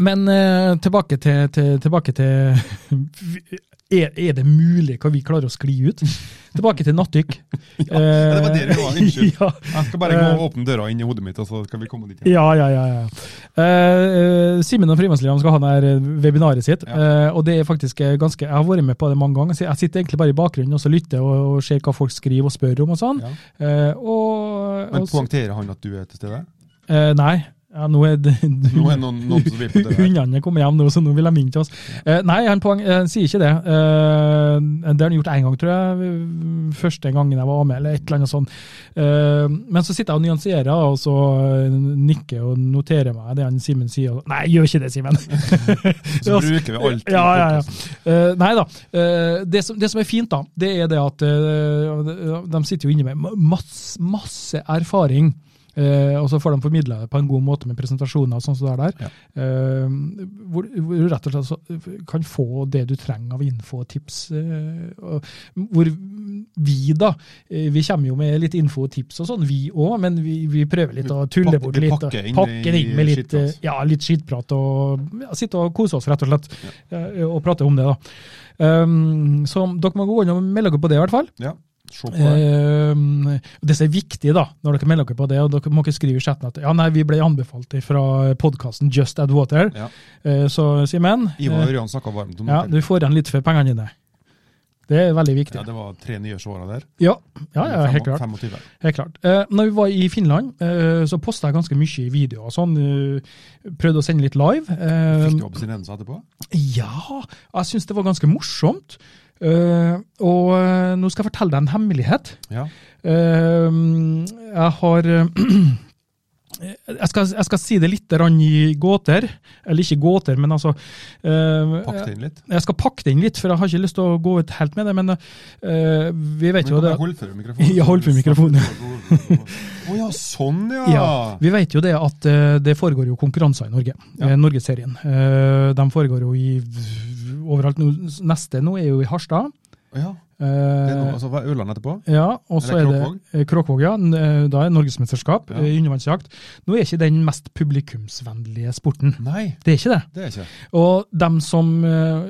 Speaker 2: men eh, tilbake til, til, tilbake til er, er det mulig hva vi klarer å skli ut? Tilbake til nattdykk.
Speaker 1: Ja, det var der vi var, unnskyld.
Speaker 2: ja.
Speaker 1: Jeg skal bare gå
Speaker 2: Eh,
Speaker 1: og åpne døra inn i hodet mitt, og så skal vi komme dit igjen.
Speaker 2: Ja, ja, ja. ja. Eh, eh, Simen og Frimannsliam skal ha det her eh, webinaret sitt. eh, og det er faktisk eh, ganske, Jeg har vært med på det mange ganger. så Jeg sitter egentlig bare i bakgrunnen og så lytter og, og ser hva folk skriver og spør om. og sånn.
Speaker 1: Ja.
Speaker 2: Eh, og,
Speaker 1: Men
Speaker 2: og, så-
Speaker 1: poengterer han at du er til stede?
Speaker 2: eh, nei, ja, nå er det
Speaker 1: Nå er det noen, noen som vil på det der.
Speaker 2: Hundene kommer hjem nå, så nå vil de inn til oss. Eh, nei, han, poeng, eh, han sier ikke det. Eh, det har han gjort én gang, tror jeg. Første gangen jeg var med, eller et eller annet sånt. Eh, men så sitter jeg og nyanserer, og så eh, nikker og noterer meg det han Simen sier. Og, nei, gjør ikke det, Simen!
Speaker 1: Så bruker vi alt. i
Speaker 2: Ja, ja, ja.
Speaker 1: podcasten.
Speaker 2: Eh, nei da. Eh, det, som, det som er fint, da, det er det at eh, de- de sitter jo inne med ma- masse, masse erfaring. eh, og så får de formidla det på en god måte med presentasjoner og sånn som det er der. Eh, hvor, hvor du rett og slett så kan få det du trenger av info og tips. eh, og hvor vi, da eh, Vi kommer jo med litt info og tips og sånn, vi òg, men vi, vi prøver litt og
Speaker 1: Vi
Speaker 2: tuller
Speaker 1: pakker-
Speaker 2: bort
Speaker 1: vi
Speaker 2: litt.
Speaker 1: pakker
Speaker 2: og
Speaker 1: inn i
Speaker 2: pakker inn med litt, eh,
Speaker 1: skittprat.
Speaker 2: ja, litt skittprat og ja, sitte og kose oss, rett og slett. eh, Og prate om det, da. Um, så dere må gå inn og melde dere på det, i hvert fall.
Speaker 1: Ja, se på det.
Speaker 2: Um, det som er viktig, da, når dere melder dere på det, og dere må ikke skrive i chatten at ja, nei, vi ble anbefalt fra podkasten Just Add Water.
Speaker 1: Ja.
Speaker 2: Eh, Så Simen,
Speaker 1: Ivar og
Speaker 2: eh,
Speaker 1: Ørjan snakka varmt om
Speaker 2: ja,
Speaker 1: det.
Speaker 2: du får igjen litt for pengene dine. Det er veldig viktig.
Speaker 1: Ja, det var tre nye svarer der.
Speaker 2: Ja, ja, ja helt klart.
Speaker 1: 25.
Speaker 2: Helt klart. Eh, når vi var i Finland, eh, så posta jeg ganske mye i videoer. og Sånn, eh, prøvde å sende litt live. Eh,
Speaker 1: Fikk du abstinenser etterpå?
Speaker 2: ja, jeg syns det var ganske morsomt. Eh, og eh, nå skal jeg fortelle deg en hemmelighet.
Speaker 1: Ja.
Speaker 2: Eh, jeg har eh, jeg skal, jeg skal si det litt grann i gåter, eller ikke gåter, men altså eh,
Speaker 1: Pakk det inn litt.
Speaker 2: Jeg skal pakke det inn litt, for jeg har ikke lyst til å gå ut helt med det. Men eh, vi
Speaker 1: Men
Speaker 2: vet jo det.
Speaker 1: kan jeg holde for mikrofonen?
Speaker 2: Ja, hold for mikrofonen.
Speaker 1: Å ja, sånn ja!
Speaker 2: Ja, vi vet jo det at eh, det foregår jo konkurranser i Norge.
Speaker 1: Ja.
Speaker 2: Eh, Norgesserien. Eh, de foregår jo i overalt. Nå- Neste nå er jo i Harstad.
Speaker 1: ja. Det er noe,
Speaker 2: Eh,
Speaker 1: altså, hva er Ørland etterpå?
Speaker 2: ja, og så
Speaker 1: Eller
Speaker 2: er det eh, Kråkvåg, ja. N- eh, Da er det norgesmesterskap
Speaker 1: Ja.
Speaker 2: eh, i undervannsjakt. Nå er ikke den mest publikumsvennlige sporten.
Speaker 1: Nei,
Speaker 2: Det er ikke det.
Speaker 1: det er ikke.
Speaker 2: Og dem som uh,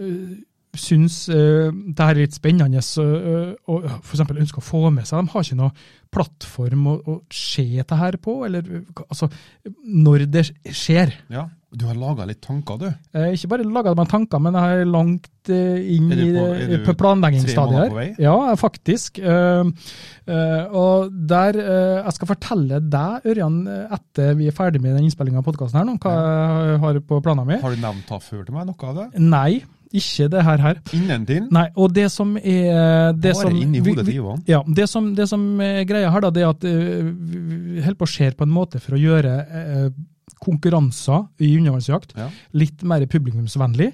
Speaker 2: syns eh, det her er litt spennende så, eh, og f.eks. ønsker å få med seg, de har ikke noe plattform å, å se det her på, eller eh, hva- altså, når det skjer.
Speaker 1: Ja. Du har laga litt tanker, du.
Speaker 2: Eh, ikke bare laga meg tanker, men jeg er langt eh, inn
Speaker 1: Er
Speaker 2: i
Speaker 1: du på-
Speaker 2: det-
Speaker 1: er du
Speaker 2: på planleggingsstadiet
Speaker 1: tre måneder
Speaker 2: her.
Speaker 1: på vei?
Speaker 2: Ja, jeg er faktisk. Eh, eh, og der eh, Jeg skal fortelle deg, Ørjan, eh, etter vi er ferdig med den innspillinga av podkasten her nå, hva jeg har på planene mine.
Speaker 1: Har du nevnt det før til meg, noe av det?
Speaker 2: Nei, ikke det her her.
Speaker 1: Innen din?
Speaker 2: Nei, og det som er det
Speaker 1: Bare
Speaker 2: som,
Speaker 1: inni
Speaker 2: vi-
Speaker 1: hodet
Speaker 2: vi-
Speaker 1: til Ivan.
Speaker 2: Ja, det som, det som er greia her, da, det er at eh, vi vi holder på å skjer på en måte for å gjøre eh, konkurranser i undervannsjakt
Speaker 1: Ja.
Speaker 2: litt mer publikumsvennlig.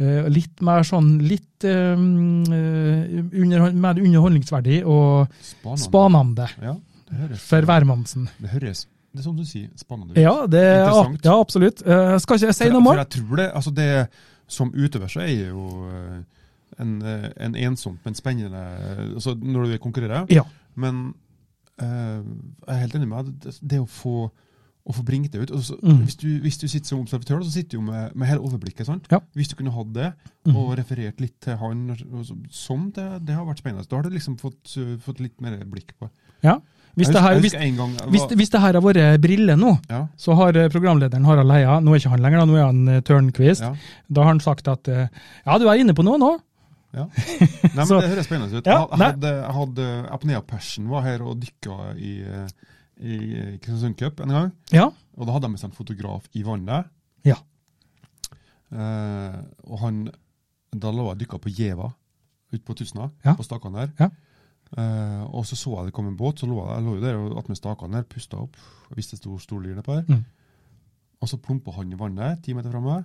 Speaker 2: eh, Litt mer sånn litt eh, eh, under, mer underholdningsverdig og
Speaker 1: Spanende.
Speaker 2: spanende
Speaker 1: Ja, det høres.
Speaker 2: for hvermannsen.
Speaker 1: Det høres. Det er som du sier, spennende. ut.
Speaker 2: Ja, det,
Speaker 1: Interessant.
Speaker 2: ja, absolutt. Eh, Skal ikke jeg si
Speaker 1: For-
Speaker 2: noe
Speaker 1: For
Speaker 2: mer?
Speaker 1: jeg tror det, altså det som utøver så er jeg jo eh, en, eh, en ensomt, men spennende eh, altså når du konkurrerer.
Speaker 2: Ja.
Speaker 1: Men eh, jeg er helt enig med deg. Det, det å få og få bringt det ut. Og så,
Speaker 2: Mm.
Speaker 1: hvis, du, hvis du sitter som observatør, så sitter du jo med, med hele overblikket. sant?
Speaker 2: Ja.
Speaker 1: Hvis du kunne hatt det,
Speaker 2: Mhm.
Speaker 1: og referert litt til han og så, som, det, det har vært spennende. Da har du liksom fått, uh, fått litt mer blikk på
Speaker 2: Ja. Hvis
Speaker 1: Jeg
Speaker 2: det, her,
Speaker 1: husker-
Speaker 2: hvis,
Speaker 1: jeg husker en gang, jeg
Speaker 2: hvis,
Speaker 1: var-
Speaker 2: hvis det her har vært briller nå,
Speaker 1: ja,
Speaker 2: så har eh, programlederen Harald Heia, nå er ikke han lenger, da, nå er han eh, Tørnquist,
Speaker 1: ja,
Speaker 2: da har han sagt at eh, ja, du er inne på noe nå.
Speaker 1: ja. Nei, men
Speaker 2: Så-
Speaker 1: Det høres spennende ut.
Speaker 2: Ja,
Speaker 1: jeg hadde, jeg hadde Apnea-persen var her og dykka i, uh, i Kristiansund Cup en gang.
Speaker 2: Ja.
Speaker 1: Og da hadde de med seg en fotograf i vannet.
Speaker 2: Ja.
Speaker 1: Eh, og han Da lå jeg og dykka på Gjeva, ute på Tustna,
Speaker 2: Ja.
Speaker 1: på stakene der.
Speaker 2: Ja.
Speaker 1: Eh, og så så jeg det kom en båt, så lå jeg, jeg lå jo der og attmed stakene der, pusta opp. Jeg visste det sto stor lyr nedpå der.
Speaker 2: Mm.
Speaker 1: Og så plumpa han i vannet ti meter fra meg.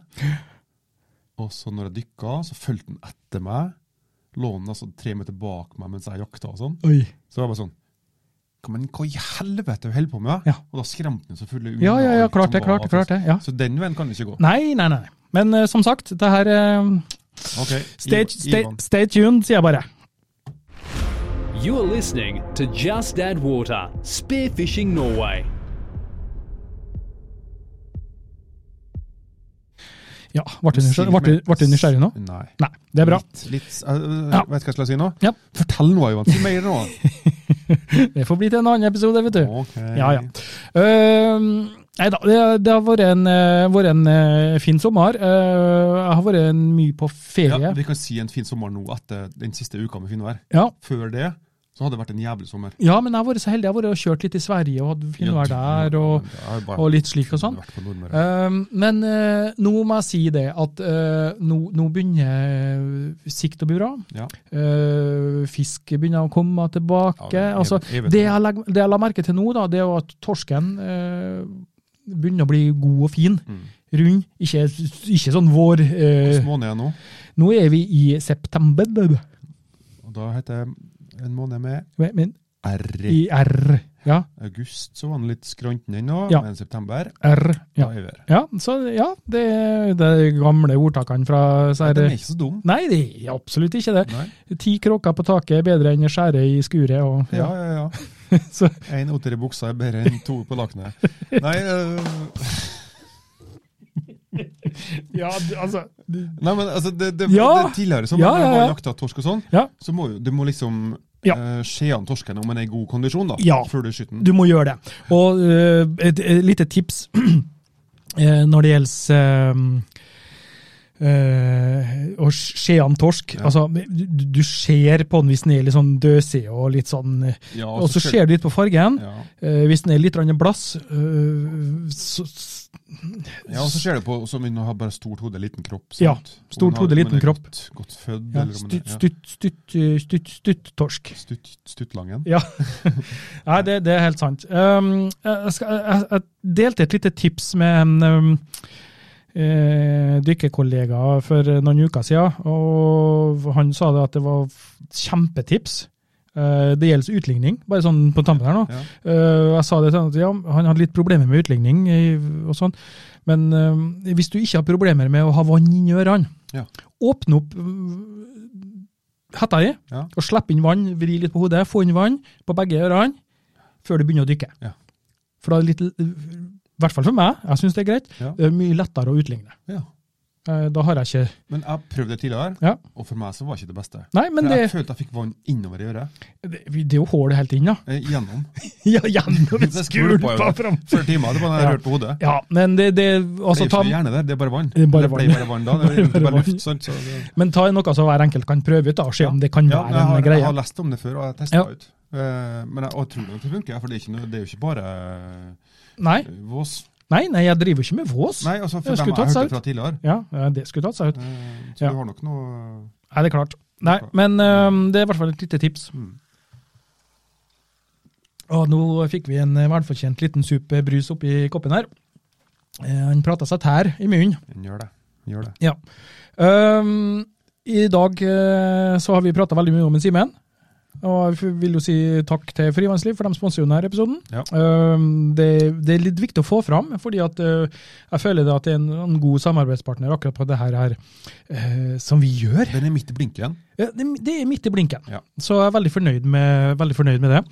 Speaker 1: Og så når jeg dykka, så fulgte han etter meg. Lå han altså tre meter bak meg mens jeg jakta og sånn.
Speaker 2: Oi.
Speaker 1: Så jeg bare sånn «Hva- Men hva i helvete holder du på med?
Speaker 2: Ja.
Speaker 1: Og da skremte han selvfølgelig
Speaker 2: Ja, ja, ja,
Speaker 1: alt
Speaker 2: klart det,
Speaker 1: som var
Speaker 2: klart det,
Speaker 1: at-
Speaker 2: klart det. Ja.
Speaker 1: Så den veien kan det ikke gå.
Speaker 2: Nei, nei, nei. Men eh, som sagt, det her eh,
Speaker 1: Ok,
Speaker 2: stay,
Speaker 1: Ivan-
Speaker 2: stay,
Speaker 1: Ivan.
Speaker 2: stay tuned, sier jeg bare.
Speaker 3: You're listening to Just Add Water Spearfishing Norway.
Speaker 2: Ja, Ble du nysgjerrig, ble du- ble du nysgjerrig nå?
Speaker 1: Nei.
Speaker 2: Nei, det er bra.
Speaker 1: Litt, litt øh, øh,
Speaker 2: Ja.
Speaker 1: Vet du hva jeg skal si nå?
Speaker 2: Ja.
Speaker 1: Fortell noe, Johan. Si mer nå.
Speaker 2: Det får bli til en annen episode, vet du.
Speaker 1: Ok.
Speaker 2: Ja, ja. Ehm, nei da, det, det har vært en, eh, vært en eh, fin sommer. Eh, jeg har vært en mye på
Speaker 1: Ja,
Speaker 2: ferie.
Speaker 1: vi kan si en fin sommer nå etter den siste uka med finvær.
Speaker 2: Ja,
Speaker 1: Før det så hadde det vært en jævlig sommer.
Speaker 2: ja, men jeg har vært så heldig. Jeg har vært og kjørt litt i Sverige og hatt fint vær der, og, og litt slik og sånn. Ehm, men eh, nå må jeg si det, at eh, nå, nå begynner eh, sikt å bli bra.
Speaker 1: Ja.
Speaker 2: Eh, fisk begynner å komme tilbake.
Speaker 1: Ja, jeg-
Speaker 2: altså,
Speaker 1: jeg vet
Speaker 2: det,
Speaker 1: det.
Speaker 2: jeg legger- det jeg la merke til nå, da, det er jo at torsken eh, begynner å bli god og fin.
Speaker 1: Mm.
Speaker 2: Rund. Ikke, ikke sånn vår eh,
Speaker 1: Hvordan måned er det nå?
Speaker 2: Nå er vi i september,
Speaker 1: Og da heter det en måned med
Speaker 2: men
Speaker 1: R.
Speaker 2: i
Speaker 1: I
Speaker 2: R. Ja,
Speaker 1: august så var den litt skranten ennå,
Speaker 2: Ja.
Speaker 1: men september
Speaker 2: R. Ja,
Speaker 1: ja. er vi der.
Speaker 2: ja så ja, det er de gamle ordtakene fra så er,
Speaker 1: Den er ikke så dum.
Speaker 2: Nei, det er absolutt ikke det.
Speaker 1: Nei.
Speaker 2: Ti kråker på taket er bedre enn å skjære i skuret. Og,
Speaker 1: Ja, ja, ja.
Speaker 2: Så,
Speaker 1: Én oter i buksa er bedre enn to på lakenet. Nei, øh,
Speaker 2: ja, det- altså, det-
Speaker 1: Nei, men altså, det, det,
Speaker 2: Ja!
Speaker 1: det tidligere som
Speaker 2: Ja,
Speaker 1: når
Speaker 2: ja,
Speaker 1: man
Speaker 2: ja.
Speaker 1: jakta torsk og sånn,
Speaker 2: Ja.
Speaker 1: så må jo, du må liksom
Speaker 2: Ja.
Speaker 1: eh, skje an torsken om den er i god kondisjon da,
Speaker 2: Ja.
Speaker 1: før du skyter den.
Speaker 2: Du må gjøre det. Og øh, et, et lite tips eh, når det gjelder øh, øh, å se an torsk.
Speaker 1: Ja.
Speaker 2: Altså, du, du ser på den hvis den er litt sånn døsig og litt sånn eh,
Speaker 1: Ja,
Speaker 2: Og så ser du litt på fargen.
Speaker 1: ja.
Speaker 2: Eh, hvis den er litt grann blass, øh, så, s-
Speaker 1: ja, og så ser du på som om den har bare stort hode, liten kropp. sant?
Speaker 2: Ja,
Speaker 1: Om den
Speaker 2: stort
Speaker 1: har-
Speaker 2: hode,
Speaker 1: om den
Speaker 2: liten
Speaker 1: er
Speaker 2: kropp.
Speaker 1: Godt, godt fødd,
Speaker 2: ja,
Speaker 1: eller om den
Speaker 2: stutt,
Speaker 1: er-
Speaker 2: stutt, stutt, øh, stutt, stutt torsk.
Speaker 1: ja. Stutt, stuttlangen.
Speaker 2: Ja. Nei, det, det er helt sant. Um, jeg, skal, jeg, jeg delte et lite tips med en um, eh, dykkerkollega for noen uker siden, og han sa det at det var f- kjempetips. Eh, det gjelder utligning, bare sånn på tampen her nå.
Speaker 1: Ja.
Speaker 2: Eh, jeg sa det til han at ja, han hadde litt problemer med utligning i- og sånn, men eh, hvis du ikke har problemer med å ha vann inni ørene,
Speaker 1: Ja.
Speaker 2: åpne opp mm, hetta di,
Speaker 1: Ja.
Speaker 2: og slipp inn vann, vri litt på hodet, få inn vann på begge ørene før du begynner å dykke.
Speaker 1: Ja.
Speaker 2: For da er det litt, i hvert fall for meg, jeg syns det er greit,
Speaker 1: Ja.
Speaker 2: det er mye lettere å utligne.
Speaker 1: Ja.
Speaker 2: Eh, Da har jeg ikke
Speaker 1: Men jeg prøvde det tidligere,
Speaker 2: Ja.
Speaker 1: og for meg så var ikke det beste.
Speaker 2: Nei, men
Speaker 1: For
Speaker 2: det,
Speaker 1: Jeg følte jeg fikk vann innover i øret.
Speaker 2: det, det er jo hull helt inn, da.
Speaker 1: Eh, gjennom.
Speaker 2: Ja, gjennom
Speaker 1: Det skulpa jo.
Speaker 2: fram.
Speaker 1: Flere timer, det var da jeg
Speaker 2: Ja.
Speaker 1: rørte på hodet.
Speaker 2: Ja, men det, det
Speaker 1: Det
Speaker 2: altså,
Speaker 1: er jo
Speaker 2: ta,
Speaker 1: ikke noe hjerne der, det er bare vann.
Speaker 2: Det er bare
Speaker 1: Eller ble
Speaker 2: vann.
Speaker 1: bare vann da, det er
Speaker 2: Det er
Speaker 1: egentlig
Speaker 2: bare
Speaker 1: bare
Speaker 2: vann.
Speaker 1: luft, sant? Så det...
Speaker 2: Men ta noe som hver enkelt kan prøve ut, da, og se om det kan
Speaker 1: Ja, men
Speaker 2: være
Speaker 1: jeg har,
Speaker 2: en greie.
Speaker 1: jeg har lest om det før, og jeg testa
Speaker 2: Ja.
Speaker 1: ut. Eh, men jeg, og jeg tror nok det funker, for det er, ikke noe, det er jo ikke bare
Speaker 2: Nei,
Speaker 1: eh, vås.
Speaker 2: nei, nei, jeg driver ikke med vås.
Speaker 1: Nei, altså
Speaker 2: Ja,
Speaker 1: for dem
Speaker 2: skulle
Speaker 1: jeg
Speaker 2: tatt
Speaker 1: har
Speaker 2: seg
Speaker 1: hørt det fra tidligere.
Speaker 2: Ja, ja, det skulle tatt seg ut.
Speaker 1: Eh, så
Speaker 2: Ja.
Speaker 1: du har nok noe
Speaker 2: Nei, det er klart. Nei,
Speaker 1: Ok.
Speaker 2: men øhm, det er i hvert fall et lite tips.
Speaker 1: Mm.
Speaker 2: Og nå fikk vi en eh, velfortjent liten sup eh, brus oppi koppen her. Eh, Han prata seg tær i munnen.
Speaker 1: Den gjør det. Den Gjør det.
Speaker 2: Ja. Ehm, Øhm, I dag eh, så har vi prata veldig mye om en Simen. Og jeg vil jo si takk til Frivannsliv, for de sponser jo denne episoden.
Speaker 1: Ja.
Speaker 2: Ehm, Det, det er litt viktig å få fram, fordi at eh, jeg føler det at det er en, en god samarbeidspartner akkurat på det her, her eh, som vi gjør.
Speaker 1: Den er midt i blinken.
Speaker 2: Ja, Det, det er midt i blinken,
Speaker 1: Ja.
Speaker 2: så jeg er veldig fornøyd med, veldig fornøyd med det.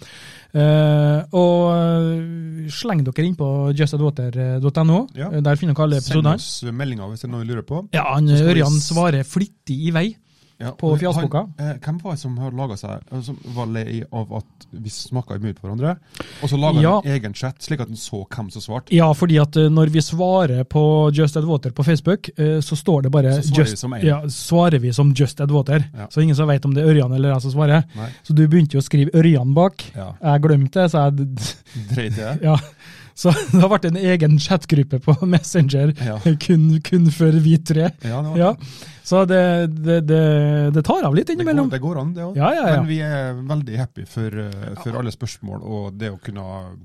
Speaker 2: Eh, og eh, sleng dere inn på justadwater.no.
Speaker 1: Ja.
Speaker 2: Eh, Der finner dere alle
Speaker 1: Send
Speaker 2: episodene.
Speaker 1: oss meldinger hvis det er noe vi lurer på.
Speaker 2: Ja, han,
Speaker 1: Så skal vi
Speaker 2: Ørjan
Speaker 1: s-
Speaker 2: svarer flittig i vei.
Speaker 1: Ja,
Speaker 2: På
Speaker 1: og
Speaker 2: fjasboka.
Speaker 1: han- Eh, hvem var det som har laga seg eh, Som var lei av at vi snakka i munnen på hverandre? Og så laga
Speaker 2: Ja.
Speaker 1: han en egen chat, slik at han så hvem som svarte.
Speaker 2: Ja, fordi at eh, når vi svarer på Just Add Water på Facebook, eh, så står det bare
Speaker 1: Så svarer vi
Speaker 2: Just-
Speaker 1: som en.
Speaker 2: ja, svarer vi som Just Add Water.
Speaker 1: Ja.
Speaker 2: Så ingen som vet om det er Ørjan eller jeg som svarer.
Speaker 1: Nei.
Speaker 2: Så du begynte jo å skrive Ørjan bak.
Speaker 1: Ja,
Speaker 2: Jeg glemte det, så jeg d-
Speaker 1: Dreit i det.
Speaker 2: Ja. Så det har vært en egen chatgruppe på Messenger
Speaker 1: Ja.
Speaker 2: kun, kun for vi tre.
Speaker 1: Ja, det var-
Speaker 2: Ja. Så det, det, det, det tar av litt
Speaker 1: Det går,
Speaker 2: innimellom.
Speaker 1: det går an, det òg.
Speaker 2: Ja, ja, ja.
Speaker 1: Men vi er veldig happy for, eh, for alle spørsmål og det å kunne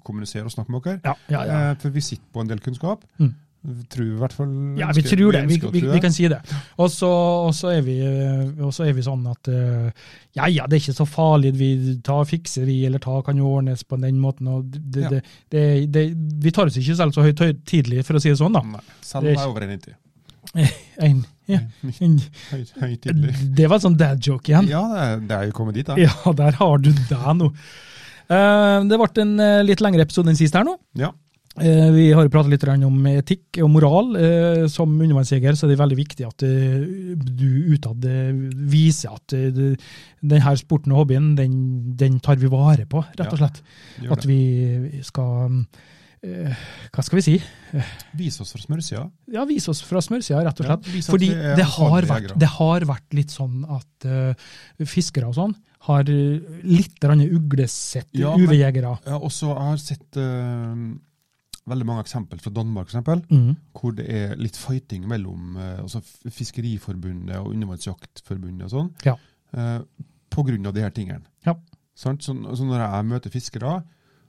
Speaker 1: kommunisere og snakke med dere.
Speaker 2: Ja, ja, ja.
Speaker 1: Eh, For vi sitter på en del kunnskap.
Speaker 2: Mm.
Speaker 1: Vi Tror i hvert fall
Speaker 2: Ja, vi
Speaker 1: ønsker-
Speaker 2: tror det. Vi,
Speaker 1: ønsker å
Speaker 2: vi,
Speaker 1: tro
Speaker 2: vi kan si det. Og så og så er, vi, eh, og så er vi sånn at eh, ja, ja, det er ikke så farlig. Vi tar fikser vi, eller ta kan jo ordnes på den måten. Og det,
Speaker 1: Ja.
Speaker 2: det, det, det, vi tar oss ikke selv så høyt tidlig, for å si det sånn. da.
Speaker 1: Nei, selv om
Speaker 2: Det er
Speaker 1: jeg er over 1,90.
Speaker 2: En, ja, en,
Speaker 1: Høy- Høytidelig.
Speaker 2: det var en sånn dad joke igjen.
Speaker 1: Ja, det er- det er jo kommet dit, da.
Speaker 2: Ja, der har du deg nå. Eh, Det ble en eh, litt lengre episode enn sist her nå.
Speaker 1: Ja.
Speaker 2: Eh, Vi har jo pratet litt grann om etikk og moral. Eh, Som undervannsjeger så er det veldig viktig at eh, du utad eh, viser at eh, denne sporten og hobbyen, den, den tar vi vare på, rett og
Speaker 1: Ja,
Speaker 2: slett.
Speaker 1: gjør
Speaker 2: At
Speaker 1: det.
Speaker 2: vi skal eh, Hva skal vi si?
Speaker 1: Vis oss fra smørsida.
Speaker 2: Ja, vise oss fra smørsida, rett og
Speaker 1: Ja,
Speaker 2: slett.
Speaker 1: vise at
Speaker 2: Fordi
Speaker 1: vi er
Speaker 2: det har,
Speaker 1: ordentlige
Speaker 2: vært,
Speaker 1: jegere.
Speaker 2: det har vært litt sånn at eh, fiskere og sånn har eh, litt grann uglesett
Speaker 1: Ja, men-
Speaker 2: UV-jegere.
Speaker 1: Ja, og så har jeg sett eh, veldig mange eksempel fra Danmark, for eksempel,
Speaker 2: Mm.
Speaker 1: hvor det er litt fighting mellom eh, altså F- Fiskeriforbundet og Undervannsjaktforbundet og sånn,
Speaker 2: Ja.
Speaker 1: eh, på grunn av de her tingene.
Speaker 2: Ja.
Speaker 1: Sant? Så, så når jeg møter fiskere,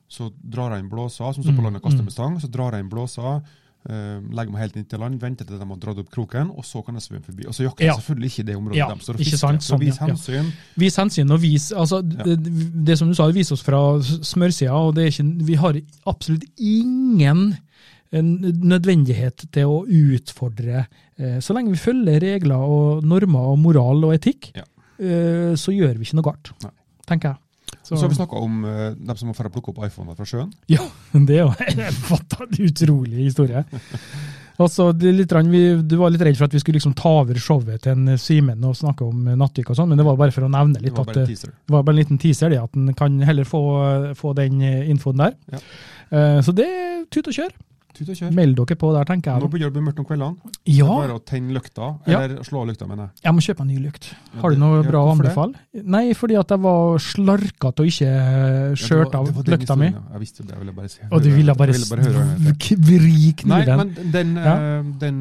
Speaker 1: så drar jeg inn blåser, som står
Speaker 2: Mm,
Speaker 1: på land og kaster
Speaker 2: mm.
Speaker 1: med stang, så drar jeg inn blåser, eh, legger meg helt inn til land, venter til de har dratt opp kroken, og så kan jeg svømme forbi. Og så jakter jeg
Speaker 2: Ja.
Speaker 1: selvfølgelig ikke i det området
Speaker 2: Ja,
Speaker 1: de står og
Speaker 2: ikke
Speaker 1: fisker.
Speaker 2: sant,
Speaker 1: så
Speaker 2: sånn,
Speaker 1: vis
Speaker 2: ja, ja.
Speaker 1: hensyn.
Speaker 2: Vis hensyn og vis altså,
Speaker 1: Ja.
Speaker 2: det, det som du sa, vis oss fra s- smørsida, og det er ikke, vi har absolutt ingen eh, nødvendighet til å utfordre. eh, Så lenge vi følger regler og normer og moral og etikk,
Speaker 1: Ja.
Speaker 2: eh, så gjør vi ikke noe galt,
Speaker 1: Nei.
Speaker 2: tenker jeg.
Speaker 1: Så, har vi snakka om eh, dem som må dra og plukke opp iPhoner fra sjøen.
Speaker 2: Ja, det er jo en fattig, utrolig historie. Altså, det er litt, grann- vi, du var litt redd for at vi skulle liksom ta over showet til en Simen og snakke om nattdykk og sånn, men det var bare for å nevne
Speaker 1: Det
Speaker 2: litt
Speaker 1: var
Speaker 2: at
Speaker 1: bare
Speaker 2: eh,
Speaker 1: en teaser.
Speaker 2: det var bare en liten teaser, det, at en kan heller få, få den eh, infoen der.
Speaker 1: Ja.
Speaker 2: Eh, Så det er tut og kjør.
Speaker 1: Tut og kjør.
Speaker 2: Meld dere på der, tenker jeg.
Speaker 1: Nå begynner det å bli mørkt om kveldene. Det er
Speaker 2: Ja,
Speaker 1: Bare å tenne lykta,
Speaker 2: Ja.
Speaker 1: eller slå av lykta, mener jeg.
Speaker 2: jeg må kjøpe en ny lykt.
Speaker 1: Ja,
Speaker 2: Har du
Speaker 1: det-
Speaker 2: noe
Speaker 1: ja,
Speaker 2: bra å
Speaker 1: hvorfor det?
Speaker 2: anbefale? Nei, fordi at jeg var slarkete og ikke eh,
Speaker 1: Ja, det
Speaker 2: skjørt
Speaker 1: var-
Speaker 2: av
Speaker 1: det var den
Speaker 2: lykta mi.
Speaker 1: historien, ja. Jeg visste det, jeg ville bare se.
Speaker 2: Og du ville bare,
Speaker 1: Jeg ville høre den.
Speaker 2: s- vri
Speaker 1: Nei,
Speaker 2: kniven.
Speaker 1: men den,
Speaker 2: Ja.
Speaker 1: eh, den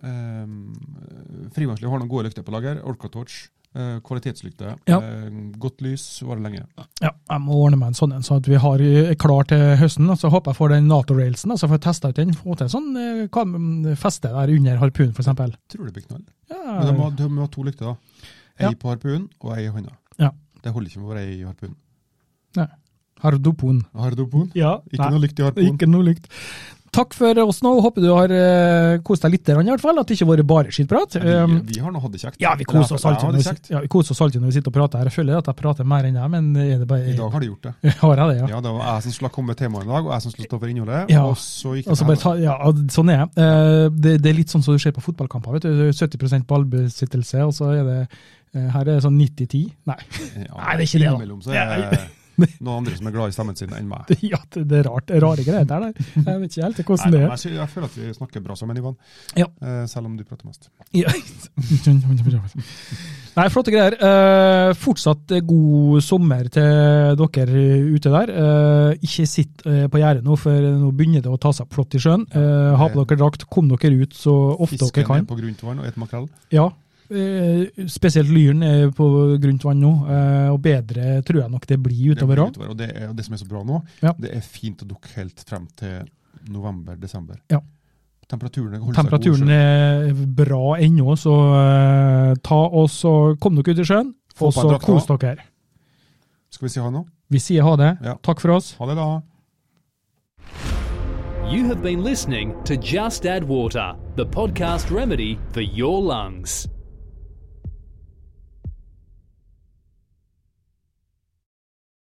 Speaker 1: eh, eh, Frivannsliv har noen gode lykter på lager. Orca Torch. eh, kvalitetslykter.
Speaker 2: Ja.
Speaker 1: eh, godt lys, varer lenge.
Speaker 2: Ja, jeg må ordne meg en sånn en, så at vi har eh, klar til høsten. og Så håper jeg får den Nato-railsen, og så får jeg testa ut den. Få til en sånn eh, kam- feste der under harpunen, f.eks.
Speaker 1: Tror det blir knall. Men de må,
Speaker 2: Ja,
Speaker 1: de må ha to lykter, da. Ei
Speaker 2: Ja.
Speaker 1: på harpunen og ei i hånda.
Speaker 2: Ja.
Speaker 1: Det holder ikke med å være ei i harpunen.
Speaker 2: Hardopon.
Speaker 1: Har du harpun?
Speaker 2: Ja,
Speaker 1: Ikke noe lykt i harpun.
Speaker 2: Ikke noe likt. Takk for oss nå. Håper du har eh, kost deg litt, i hvert fall. At det ikke har vært bare skittprat.
Speaker 1: Ja,
Speaker 2: Um,
Speaker 1: Vi, vi har nå hatt det kjekt.
Speaker 2: ja, vi koser oss
Speaker 1: Jeg har
Speaker 2: alltid når
Speaker 1: det
Speaker 2: vi,
Speaker 1: kjekt.
Speaker 2: sit- ja, vi koser oss alltid når vi sitter og prater her. Jeg føler at jeg prater mer enn deg, men er det
Speaker 1: I
Speaker 2: bare
Speaker 1: dag har de gjort det.
Speaker 2: Har jeg det, ja?
Speaker 1: Ja, det var jeg som skulle komme med temaet i dag, og jeg som skulle stå for innholdet.
Speaker 2: Ja.
Speaker 1: Og så gikk det
Speaker 2: Og så
Speaker 1: til
Speaker 2: bare
Speaker 1: helvete.
Speaker 2: ta, ja, sånn er jeg. Eh, det, det er litt sånn som det skjer på fotballkamper. vet du. 70 ballbesittelse, og så er det eh, her er det sånn 90-10. Nei,
Speaker 1: Ja,
Speaker 2: Nei, det er ikke det, da.
Speaker 1: Innimellom så er
Speaker 2: Nei.
Speaker 1: det noen andre som er glad i stemmen sin enn meg.
Speaker 2: det, ja, det det er rart. Rare greier der. der. Jeg vet ikke helt
Speaker 1: Nei,
Speaker 2: hvordan det
Speaker 1: men
Speaker 2: er.
Speaker 1: jeg, sy- jeg føler at vi snakker bra sammen, Ivan.
Speaker 2: Ja.
Speaker 1: Eh, selv om du prater mest.
Speaker 2: Ja. Nei, flotte greier. Eh, fortsatt eh, god sommer til dere ute der. Eh, ikke sitt eh, på gjerdet nå, for nå begynner det å ta seg plott i sjøen. Eh, ha på dere drakt, kom dere ut så ofte
Speaker 1: Fisken
Speaker 2: dere kan.
Speaker 1: er på grunt vann og et makrell.
Speaker 2: Ja, eh, spesielt lyren er på grunt vann nå, eh, og bedre tror jeg nok det blir
Speaker 1: Det
Speaker 2: utover
Speaker 1: blir
Speaker 2: òg.
Speaker 1: utover, og det, er, og det som er så bra nå,
Speaker 2: Ja.
Speaker 1: det er fint å dukke helt frem til november-desember.
Speaker 2: Ja.
Speaker 1: Temperaturen holder
Speaker 2: Temperaturen
Speaker 1: seg god.
Speaker 2: er bra ennå, så eh, ta oss og kom dere ut i sjøen,
Speaker 1: Få
Speaker 2: og
Speaker 1: på en
Speaker 2: så
Speaker 1: drakt
Speaker 2: kos dere.
Speaker 1: Skal vi si ha nå?
Speaker 2: Vi sier ha det.
Speaker 1: Ja.
Speaker 2: Takk for oss.
Speaker 1: Ha det, da.
Speaker 3: You have been listening to Just Add Water, the podcast remedy for your lungs.